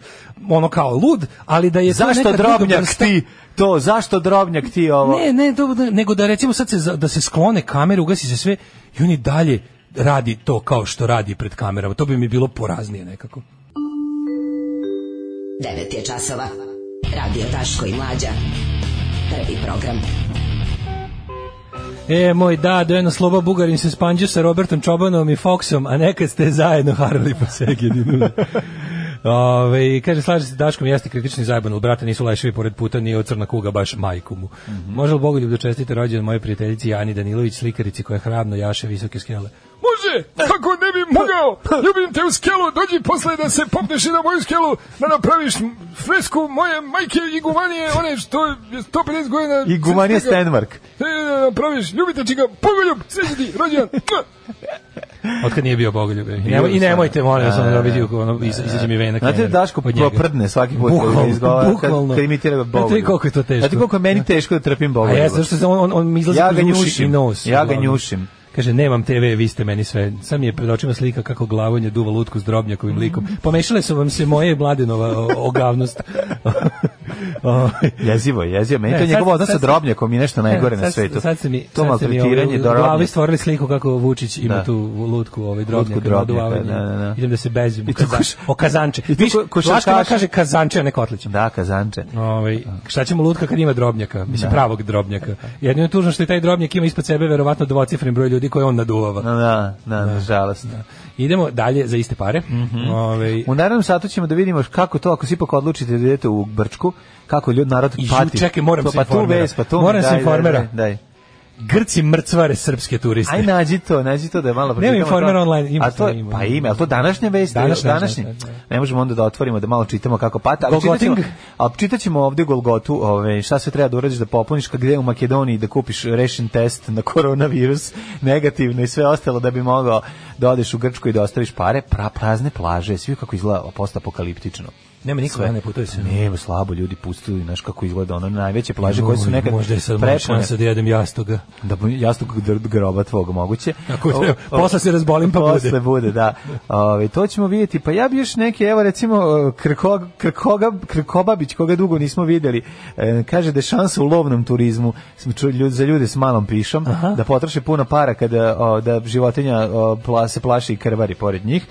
ono kao lud, ali da je to Zašto neka druga drobnjak vrsta- ti to, zašto drobnjak ti ovo? Ne, ne, to, da- nego da recimo sad se, za- da se sklone kamere, ugasi se sve i on i dalje radi to kao što radi pred kamerama. To bi mi bilo poraznije nekako. 9 je časova. Radio Daško i Mlađa. Prvi program. E, moj da, do jedno sloba Bugarin se spanđio sa Robertom Čobanom i Foxom, a nekad ste zajedno harali po Segedinu. Ove, kaže, slaže se Daškom, jeste kritični zajeban, ali brate nisu leševi pored puta, nije od crna kuga baš majku mu. Može li Bogoljub da čestite rođen moje prijateljici Jani Danilović, slikarici koja hravno jaše visoke skele? Može, kako ne bi mogao, ljubim te u skelu, dođi posle da se popneš i na moju skelu, da napraviš fresku moje majke i gumanije, one što je 150 godina... I gumanija sestaka. Stenmark. E, da napraviš, ljubite čika, pogoljub, sreći ti, rođendan. Otkad nije bio Bogoljub. I, Bio e, nemoj, i sam. nemojte, molim vas, Da, ono da, dobiti, da. ono, iz- izađe mi venak. Znate, ne, Daško od njega. poprdne svaki put Bukvalno, kad izgovara, bukvalno. kad, kad imitira Boga. Znate vi koliko je to teško? Znate koliko je meni teško da trpim Boga. A ja zato što se on on on mi izlazi Ja kroz ga uši njušim. i nos. Ja ga uglavnom. njušim. Kaže nemam TV, vi ste meni sve. Sam je pred očima slika kako glavonje duva lutku s drobnjakovim likom. Pomešale su vam se moje i Mladenova o- ogavnost. Ovaj, O, Jezivo, je, jezivo. Meni Ne, to je sad- njegov odnos sad sa se- drobnjakom i nešto najgore na sad- svetu. Sad se mi, to sad se mi maltretiranje ovaj, u do glavi drobnjaka. stvorili sliku kako Vučić ima Da. tu lutku ovaj drobnjaka, na drobnjaka, oduvavanje. da, da, da. Idem da se bezim. I tu koš- O kazanče. i tu Viš, ko- košarkaši- Vlaška ona kaže kazanče, a ne kotliće. Da, kazanče. Ovaj šta ćemo lutka kad ima drobnjaka, mislim pravog drobnjaka. Jedino je tužno što i taj drobnjak ima ispod sebe verovatno dvocifren broj ljudi koje on naduvava. Da, da, da, nažalost. Idemo dalje za iste pare. Mhm. Ovaj U narednom satu ćemo da vidimo kako to, ako se ipak odlučite da idete u Brčku, kako ljud narod I ju, pati. čekaj, moram To- se pa tu informera. vez, pa tu mi Moram se daj, daj, informera. daj, daj. Grci mrcvare srpske turiste. Aj nađi to, nađi to da je malo pročitamo. Informera to. online, ima a to, to, ima. Pa ima, ali to današnje vesti, Današnje, današnje, današnje, Ne možemo onda da otvorimo, da malo čitamo kako pata. Ali Golgoting. čitaćemo, ali čitaćemo ovde Golgotu, ove, šta sve treba da uradiš da popuniš, ka gde u Makedoniji da kupiš rešen test na koronavirus, negativno i sve ostalo da bi mogao da odeš u Grčku i da ostaviš pare, pra, prazne plaže, svi kako izgleda postapokaliptično. Nema nikoga, ne putuje se. Nema slabo ljudi pustuju, znaš kako izgleda ono najveće plaže koje su Joj, nekad možda je sad moja prepune. šansa da jedem jastoga. Da bu- jasno kako dr- groba tvog moguće. Ako O- treba, o- posle se razbolim pa posle bude. bude, da. Ove, to ćemo vidjeti. Pa ja bi još neke, evo recimo e, Krko, Krkoga, Krkobabić, koga dugo nismo vidjeli, e, kaže da je šansa u lovnom turizmu sm- ču- ljud- za ljude s malom pišom, da potroše puno para kada o, da životinja o, pla- se plaši i krvari pored njih.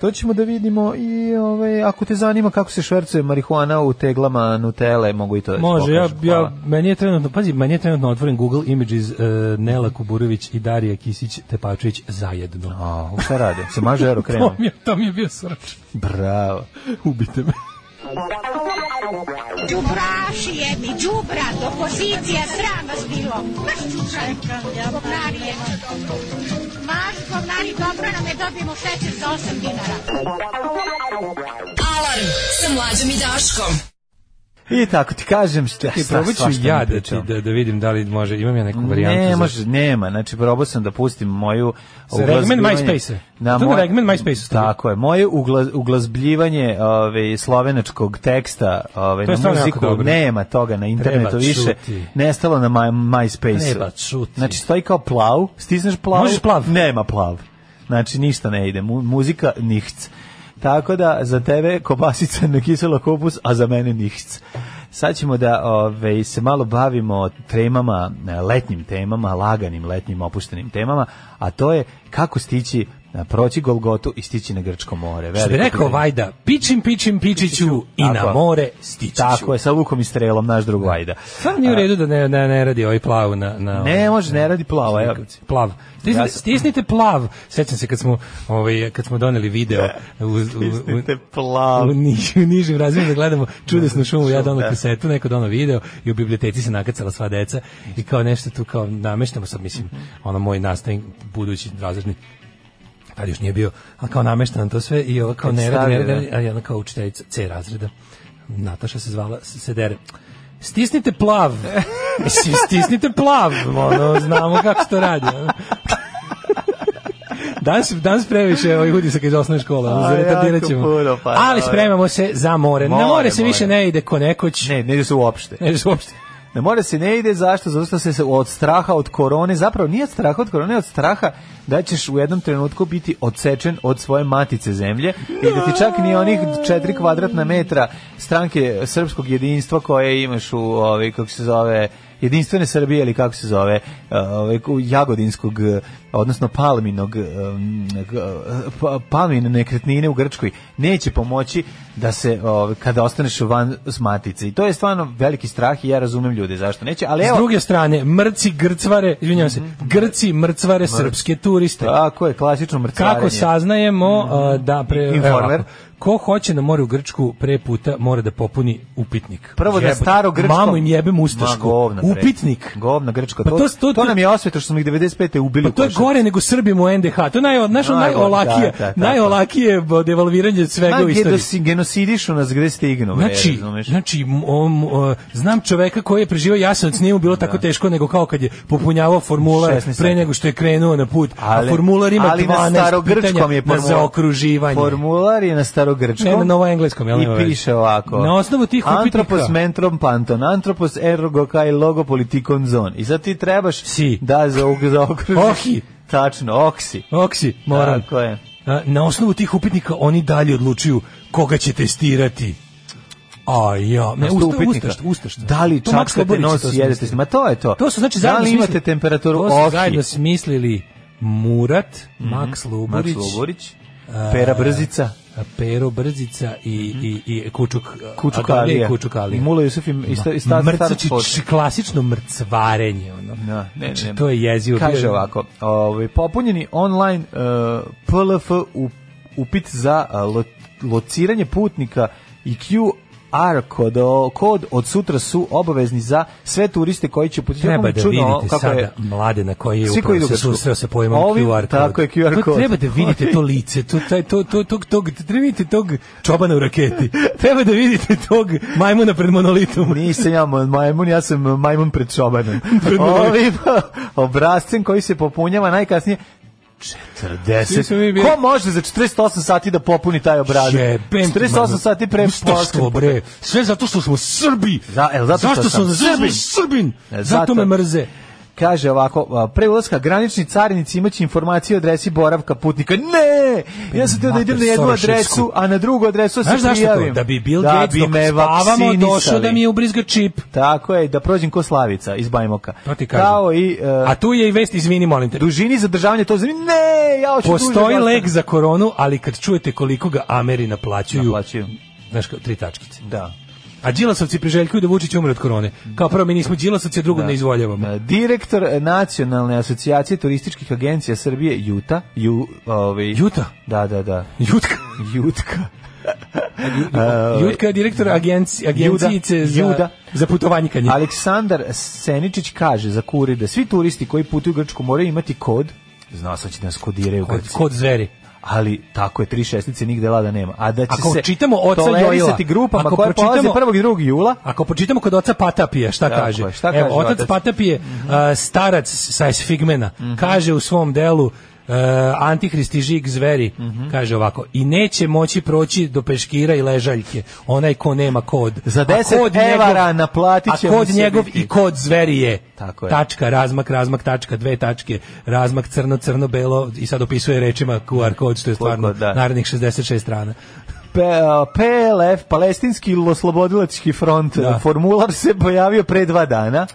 To ćemo da vidimo i ovaj, ako te zanima kako se švercuje marihuana u teglama Nutele, mogu i to da ti Može, ja, pokažem. Hvala. ja, meni je trenutno, pazi, meni je trenutno otvoren Google Images e, Nela Kuburović i Darija Kisić Tepačević zajedno. A, šta rade? Se maže aerokremom? To mi je, to mi je bio srč. Bravo. Ubite me. Đubraši jedni, đubrat, opozicija, sram vas bilo. Maš čučanka, govnari jedni. Maš govnari, dobro nam je dobijemo šećer za 8 dinara. Alarm sa Mlađom i Daškom. I tako ti kažem šta, I šta, probat ću svašta ja mi da, ti, pričamo. da, da vidim da li može, imam ja neku varijantu. Ne, za- može, nema, znači probao sam da pustim moju Za uglazbljivanje- Regmen MySpace-e. Na To je moj- Regmen MySpace-u stavio. Tako je, moje ugla, uglazbljivanje ove, slovenačkog teksta ove, To na je stvarno jako muziku, dobro. nema toga na internetu Treba više, čuti. nestalo na my, MySpace-u. Treba čuti. Znači stoji kao plav, stisneš plav, Možeš plav? nema plav. Znači ništa ne ide, Mu, muzika nihc. Tako da za tebe kobasica na kiselo kupus, a za mene nihc. Sad ćemo da ove, se malo bavimo temama, e, letnjim temama, laganim letnjim opuštenim temama, a to je kako stići proći Golgotu i stići na Grčko more. Što bi Veliko rekao pitanje. Vajda, pičim, pičiću, pičim, pičiću i Tako. na more stiću. Tako je, sa lukom i strelom, naš drug Vajda. Stvarno nije u redu da ne, ne, ne radi ovaj plavu na... na Ne, može, ne radi plavo, evo. plav. Stisnite, Ja sam- stisnite plav. Sećam se kad smo ovaj kad smo doneli video u, u, u, Stisnite plav. u, niž- u nižim razmjerima da gledamo čudesnu šumu, ja donao kasetu, neko donao video i u biblioteci se nakacala sva deca i kao nešto tu kao nameštamo sad mislim ono moj nastavnik budući razredni tad još nije bio, ali kao namešta nam to sve i ovo kao Kad ne radi, ne stavio, radi, a jedna kao učiteljica C razreda, Nataša se zvala, s- se dere, stisnite plav, mislim, stisnite plav, ono, znamo kako se to radi, ono. Danas, danas previše ovih udisaka iz osnovne škole, ono, A, zaretardirat jako ćemo. puno, pa ali dobro. spremamo se za more. Na More, more se više more. ne ide ko nekoć. Ne, ne ide se uopšte. Ne, uopšte. Ne mora se ne ide, zašto? Zato što se se od straha od korone, zapravo nije od straha od korone, od straha da ćeš u jednom trenutku biti odsečen od svoje matice zemlje i da ti čak ni onih četiri kvadratna metra stranke srpskog jedinstva koje imaš u, ovaj, kako se zove, jedinstvene Srbije ili kako se zove, ovaj, u jagodinskog, eh, odnosno palminog, em, g- eh, pa- palmine nekretnine u Grčkoj, neće pomoći da se, ovaj, kada ostaneš van s matice. I to je stvarno veliki strah i ja razumem ljude zašto neće, ali S evo, druge strane, mrci grcvare, izvinjavam se, grci mrcvare srpske turiste. Tako je, klasično mrcarenje. Kako saznajemo a, da pre Mhm. evo Informer. ovako. ko hoće na more u Grčku pre puta mora da popuni upitnik. Prvo da Jebote, staro grčko... Mamu im jebem Ma, ustašku. govna, bre. Upitnik. Govna grčko. Pa to, to- to, to- nam je osveta što smo ih 95. ubili Pa u to je košarci. gore nego Srbim u NDH. To je naj, naš, Najgore, najolakije, da, da, da. najolakije devalviranje svega u Ma, istoriji. genosi- genosidišu nas gde stignu, bre, Znači, razumeš? znači m- o- m- o, znam čoveka koji je preživio jasanac, nije mu bilo tako teško nego kao kad je popunjavao formular 16 pre sati. nego što je krenuo na put. Ali- A formular ima ali na 12 starogrčkom pitanja je na formular. zaokruživanje. Formular je na starogrčkom. Ne, na novoengleskom, jel I nema veze? piše ovako. Na osnovu tih upitnika- Antropos mentrom panton, antropos ergo kai logo politikon zon. I sad ti trebaš Si. da za zaokružiš. Ohi. Tačno, oksi. Oksi, moram. Tako je. Na, na osnovu tih upitnika oni dalje odlučuju koga će testirati. A ja, ne, Na sto usta, upitnika. ustašt, ustašt. Da li To Max čačkate Loburić je nos to i jedete? s- smislio. Ma to je to. To su znači da zajedno li smislili- imate temperaturu To su zajedno oki? smislili Murat, Max Max Luburić, Luburić, Pera Brzica, Pero Brzica i, i, i Kučuk, Mhm. Kučuk Adalija i Alija, Kučuk Alija. i Mula Jusuf i i sta- i sta- stara Mrcači, sport. č- klasično mrcvarenje. Ono. Da, ne, Znači, ne. to je jezivo. Kaže Bio- ovako, ovaj, popunjeni online eh, PLF u- upit za eh, lo- lociranje putnika i QR kod, kod od sutra su obavezni za sve turiste koji će putiti. Treba Jako mi da čudno vidite kako sada je- mlade na koji je Svi koji upravo idu se Grčku. susreo sa pojmom Ovim, QR kod. tako je, QR To kod. Treba da vidite to lice, to, taj, to, to, tog, tog, treba vidite tog čobana u raketi. Treba da vidite tog majmuna pred monolitom. Nisam ja ma- majmun, ja sam majmun pred šobanom. Pred majmunom. Ovim obrazcem koji se popunjava najkasnije Svi smo mi 40. bili- Ko može za 48 sati da popuni taj obrazac? Jebem ti, 48 mano. sati pre Ustaštvo, Poljske. bre. Sve zato što smo Srbi. Za- el, zato što Zašto sam zato Srbin. Srbin. E, Zato zato. me mrze. Kaže ovako, a, pre ulaska granični carinici imaće informacije o adresi boravka putnika. Ne! Ja sam teo da Mater idem na jednu Soroševsku. adresu, a na drugu adresu se Znaš zašto to? prijavim. Da bi Bill Da Gates bi dok me spavamo došao vaksinisali. da mi je ubrizga čip. Tako je, da prođem ko Slavica iz Bajmoka. To ti kažem. Kao i... e, A tu je i vest, izvini, molim te. dužini zadržavanja to znači ne ja hoću duže Postoji da lek ostanem. za koronu, ali kad čujete koliko ga Ameri naplaćuju, Naplaćuju. znaš kao, tri tačkice. da A Đilasovci priželjkuju da Vučić umre od korone. Kao prvo, mi nismo Đilasovci, a drugo ne izvoljavamo. E, direktor e, nacionalne asocijacije turističkih agencija Srbije Juta ju ovaj Juta? da da da Jutka. Jutka E, Jutka je direktor agenci, Juda. agencijice za, Juda. za putovanjikanje. Aleksandar Seničić kaže za kurir da svi turisti koji putuju u Grčku moraju imati kod znao sam da će da nas kodiraju Kod, Grci. kod zveri. ali tako je tri šestice nigde lada nema a da će Ako se čitamo oca tolerisati Jojla, grupama ako koje polaze pročitamo- 1. i 2. jula Ako počitamo kod oca Patapija, šta Tako kaže? je, šta Evo, kaže otac, otac? Mhm. Patapije, a, starac sa Sfigmena, kaže u svom delu e, Antihristi žig zveri, Mhm. kaže ovako, i neće moći proći do peškira i ležaljke, onaj ko nema kod. Za A 10 kod evara naplatit će A mu kod se njegov biti. i kod zveri je. Tako je. Tačka, razmak, razmak, tačka, dve tačke, razmak, crno, crno, belo, i sad opisuje rečima QR kod, što je Koliko, stvarno da. narednih 66 strana. Pe- a, PLF, Palestinski oslobodilački front, Da. formular se pojavio pre dva dana.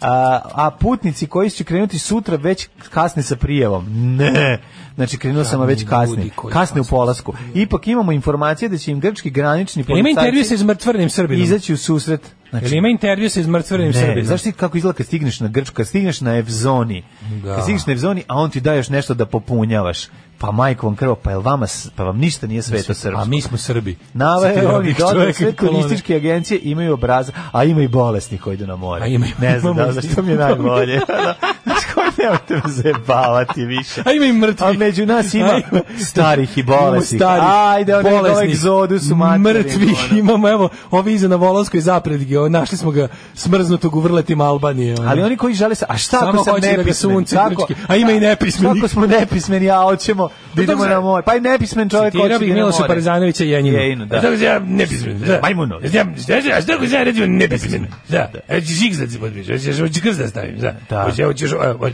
A, a putnici koji će krenuti sutra već kasne sa prijevom. Ne. Znači krenuo sam a već kasni. Kasne u polasku. Ipak imamo informacije da će im grčki granični Jel ima intervju policajci sa izmrtvrnim Srbinom? izaći u susret. Znači, Jel ima intervju sa izmrtvrnim Ne, Srbinom? znaš ti kako izgleda kad stigneš na Grčku, kad stigneš na Evzoni, Da. kad stigneš na Evzoni, a on ti daje još nešto da popunjavaš. Pa majkom krvo, pa jel vama, s- pa vam ništa nije sveto srpsko. A mi smo Srbi. Naveo Citirao oni bih dodao čoveka sve iz kolone. turističke agencije imaju obraza, a ima i bolesni koji idu na more. A ima i- ne znam imamo da, i- zašto mi je najbolje. Da. Znaš koji nemojte me zajebavati više. A ima i mrtvi. A među nas ima starih i bolesnih. Imamo starih, Ajde, oni bolesnih, ovaj egzodus u materinu, Mrtvih ono. imamo, evo, ovi iza na Volovskoj zapredgi, ovo, našli smo ga smrznutog u vrletima Albanije. ono. Ali oni koji žele sa, a šta Samo ako sam hoće da ga nepismen? sunce Kako- krčki. A ima i nepismenih. Kako smo nepismeni, a hoćemo da Pa idemo dobro, na more. Pa i nepismen čovjek hoće da Citirao ide bih na Miloša more. Parezanovića i Jenjinu. Jenjinu, da. A Tako ja ne pismen. Da. Majmuno. Ja znam, šta ja šta ja redim ne pismen. Da. Ja ću žig da se potpišem. Ja ću hoću krst da stavim. Da. Da. Hoće hoćeš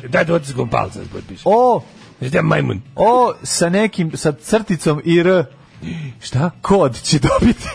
da da otiskom palca da se potpišem. O, Ja majmun. o, sa nekim, sa crticom i r, Šta? kod će dobiti.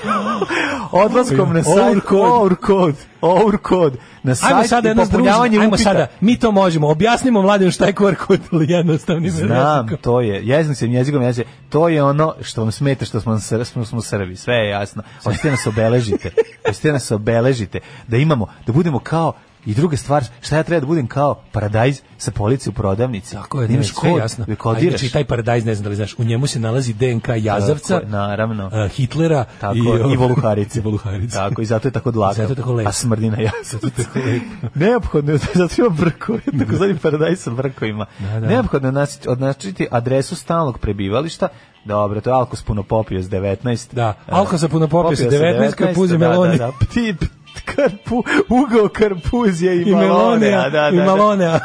Odlaskom na sajt. Our kod. Our kod. Our kod. Na Ajmo sajt sada i jedno združenje, popunjavanje ajmo upita. sada, mi to možemo, objasnimo mladim šta je QR kod ili jednostavnim Znam, to je, jezim se jezikom, jezim, to je ono što vam smeta što smo, sr- smo, smo Srbi, sve je jasno. Hoćete nas obeležite, hoćete nas obeležite, da imamo, da budemo kao, i druga stvar, šta ja treba da budem kao paradajz sa police u prodavnici? Tako je, Da ne, imaš sve je kod, jasno. da A kodiraš. inače, taj paradajz, ne znam da li znaš, u njemu se nalazi DNK Jazavca, Tako je, naravno. a, Hitlera Tako, i, i, ovaj, voluharice. i Voluharice. Tako, i zato je tako dlaka. Zato je tako lepo. A smrdi na jasu. Zato je tako lepo. Neophodno je, zato ima brkove, tako zadnji paradajz sa brkovima. Da, da. Neophodno je nas- označiti adresu stalnog prebivališta, Dobro, to je Alkos puno popio s 19. Da, E, Alkos sa puno popio s popio 19, karpuzi, da, meloni. Da, da, pti, pt- karpu, ugao karpuzija i, I Melone, malonea, da, da, i da. Malone.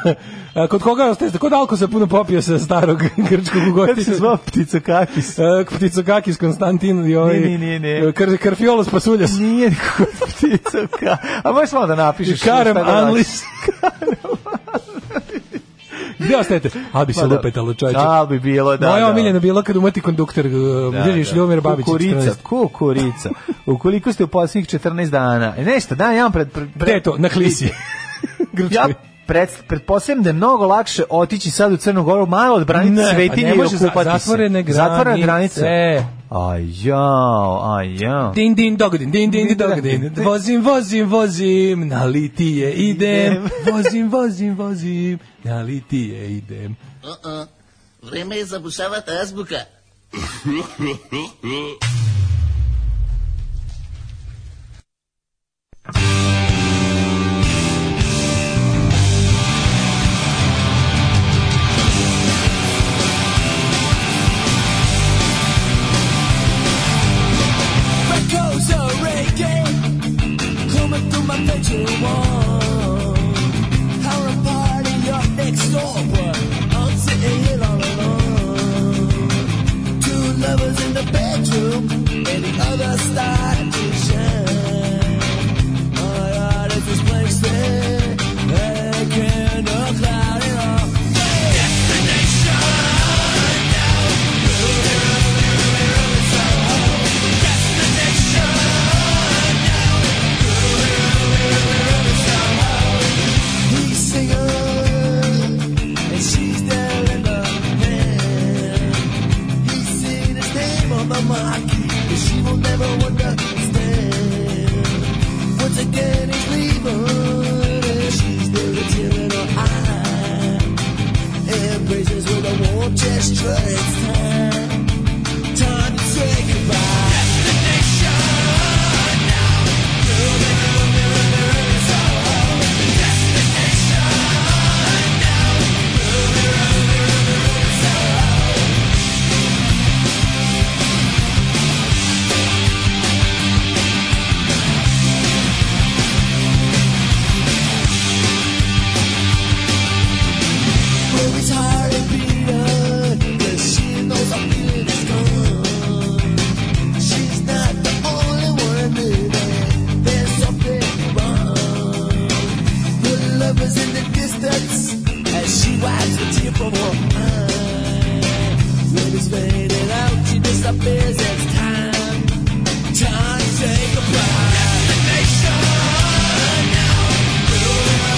A kod koga ostajete? Kod Alkosa puno popio sa starog grčkog Kako se ugotina. zvao ptica kakis? Pticokakis Konstantin i ovaj... Nije, nije, nije. Kar, karfiolos Pasuljas. Nije kod ptica ka. A možeš malo da napišeš. Karem šta da napišeš? Anlis. Gde ostajete? Albi se Pa da. lupetalo, čovječe. Da bi bilo, da. Moje da. omiljeno bilo kad umati konduktor, e, Da, da, da. Ljubomir Babić, Kukurica, 14. kukurica. Ukoliko ste u posljednjih 14 dana, e, nešto, da, ja vam pred... pred, Gde je to? Na klisi. Ja Grčkoj. pred, pretpostavljam da je mnogo lakše otići sad u Crnu Goru, malo odbraniti Ne, pa svetinje ne i može, za- okupati se. zatvorene Zatvorene granice. granice. Aj jao, aj jao. Din din dogodin, din din din dogodin. Din, din. Vozim, vozim, vozim, na litije idem. Vozim, vozim, vozim, na litije idem. Vreme je zabušavati azbuka.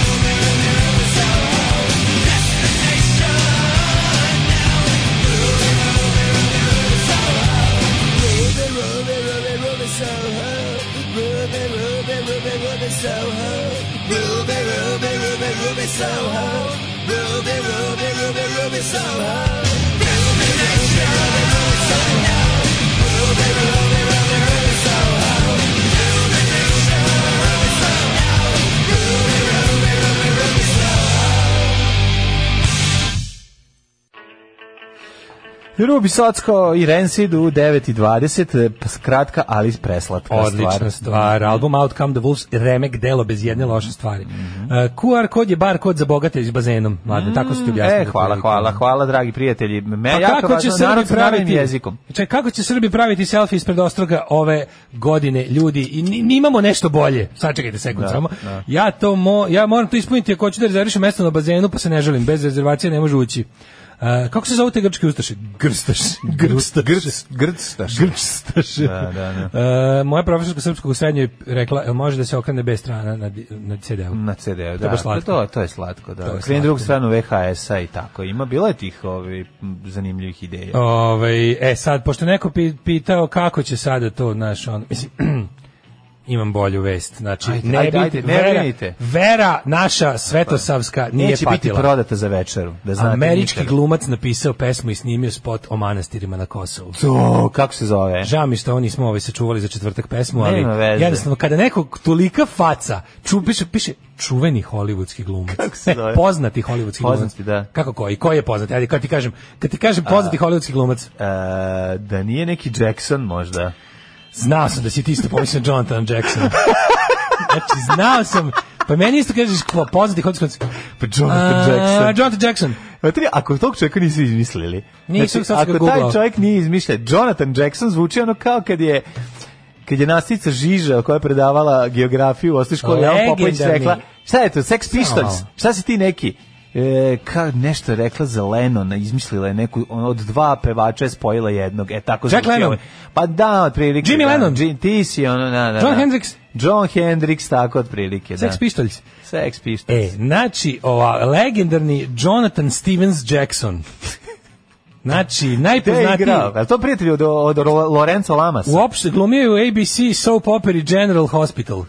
Thank Ruby Soho. Ruby, Ruby, Ruby, Ruby Soho. Ruby Nation. Ruby, Ruby Soho. Ruby, Ruby, Ruby, Ruby Soho. Ruby Nation. Ruby Soho. Ruby, Ruby, Ruby, Ruby Soho. Rubi Socko i Rancid u 9.20, kratka, ali preslatka stvar. Odlična stvar. Pa Album Outcome the Wolves, remek delo bez jedne loše stvari. Mhm. E, QR kod je bar kod za bogate s bazenom. Mladen, tako su ti objasnili. E, hvala, hvala, hvala, dragi prijatelji. Me, Pa E, jako kako će važno, Srbi narod sa narodnim praviti jezikom? Čekaj, kako će Srbi praviti selfie ispred ostroga ove godine, ljudi? I ni- ni imamo nešto bolje. Sačekajte sekund Da, samo. da. Ja to mo, ja moram to ispuniti ako hoću da rezervišem mesto na bazenu, pa se ne želim, bez rezervacije ne može ući. E, kako se zove te grčke ustaše? Grstaš. Grstaš. Grstaš. Grstaš. Da, da, E, moja profesorka srpskog u srednjoj je rekla, jel može da se okrene bez strana na, di- na CD-u? Na CD-u, To je baš da. slatko. To, to je slatko, To da. je Kreni slatko. drugu stranu VHS-a i tako. Ima, bilo je tih ovi, m, zanimljivih ideja. Ovaj, e sad, pošto je neko pi- pitao kako će sada to, znaš, on, mislim, imam bolju vest. Znači, Ajde, ne, ajde, bi- ajde, ne vera, brinite. vera naša svetosavska nije Neće biti patila. prodata za večeru, da znate. Američki nikada. glumac napisao pesmu i snimio spot o manastirima na Kosovu. To, kako se zove? Žao mi što oni smo ovaj sačuvali za četvrtak pesmu, ali Nema veze. jednostavno kada neko tolika faca, ču, piše, piše čuveni holivudski glumac. Kako se Ne, zove? poznati holivudski glumac. Poznati, da. Kako koji? Koji je poznati? Ajde, kad ti kažem, kad ti kažem poznati A. holivudski glumac, E, da nije neki Jackson možda. Znao sam da si ti isto pomislio na Jonathan Jackson. Znači, znao sam. Pa meni isto kažeš, ko poznati hodis konc. Pa Jonathan Jackson. Jonathan Jackson. Matri, ako tog čovjeka nisu izmislili. znači, Nisam, sad sam ga ako taj googlao. čovjek nije izmišljen, Jonathan Jackson zvuči ono kao kad je kad je nastavnica Žiža koja je predavala geografiju u osnovnoj školi, Legendarni. Popović Legendarni. rekla, šta je to, Sex Pistols, malo. šta si ti neki? E, ka, nešto je rekla za Lenona, izmislila je neku, on, od dva pevača je spojila jednog, e tako Jack zvuči Lennon. ovaj. Pa da, otprilike. Jimmy da. Lennon. Jim, ti si ono, na, na, John na. Hendricks. John Hendricks, tako otprilike, da. Sex Pistols. Sex Pistols. E, znači, ova, legendarni Jonathan Stevens Jackson. Znači, Gde je najpoznatiji... igrao? Je li to prijatelj od, od Ro- Lorenzo Lamasa? Uopšte, glumio je u ABC soap operi General Hospital.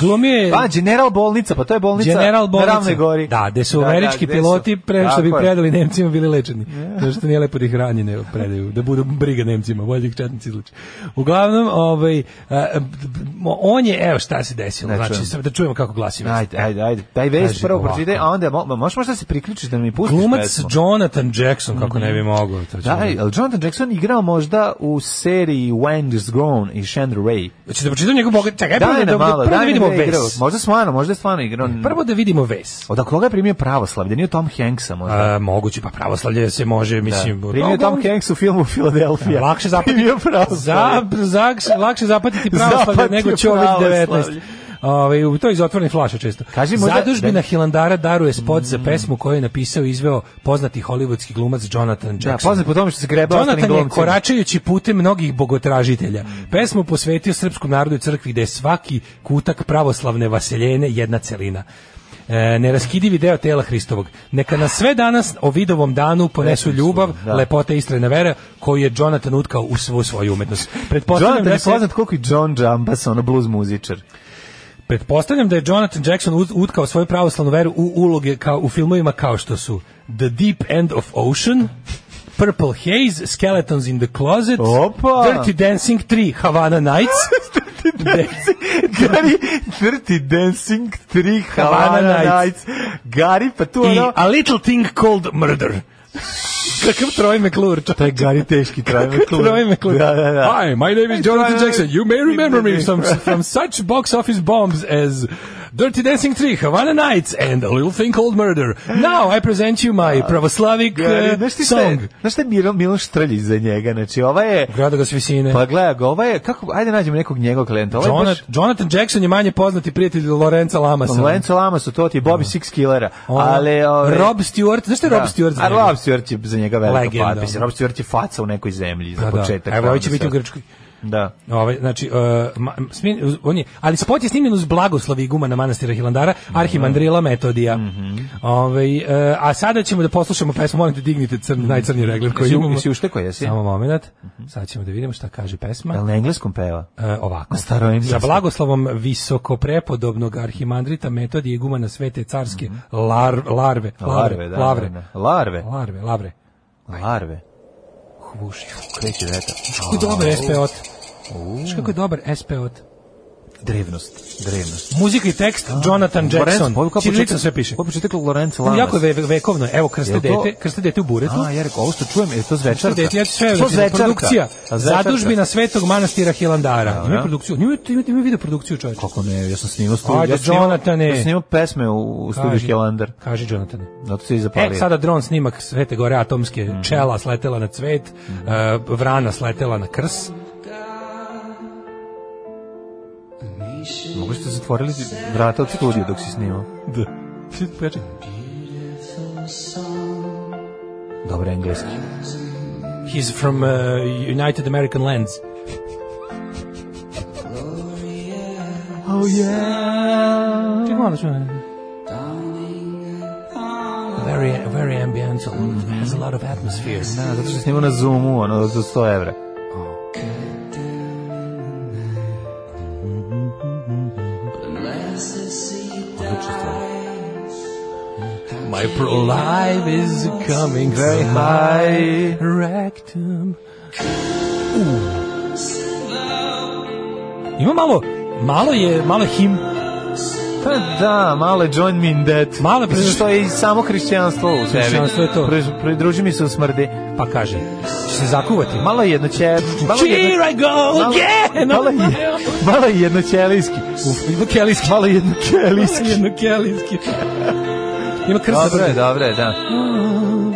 Glumio je... Pa, General bolnica, pa to je bolnica General bolnica. na Ravnoj gori. Da, gde su Da, da, američki gde su. piloti pre što bi ih Tako je. predali Nemcima bili lečeni. Zato što nije lepo da ih ranjene predaju, da budu briga Nemcima, bolje da ih četnici izleče. Uglavnom, ovaj, a, b- b- on je, evo šta se desilo, Ne znači čujem. sad da čujemo kako glasi vest. Ajde, ajde, ajde. Daj vest Kaže prvo ovako. pročitaj, a onda mo, možeš možda se Mhm. priključiš da mi pustiš Glumac pesmu. Jonathan Jackson, kako ne bi mogao. To ćemo- Da, je li Jonathan Jackson igrao možda u seriji When is Grown i Shandra Ray? Hoćete da pročitam njegov bogat? Čekaj, Daj prvo da, nam da, malo, pa prvo da daj nam vidimo da je igrao. ves. Možda stvarno, možda je stvarno igrao. Prvo da vidimo ves. Od koga je primio pravoslavlje? Nije od Tom Hanksa možda? A, moguće, pa pravoslavlje se može, mislim... da. Primio je Uglavnom- Tom Hanks u filmu Philadelphia. Lakše zapatiti, Primio pravoslavlje. za, za, lakše zapatiti pravoslavlje Zapatio nego čovjek pravoslavlje. 19. Ovaj, u- to je iz otvorenih flaša često. Kaži možda- Zadužbina da- Mm. Hilandara daruje spot za pesmu koju je napisao i izveo poznati hollywoodski glumac Jonathan Jackson. Da, poznat po tome što se greba ostalim Jonathan je glumcima. koračajući putem mnogih bogotražitelja. Pesmu posvetio srpskom narodu i crkvi gde je svaki kutak pravoslavne vaseljene jedna celina. E, neraskidivi deo tela Hristovog. Neka na sve danas o vidovom danu ponesu ljubav, da. lepote istrajne vere koju je Jonathan utkao u svu svoju umetnost. Pretpostavljam, Jonathan da, je se, poznat koliko i John Jambas, ono blues muzičar. pretpostavljam da je Jonathan Jackson ut- utkao svoju pravoslavnu veru u uloge kao, u filmovima kao što su The Deep End of Ocean, Purple Haze, Skeletons in the Closet, Opa! Dirty Dancing 3, Havana Nights, Gary, Dirty Dancing 3, Havana Havana Nights. Nights. Gary, pa tu i ono... A Little Thing Called Murder. Kakav Troy McClure, Taj Gary teški traj McClure. Troy McClure. Da, da, da. Hi, my name is Jonathan Jackson. You may remember me from, from such box office bombs as Dirty Dancing 3, Havana Nights, and A Little Thing Called Murder. Now I present you Ah. my Pravoslavic Gary, uh, znaš ti šta song. je, znaš šta je Milo, Miloš Štrljić za njega? Znači, ova je... Grada ga s visine. Pa gledaj ga, ova je... Kako, ajde nađemo nekog njegovog klijenta. Ova je Jonat- baš... Jonathan Jackson je manje poznati prijatelj Lorenza Lamasa. Lenco Lamasu, to ti je Bobby Six Killera. Ono, Ali, ove, Rob Stewart, znaš šta je Rob Stewart za A njega? Rob Stewart je za njega velika Legenda. patpis. Rob Stewart je faca u nekoj zemlji za Pa da. početak. Evo, pa ovo onda će biti sad. u Grčkoj. Da. Ovaj znači uh, ma- smin- on je, ali spot je snimljen uz blagoslovi igumana manastira Hilandara, arhimandrila Metodija. Ovaj, e, a sada ćemo da poslušamo pesmu, molim te dignite crn, najcrnji regler koji Jesi u- imamo. jesi uštekao, jesi? Samo moment, sad ćemo da vidimo šta kaže pesma. Jel na engleskom peva? E, ovako. Na staroengleskom. Sa blagoslovom visokoprepodobnog arhimandrita metodije igumana svete carske lar- larve, larve, Larve, da, lavre. da, da. Larve. Larve, lavre. Larve. Huš, kreće vetar. Kako je dobar SPOT. Uuu. Znaš kako je dobar SPOT. Drevnost, drevnost. Muzika i tekst Jonathan Lorenz, Jackson. ovo kako Čirilica čita- sve piše. Kako čita Lorenz Lamas? Jako je ve- vekovno. Evo, krste Jel to- dete, krste dete u buretu. A, ja rekao, ovo što čujem, je to zvečarka? Dete, ja ti sve, To znači, zvečarka. produkcija. A zvečarka? Zadužbina Svetog manastira Hilandara. Ima da. produkciju. Ima ima ima video produkciju, čoveče. Kako ne, ja sam snimao studiju. Ajde, ja sam snimao- Jonathane. Ja sam snimao pesme u, u studiju Kaži. Helander. Kaži, Jonathan. Zato se i E, zapalio. sada dron snimak Svete Gore atomske Mhm. čela sletela na cvet, e, vrana sletela na krs. Mogu ste zatvorili vrata od studija dok si snimao? Da. Pojačaj. Dobar engleski. He's from uh, United American Lands. Oh yeah. Čekaj malo, čujem. Very, very ambiental. Has a lot of atmosphere. Da, zato što snimao na Zoomu, ono, za 100 evra. My pro life is coming very high. Rectum. Ima malo, malo je, malo je him. Pa da, malo je join me in that. Malo je Zato pridruži- što je i samo hrišćanstvo u sebi. Hrišćanstvo je to. Pri- Pridruži mi se u smrdi. Pa kaže, će se zakuvati. Malo je jedno će... Malo je jedno- Here I go Malo- again! Malo je, malo je jedno ćelijski. Uf, ima kelijski. Malo je jedno ćelijski. Jedno kelijski. Ima krsta. Dobro je, dobro je, da.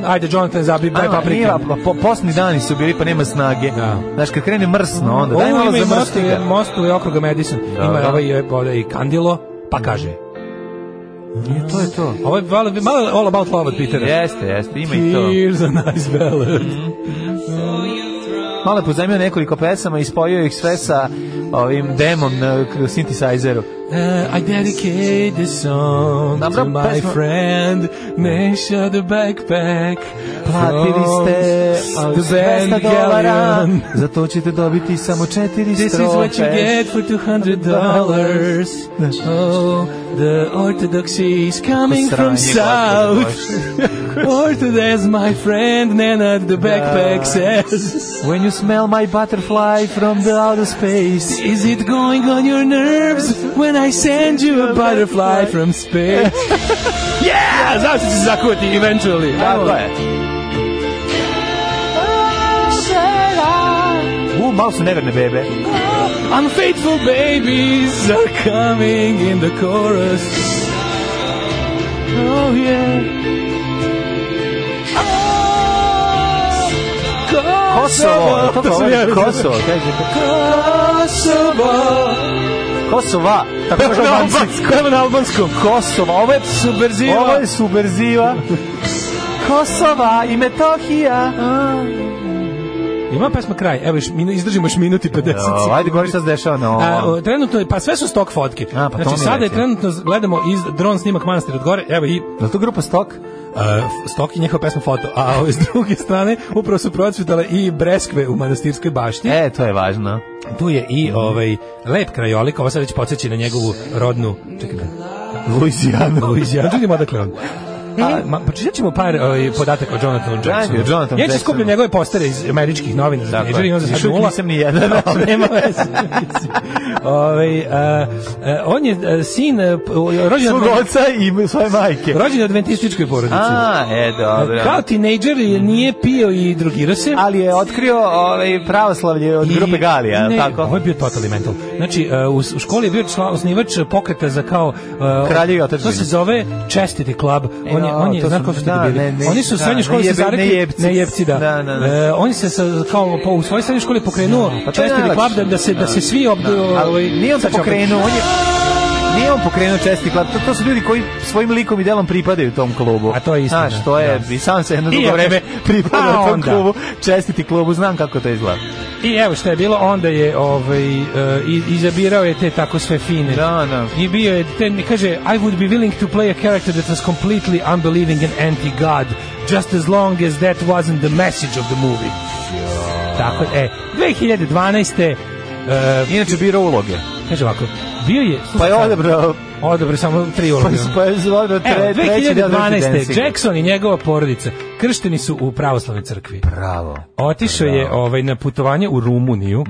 Ajde, Jonathan, zabij, daj Ajmo, paprike. nije, pa po, posni dani su bili, pa nema snage. Da. Znaš, kad krene mrsno, onda daj Ovo malo ima i za mostu, mrstiga. mostu i okruga Madison. Ima Dobro. ovaj, ovaj i kandilo, pa kaže. I to je to. Ovo je malo, malo all about love od Petera. Jeste, jeste, ima i to. Here's a nice ballad. Malo je pozajmio nekoliko pesama i spojio ih sve sa ovim demom na k- synthesizeru. Uh, I dedicate this song Dobro, to my pesma. friend Neša the backpack Platili ste from ali 200 dolara, Galleon. za to ćete dobiti samo četiri This is strofe. what you get for $200. Oh, the orthodoxy is coming from Sranje, gospode south. Orthodox, my friend Nenad the backpack says. When you smell my butterfly from the outer space. Is it going on your nerves when I send you a butterfly from space? yeah! Znaš da će se zakuvati eventually. Tako je. U, malo su neverne bebe. Unfaithful babies are coming in the chorus. Oh yeah. Oh, Kosovo, to sam ja govori rekao. Kosovo, kaže. Kosovo. Kosova, tako Evo može na albanski. albanskom. Evo na albanskom. Kosova, ovo je Subverziva. Ovo je subverziva. Kosova i Metohija. Ima pesma kraj. Evo, još minu, izdržimo još minut i 50 O, ajde, govori šta se dešava na A, o, ovom. trenutno je, pa sve su stok fotke. A, pa to znači, mi sada je reci. trenutno, gledamo iz dron snimak manastira od gore, evo i Je li to grupa Stok? Uh, Stok i njihova pesma Foto, a s druge strane upravo su procvjetale i breskve u manastirskoj bašti. E, to je važno. Tu je i ovaj lep krajolik, ovo sad već podsjeći na njegovu rodnu, čekaj, Luizijana. Luizijanu, čekaj, odakle on. A, ma, pročitat ćemo par ovaj, podataka o Jonathanu Jacksonu. Ajde, Hmm? o Jonathanu ja ću Jacksonu. skupljam njegove postere iz američkih novina za Tako je. tineđeri, imam za Još sad uvijek nula. nisam ni jedan. Ali nema veze. Ovaj, a, a, on je a, sin, a, p- rođen, Svog od- oca i svoje majke. rođen je u adventističkoj porodici. A, e, dobro. Kao tinejdžer je- nije pio i drogirao se. Ali je otkrio ovaj, pravoslavlje od I- grupe Galija, je li ne, tako? Ovo je bio totally mental. Znači, uh, u, u školi je bio član, osnivač pokreta za kao... Uh, Kraljevi To otadžbine. se zove Chastity Club. On je, no, on je, to znaš su- kako su da, to bili? ne, ne, oni su u da, srednjoj školi se nejebe- zarekli... nejebci. nejebci, da. Da, da, da. E, oni se sa, kao po, u svojoj srednjoj školi pokrenuo Pa to je Chastity najlakše. Club da, da, se, da se svi obdu... Ali ovaj, nije on to sačopaju. pokrenuo, on je... nije on pokrenuo česti klub. To, to su ljudi koji svojim likom i delom pripadaju tom klubu. A to je istina. Znaš, to je, i sam se jedno I dugo ako- vreme A pripadao tom onda. klubu, čestiti klubu, znam kako to izgleda. I evo šta je bilo, onda je ovaj, e, i- izabirao je te tako sve fine. Da, da. I bio je, te, kaže, I would be willing to play a character that was completely unbelieving and anti-God, just as long as that wasn't the message of the movie. Tako, e, 2012. Uh, Inače birao uloge. Kaže ovako, bio je... Pa je odebrao... Odebrao samo tri uloge. Pa, pa je odebrao tre, Evo, treći deo Dirty 2012. Dancing. Jackson i njegova porodica kršteni su u pravoslavnoj crkvi. Bravo. Mhm. Otišao je ovaj na putovanje u Rumuniju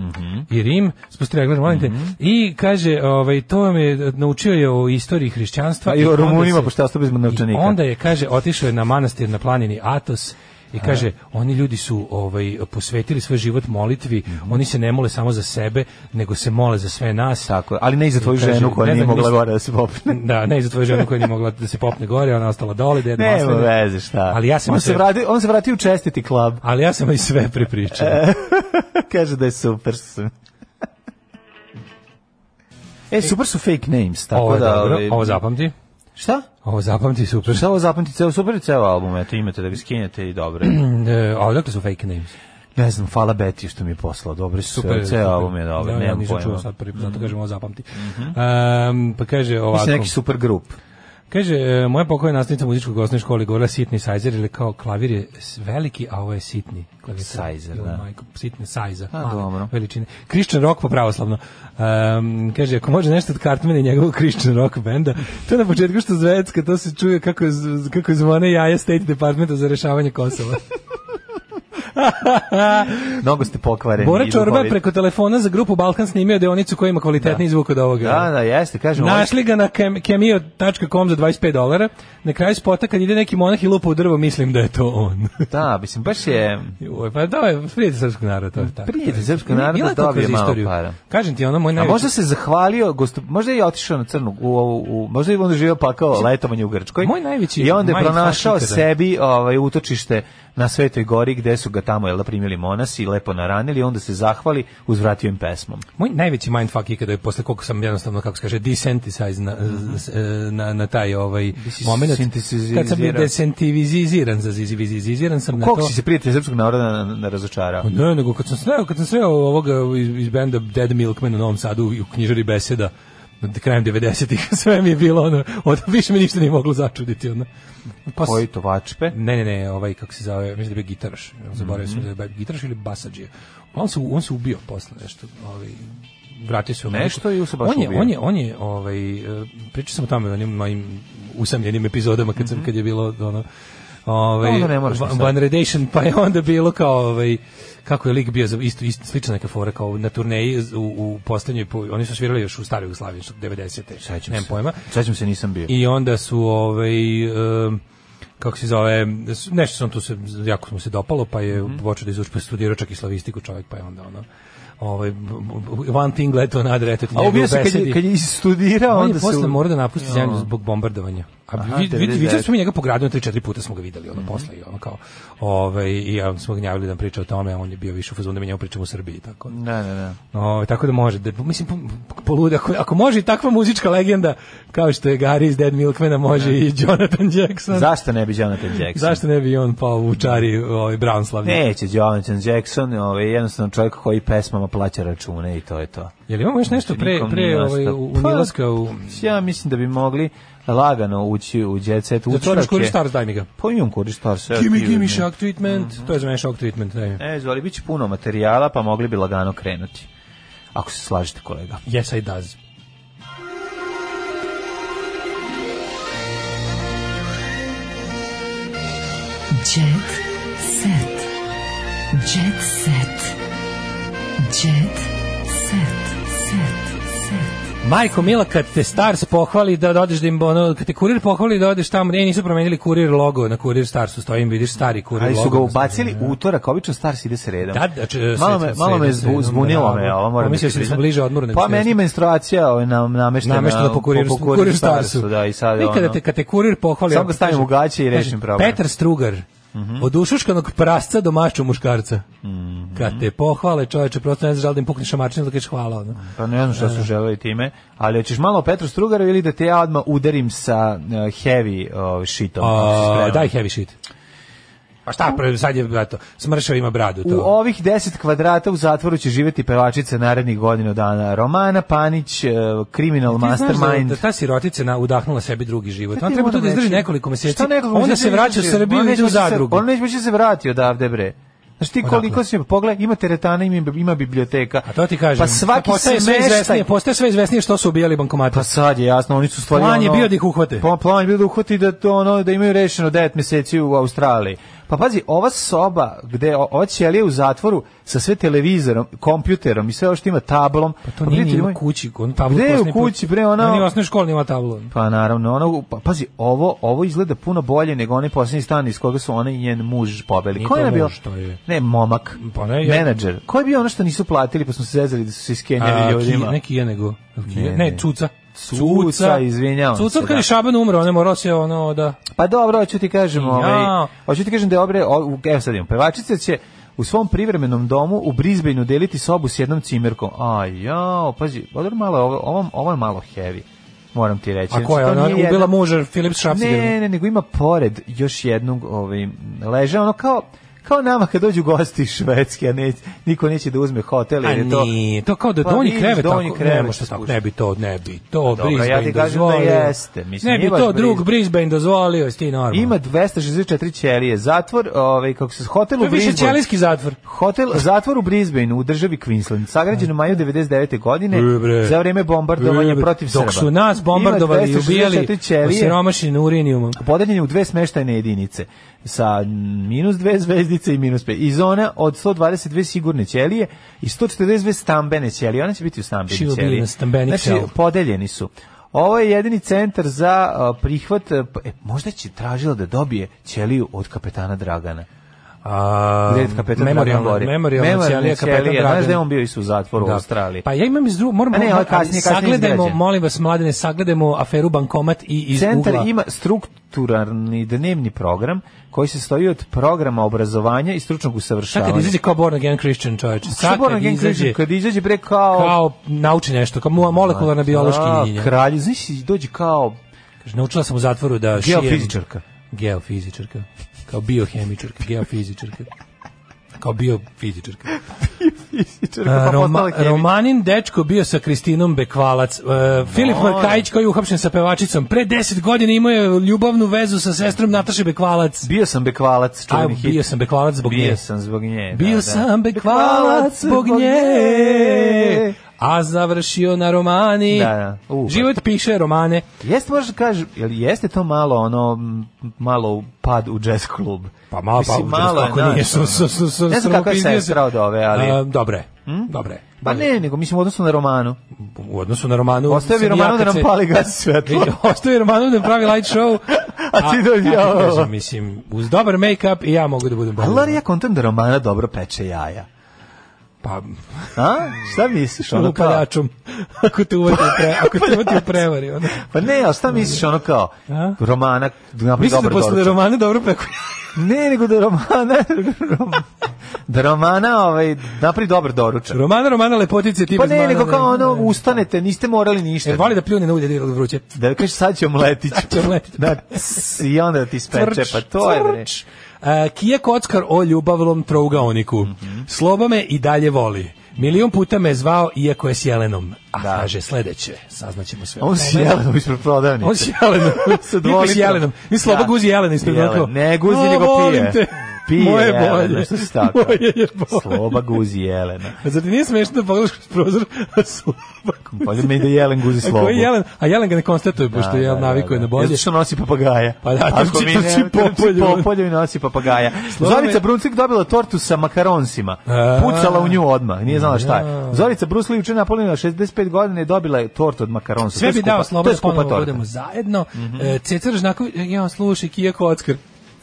i Rim, spustio je gledam, molim te, i kaže, ovaj to me naučio je o istoriji hrišćanstva A Pa i o onda Rumunima, se- pošto ja bez novčanika. Onda je kaže otišao je na manastir na planini Atos i kaže oni ljudi su ovaj posvetili svoj život molitvi, Mhm. oni se ne mole samo za sebe, nego se mole za sve nas. Tako, ali ne i za tvoju I kaže, ženu koja ne nije znam, mogla mislim- gore da se popne. Da, ne i za tvoju ženu koja nije mogla da se popne gore, ona je ostala dole, deda Nema Maslin. veze, šta. Ali ja sam on joj se sve- vrati, on se vrati u čestiti klub. Ali ja sam i sve prepričao. Kaže da je super. što sam- E, super su fake names, tako Ovo je da... dobro, ovaj- ovo zapamti. Šta? Ovo zapamti super. Šta ovo zapamti ceo, super je ceo album, eto imate da ga skinete i dobro. je. E, A odakle su fake names? ne znam, hvala Beti što mi je poslao, dobro su, Super, super, ceo album je dobro, Da, ja nemam nisam pojma. čuo sad prvi, put, zato kažem ovo zapamti. Mhm. Ehm, pa kaže ovako. Mislim, neki super grup. Kaže, e, moja pokojna nastavnica muzičkog osnovne škole govorila sitni sajzer ili kao klavir je s- veliki, a ovo je sitni klavir. Sajzer, Joj, da. Majko, sitne sajza, A, male dobro. veličine. Christian rock po pravoslavno. Ehm, kaže, ako može nešto od Cartmana i njegovog Christian rock benda, to na početku što zvecka, to se čuje kako, z- kako zvone jaja State Departmenta za rešavanje Kosova. Mnogo ste pokvareni. Bora i Čorba je duhoviti. preko telefona za grupu Balkan snimio deonicu koja ima kvalitetni zvuk od ovoga. Da, Ovaj- da, jeste, kažem. ovo je- Našli ga na kem- cameo.com za 25 dolara. Na kraju spota kad ide neki monah i lupa u drvo, mislim da je to on. Da, mislim, baš je... Joj, pa da, je prijatelj srpskog naroda, to je tako. Prijatelj srpskog naroda Bila je dobije kakva malo istoriju. para. Kažem ti, ono moj A najveći... možda se zahvalio, gostu, možda je i otišao na crnu, u, ovu- u, možda je on živio pakao letovanje u Grčkoj. Moj najveći I onda je mindfuck pronašao ikada. sebi ovaj, utočište na Svetoj gori gde su ga tamo jel, da primili monasi, lepo naranili, onda se zahvali, uzvratio im pesmom. Moj najveći mindfuck ikada je posle koliko sam jednostavno kako se kaže desensitize na, Mhm. s- e, na, na taj ovaj moment kad sam bio desensitiziran za ziziviziziraniziran sam na Koliko to si se prijatelj srpskog naroda na, na, na razočarao? Pa Ne, nego kad sam sreo, kad sam sreo ovoga iz, iz benda Dead Milkman u Novom Sadu i u knjižari Beseda, na krajem 90-ih, sve mi je bilo ono, od, više me ništa nije moglo začuditi. Ono. s- Koji to vačpe? Ne, ne, ne, ovaj, kako se zove, mislim da je bio gitaraš, zaboravio Mhm. sam da je bio gitaraš ili basađija. On se, on se ubio posle nešto, ovaj, vratio se u Ameriku. Nešto i se baš on je, ubio. on je, on je, ovaj, eh, pričao sam o tome, o onim mojim usamljenim epizodama kad, sam, kad je bilo, ono, ovaj, Mhm. Onda ne moraš ni sad. Van- Van Redation, pa je onda bilo kao ovaj kako je lik bio za isto isto slična neka fora kao na turneji u, u poslednjoj po- oni su svirali još u staroj Jugoslaviji što 90-te. Nemam pojma. Sećam se, nisam bio. I onda su ovaj em, kako se zove, s- nešto sam tu se, jako mu se dopalo, pa je Mhm. počeo da izuči, pa je studirao čak i slavistiku čovjek, pa je onda ono, ovaj, b- b- one thing led to another, eto ti A njegove ubio se kad je, besedi. kad je istudirao, On je onda se... posle u- morao da napusti Jo. zemlju zbog bombardovanja. A Aha, Mhm. vid, vid, 99. viđali smo mi njega po gradu, jedno tri, četiri puta smo ga videli, ono, posle i ono kao, ovaj, i ja smo ga gnjavili da nam priča o tome, a on je bio više u fazonu da mi njemu pričamo u Srbiji, tako. Ne, ne, ne. Ovaj, tako da može, da, mislim, po- polude, ako, ako može i takva muzička legenda, kao što je Gary iz Dead Milkmana, može i Jonathan Jackson. Zašto ne bi Jonathan Jackson? Zašto ne bi on pao u čari ovaj, Brownslavni? Neće Jonathan Jackson, ovaj, jednostavno čovjek koji pesmama plaća račune i to je to. Je li imamo još nešto pre, Nikom nije pre ovaj, ostao. u, Pa, unilaska u... Ja mislim da bi mogli lagano ući u Jet Set. Zato imaš Kuri Stars, daj mi ga. Pa imam Kuri Stars. evo Gimme, ti gimme uzmi. shock treatment. To je za mene shock treatment, daj mi. E, zvali, bit će puno materijala, pa mogli bi lagano krenuti. Ako se slažete, kolega. Yes, I does. Jet set. Jet set. Jet set. Set. Set. Majko Mila, kad te Stars pohvali da odeš da im, ono, kad te kurir pohvali da odeš tamo, ne, nisu promenili kurir logo na kurir Starsu, stojim, vidiš stari kurir Ali logo. su ga na ubacili u utorak, obično Stars ide se redom. Da, da, če- malo sred- me, malo me sred- zbu, sred- zbunilo da, me, ovo moram pomislio ti sam da smo priznati. bliže odmoru nego Pa što meni je jeste. menstruacija ovaj, nam, nameštena, namešteno po kuriru, po kurir Starsu. Da, i sad, Nikada ono- te, kad te kurir pohvali... Samo ono, ga stavim kaže- u gaće i kaže, rešim problem. Mhm. Petar Strugar, Od ušuškanog prasca do mašću muškarca. Kad te pohvale, čoveče, prosto ne znaš da li da im pukneš amačinu da kažeš hvala. Ono. Pa ne znam šta su želeli time, ali hoćeš malo o Petru Strugaru ili da te ja odmah udarim sa uh, heavy uh, shitom? kako si A, spremao? daj heavy shit. Pa šta, pre- sad je, eto, smršav ima bradu. To. U ovih 10 kvadrata u zatvoru će živeti pevačica narednih godinu dana. Romana Panić, eh, criminal Ti znaš mastermind. Da, da ta sirotica na, udahnula sebi drugi život. Šta Ona Pa ti treba tu da moram izdrži reći? nekoliko meseci. Šta nekoliko onda meseci se vraća u neće- Srbiju ona i ide u neće se- zadrugu. Ona neće moći da se vrati odavde, bre. Znaš ti koliko se, pogledaj, ima teretana, ima, ima biblioteka. A to ti Kažem, Pa svaki postaje sve smeštaj, izvesnije, postaje sve izvesnije što su ubijali bankomate. Pa sad je jasno, oni su stvari Plan je ono- bio da ih uhvate. Pa plan je bio da uhvati da to ono da imaju rešeno 9 meseci u Australiji. Pa pazi, ova soba gde o- ova ćelija u zatvoru sa sve televizorom, kompjuterom i sve ovo što ima tablom. Pa To nije ni u kući, on tablo. Gde je poslednji u put- kući, bre, ona- Ona ni u osnovnoj školi nima tablo. Pa naravno, ono, pa, pazi, ovo, ovo izgleda puno bolje nego onaj posljednji stan iz koga su ona i njen muž pobeli. Nije Ko je to ona bila? muž, to je- Ne, momak. Pa ne, ja- Menadžer. Ko je bio ono što nisu platili pa smo se zezali da su se A, iskenjali ljudima? Ki- ne Kija, nego. Kija- Ne, Ne, ne. Cuca. Cuca, izvinjavam Cuca se, od kada da. je Šaban umro, on je morao se ono da... Pa dobro, hoću ti kažem, ovaj, Ja. hoću ti kažem da je obre, o- u- evo sad imam, pevačica će u svom privremenom domu u Brisbaneu deliti sobu s jednom cimerkom. A ja, pazi, pa dobro malo, je ovo, ovo, ovo je malo heavy, moram ti reći. A ko je? Znači, to nije Ona ubila jedan- muža Philips Šrapsiger. Ne, ne, nego ima pored još jednog ovaj, leža, ono kao, kao nama kad dođu gosti iz Švedske, a ne, niko neće da uzme hotel. A jer je to, nije, to kao da Pa donji vidiš, krevet donji tako, krevet ne može se tako, spušta. ne bi to, ne bi to, Dobro, Brisbane ja ti kažem da dozvolio. jeste, mislim, ne bi nije baš to drug Brisbane. Brisbane dozvolio, jesi ti normalno. Ima 264 ćelije, zatvor, ovaj, kako se, hotel u to je Brisbaneu. više ćelijski zatvor. Hotel zatvor u Brisbaneu u državi Queensland, sagrađen u maju 99. godine E, bre. za vreme bombardovanja E, protiv Srba. Dok su nas bombardovali i Ima 264 ubijali ćelije, osiromašeni urinijumom. podeljen je u dve smeštajne jedinice sa minus dve zvezdice i minus pet. I zona od 122 sigurne ćelije i 142 stambene ćelije. Ona će biti u stambeni She'll be in ćelije. a stambenic Znači, cell. podeljeni su. Ovo je jedini centar za a, prihvat, e, pa- e, možda će tražila da dobije ćeliju od kapetana Dragana. A, Gde je kapetan memorialna- Dragan Gori? memorialna ćelija kapetana ćelija. Dragan. Znaš da je on bio isto u zatvoru u Da. Australiji? Pa ja imam iz drugog, moramo, A ne, ne, ovo je kasnije- kasnije sagledajmo, izgrađeno. molim vas mladene, sagledajmo aferu bankomat i iz Centar ugla. ima strukturalni dnevni program koji se stoji od programa obrazovanja i stručnog Sad usavršavanja. kad izađe kao born again Christian, čoveče. Šta Sad Born kad Again izađe Christian, kad izađe bre kao... kao nauči nešto, kao mo- molekularna biološki A, inženjer. Kralj, znaš, i dođe kao Kaže, naučila sam u zatvoru da šijem... Geofizičarka. Geofizičarka. Kao biohemičarka, geofizičarka. Kao biofizičarka. fizičarka, A, pa postala Roma, hemičarka. Romanin dečko bio sa Kristinom Bekvalac. E, Filip Markajić koji je uhapšen sa pevačicom. Pre 10 godina imao je ljubavnu vezu sa sestrom Nataše Bekvalac. Bio sam Bekvalac, A, čuveni hit. bio sam Bekvalac zbog Bio nje. sam zbog nje. da, Bio da. sam Bekvalac zbog nje. A završio na romani. Da, da. U, pa- Život piše romane. Jeste možda kaže, jel jeste to malo ono m, malo pad u jazz klub. Pa malo pa Mislim, malo je, kako znaš, nije su su su su Ne znam kako je sramopizdio se. sestra od ove, ali- A, dobre. Dobre. Pa ne, nego mislim u odnosu na romanu. U odnosu na Romanu... Ostavi sam Romanu da ja kad nam se- pali gas svetlo. Vidi, Ostavi Romanu da nam pravi light show. A ti dođi, kako ti ja. kažem, mislim, uz dobar make-up i ja mogu da budem bolji. Ali ja kontam da Romana dobro peče jaja. Pa, A? Šta misliš? Ono kao, upaljačom. Ako te uvati u, pre, ako te uvati u prevari. Ono. pa ne, ali šta misliš ono kao? A? Romana napravi Mislim da dobro posle doručak. Romane dobro preko... Ne, nego da Romana... da Romana ovaj, napravi dobar doručak. Romana, Romana, lepotice, ti Pa bez ne, mana, nego kao ono, ne. ustanete, niste morali ništa. E, voli da pljune na ulje, da je vruće. Da kažeš sad ću omletić. Će omletić. Da, ts, I onda da ti speče, Tvrč, pa to je bre. tvrč. E, Kija Kockar o ljubavlom trougaoniku. Mhm. Sloba me i dalje voli. Milion puta me je zvao, iako je s jelenom. A kaže, sledeće, saznaćemo sve. o On si tome. jelenom ispred prodavnice. On s jelenom. Sa dva Niko s litra. jelenom. I sloba Da. guzi jelena ispred Jelen. onako. Ne guzi, "O, nego volim pije. te." Pije Moje Jelena, bolje. što si tako? Moje je bolje. Sloba guzi jelena. A zar ti nije smešno da pogledaš kroz prozor, a sloba guzi? Pa mi da jelen guzi A slobu. koji jelen? A jelen ga ne konstatuje, pošto Da, je da, jel navikuje da, na da. bolje. Zato što nosi papagaja. Pa da, Ako trči- mi ne- trči po polju. po polju i nosi papagaja. Slobodno Zorica je- Brunclik dobila tortu sa makaronsima. A. Pucala u nju odmah, nije znala šta je. Ja. Zorica Brunclik juče napunila 65 godina i dobila je tortu od makaronsa. To Sve je bi skupa- dao to je slobodno skupa ponovo torta. Mhm. budemo zajedno. E, Ceca Ražnaković, ja slušaj, Kija Kockar.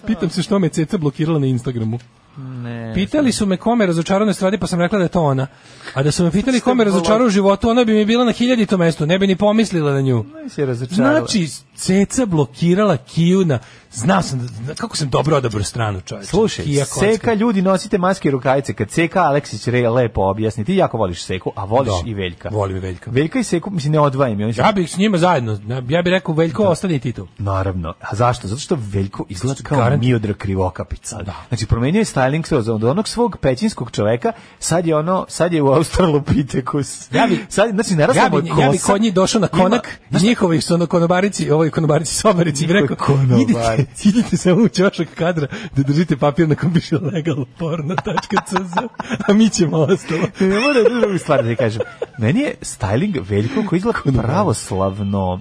Pitam se što me je Ceca blokirala na Instagramu. Ne. Pitali su me kome razočarao na estradi, pa sam rekla da je to ona. A da su me pitali kome razočarao u životu, ona bi mi bila na hiljadito mestu, ne bi ni pomislila na nju. Se razočarala. Znači, Ceca blokirala Kiju na... Znao sam, da- da- kako sam dobro odabrao stranu čoveče. Slušaj, Kija kocka. Seka, ljudi, nosite maske i rukavice. Kad Seka, Aleksić re, lepo objasni. Ti jako voliš Seku, a voliš Da. i Veljka. Volim i Veljka. Veljka i Seku, mislim, ne odvajim. je. Oni su- Ja bih s njima zajedno, ja- ja bih rekao Veljko ostani Tito. Naravno. A zašto? Zato što Veljko izgleda kao Znači, Garant- Miodrag Krivokapica. Znači, promenio je styling skroz od onog svog pećinskog čoveka, sad je ono, sad je u Australopitekus. Ja bi- sad, znači, narasla Ja mu je bi, ja bi kosa. kod njih došao na Ima- konak, i njihovi su ono konobarici, ovoj konobarici, sobarici, i bi rekao, Njihovi idite, konobarici. idite samo u čošak kadra da držite papir na kom piše legalporno.cz, a mi ćemo ostalo. ne moram jednu drugu stvar da ti kažem. Meni je styling Veljko koji izgleda pravoslavno...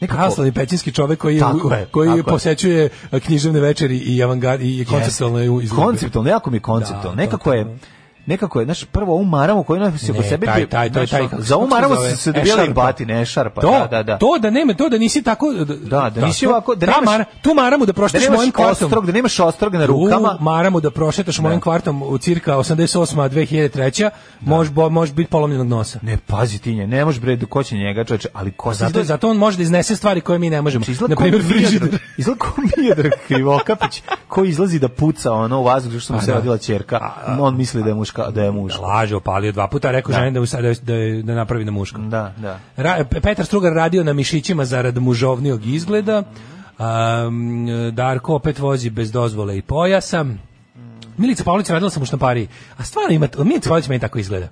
Nekako, Pravoslavni pećinski čovek koji, je, Tako je, koji tako je. posećuje književne večeri i avangard i konceptualne Jeste. izložbe. Konceptualno, jako mi je konceptualno. nekako je nekako je, znaš, prvo ovu maramu koju nosi po Ne, sebi, taj, taj, taj, znaš, taj, ono, kako se- za ovu kako se maramu zove? su se dobijali Ešarpa. batine, ešarpa, to, Pa da, da, da. to da nema, to da nisi tako da, da, nisi to- ovako, da ta nemaš- mara- tu maramu da prošetaš da nemaš mojim kvartom. ostrog, da nemaš ostrog na rukama. Tu maramu da prošetaš mojim kvartom u cirka 88 2003 može bo- može biti polomljenog nosa. Ne, pazi ti nje, ne možeš bre, da ko će njega, čoveče, ali ko se Zato, zato on može da iznese stvari koje mi ne možemo. Na Znači, izgleda kao primjer frižider. Miodrag- Izgleda kao Miodrag Krivokapić koji izlazi da puca ono u vazduh što mu A, se Pa da. rodila ćerka. On misli da je muška, da je muška. Laže, opalio dva puta, rekao Da. ženi da mu sad da, je- da napravi na muškom. Da, da. Ra, Pe- Petar Strugar radio na mišićima zarad mužovnijog izgleda. Um, Darko opet vozi bez dozvole i pojasa. Milica Pavlović radila sam u štampariji. A stvarno ima, Milica Pavlović meni tako izgleda.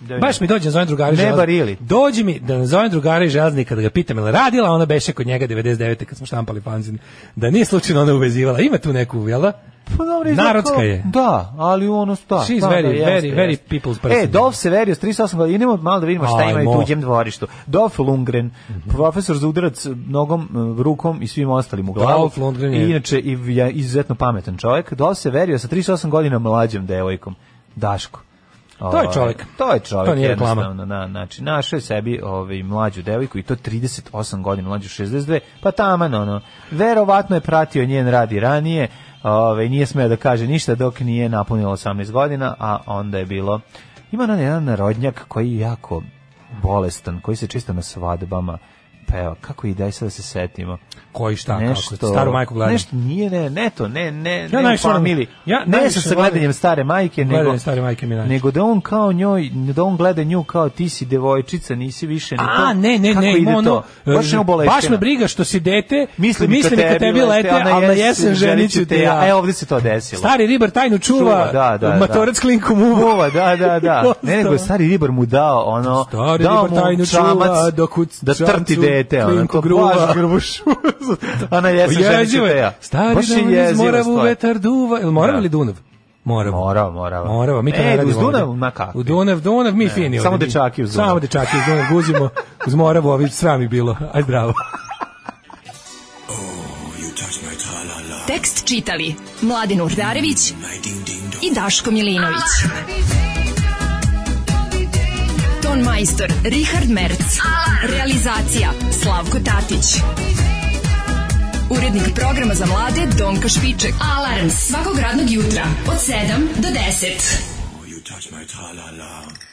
Da, Baš mi dođe nazovem drugara iz Ne, Želaznika. barili. Dođe mi da nazovem drugara iz Želaznika da ga pitam jel radila, a ona beše kod njega 99. kad smo štampali fanzin. Da nije slučajno ona uvezivala. Ima tu neku, jel da? Pa dobro, izgleda Narodska kao- je. Da, ali ono sta. She's da, very, da, jeste, very, very jeste. people's person. E, Dolf Severius, 38 godina, idemo malo da vidimo šta ima i Ajmo. Mhm. tuđem dvorištu. Dolf Lundgren, profesor za udarac nogom, eh, rukom i svim ostalim u glavu. Dolph Lundgren je- I Inače, i ja, izuzetno pametan čovjek. Dolf Severius sa 38 godina mlađom devojkom. Daško. To je Ovaj, čovjek. To je čovjek. To nije reklama. jednostavno, Da, znači, našao je sebi ovaj, mlađu devojku i to 38 godina, mlađu 62, pa taman ono. Verovatno je pratio njen rad i ranije, ovaj, nije smeo da kaže ništa dok nije napunilo 18 godina, a onda je bilo... Ima onaj jedan narodnjak koji je jako bolestan, koji se čisto na svadbama peva. Kako i daj sad da se setimo? Koji šta, kako, staru majku gledam. Nešto nije, ne, ne to, ne, ne, ne u najviše volim- familiji. ja ne najviše sa sa volim- gledanjem stare majke, nego, Gledanje stare majke mi je najviše. nego da on kao njoj, da on gleda nju kao ti si devojčica, nisi više ni to. A, ne, ne, Kako ne, ima ide ono, to? Baš je oboleštena. baš me briga što si dete, Mislim, mislim ka tebi lete, a ali na jesen ženit ću te ja. E, ovdje se to desilo. Stari ribar tajnu čuva, Čuva, da, da, da. matorac klinkom uva. Uva, da, da, da. Ne, nego je stari ribar mu dao, ono, Stari dao ribar tajnu mu čuva, čamac dok u da trti čamcu dete, ono, klinku to gruva. baš grbuš. a na jesen ženit ću Jezivo te je. ja. Stari Baš je dan iz jeziva Moravu stvar. vetar duva. Ili Morava Da. ili Dunav? Morava. Morava, Morava. Morava, mi to E, ne uz radimo. Dunav, ovde. ma kakvi. U Dunav, Dunav, mi fini. samo ovde mi. dečaki uz Dunav. Samo dečaki uz Dunav guzimo. Uz Moravu, ovi srami bilo. Aj zdravo. Tekst čitali Mladin Urdarević i Daško Milinović. Ton majstor Richard Merc. Realizacija Slavko Tatić. Urednik programa za mlade Donka Špiček. Alarms svakog radnog jutra od 7 do 10. You touch my tra-la-la.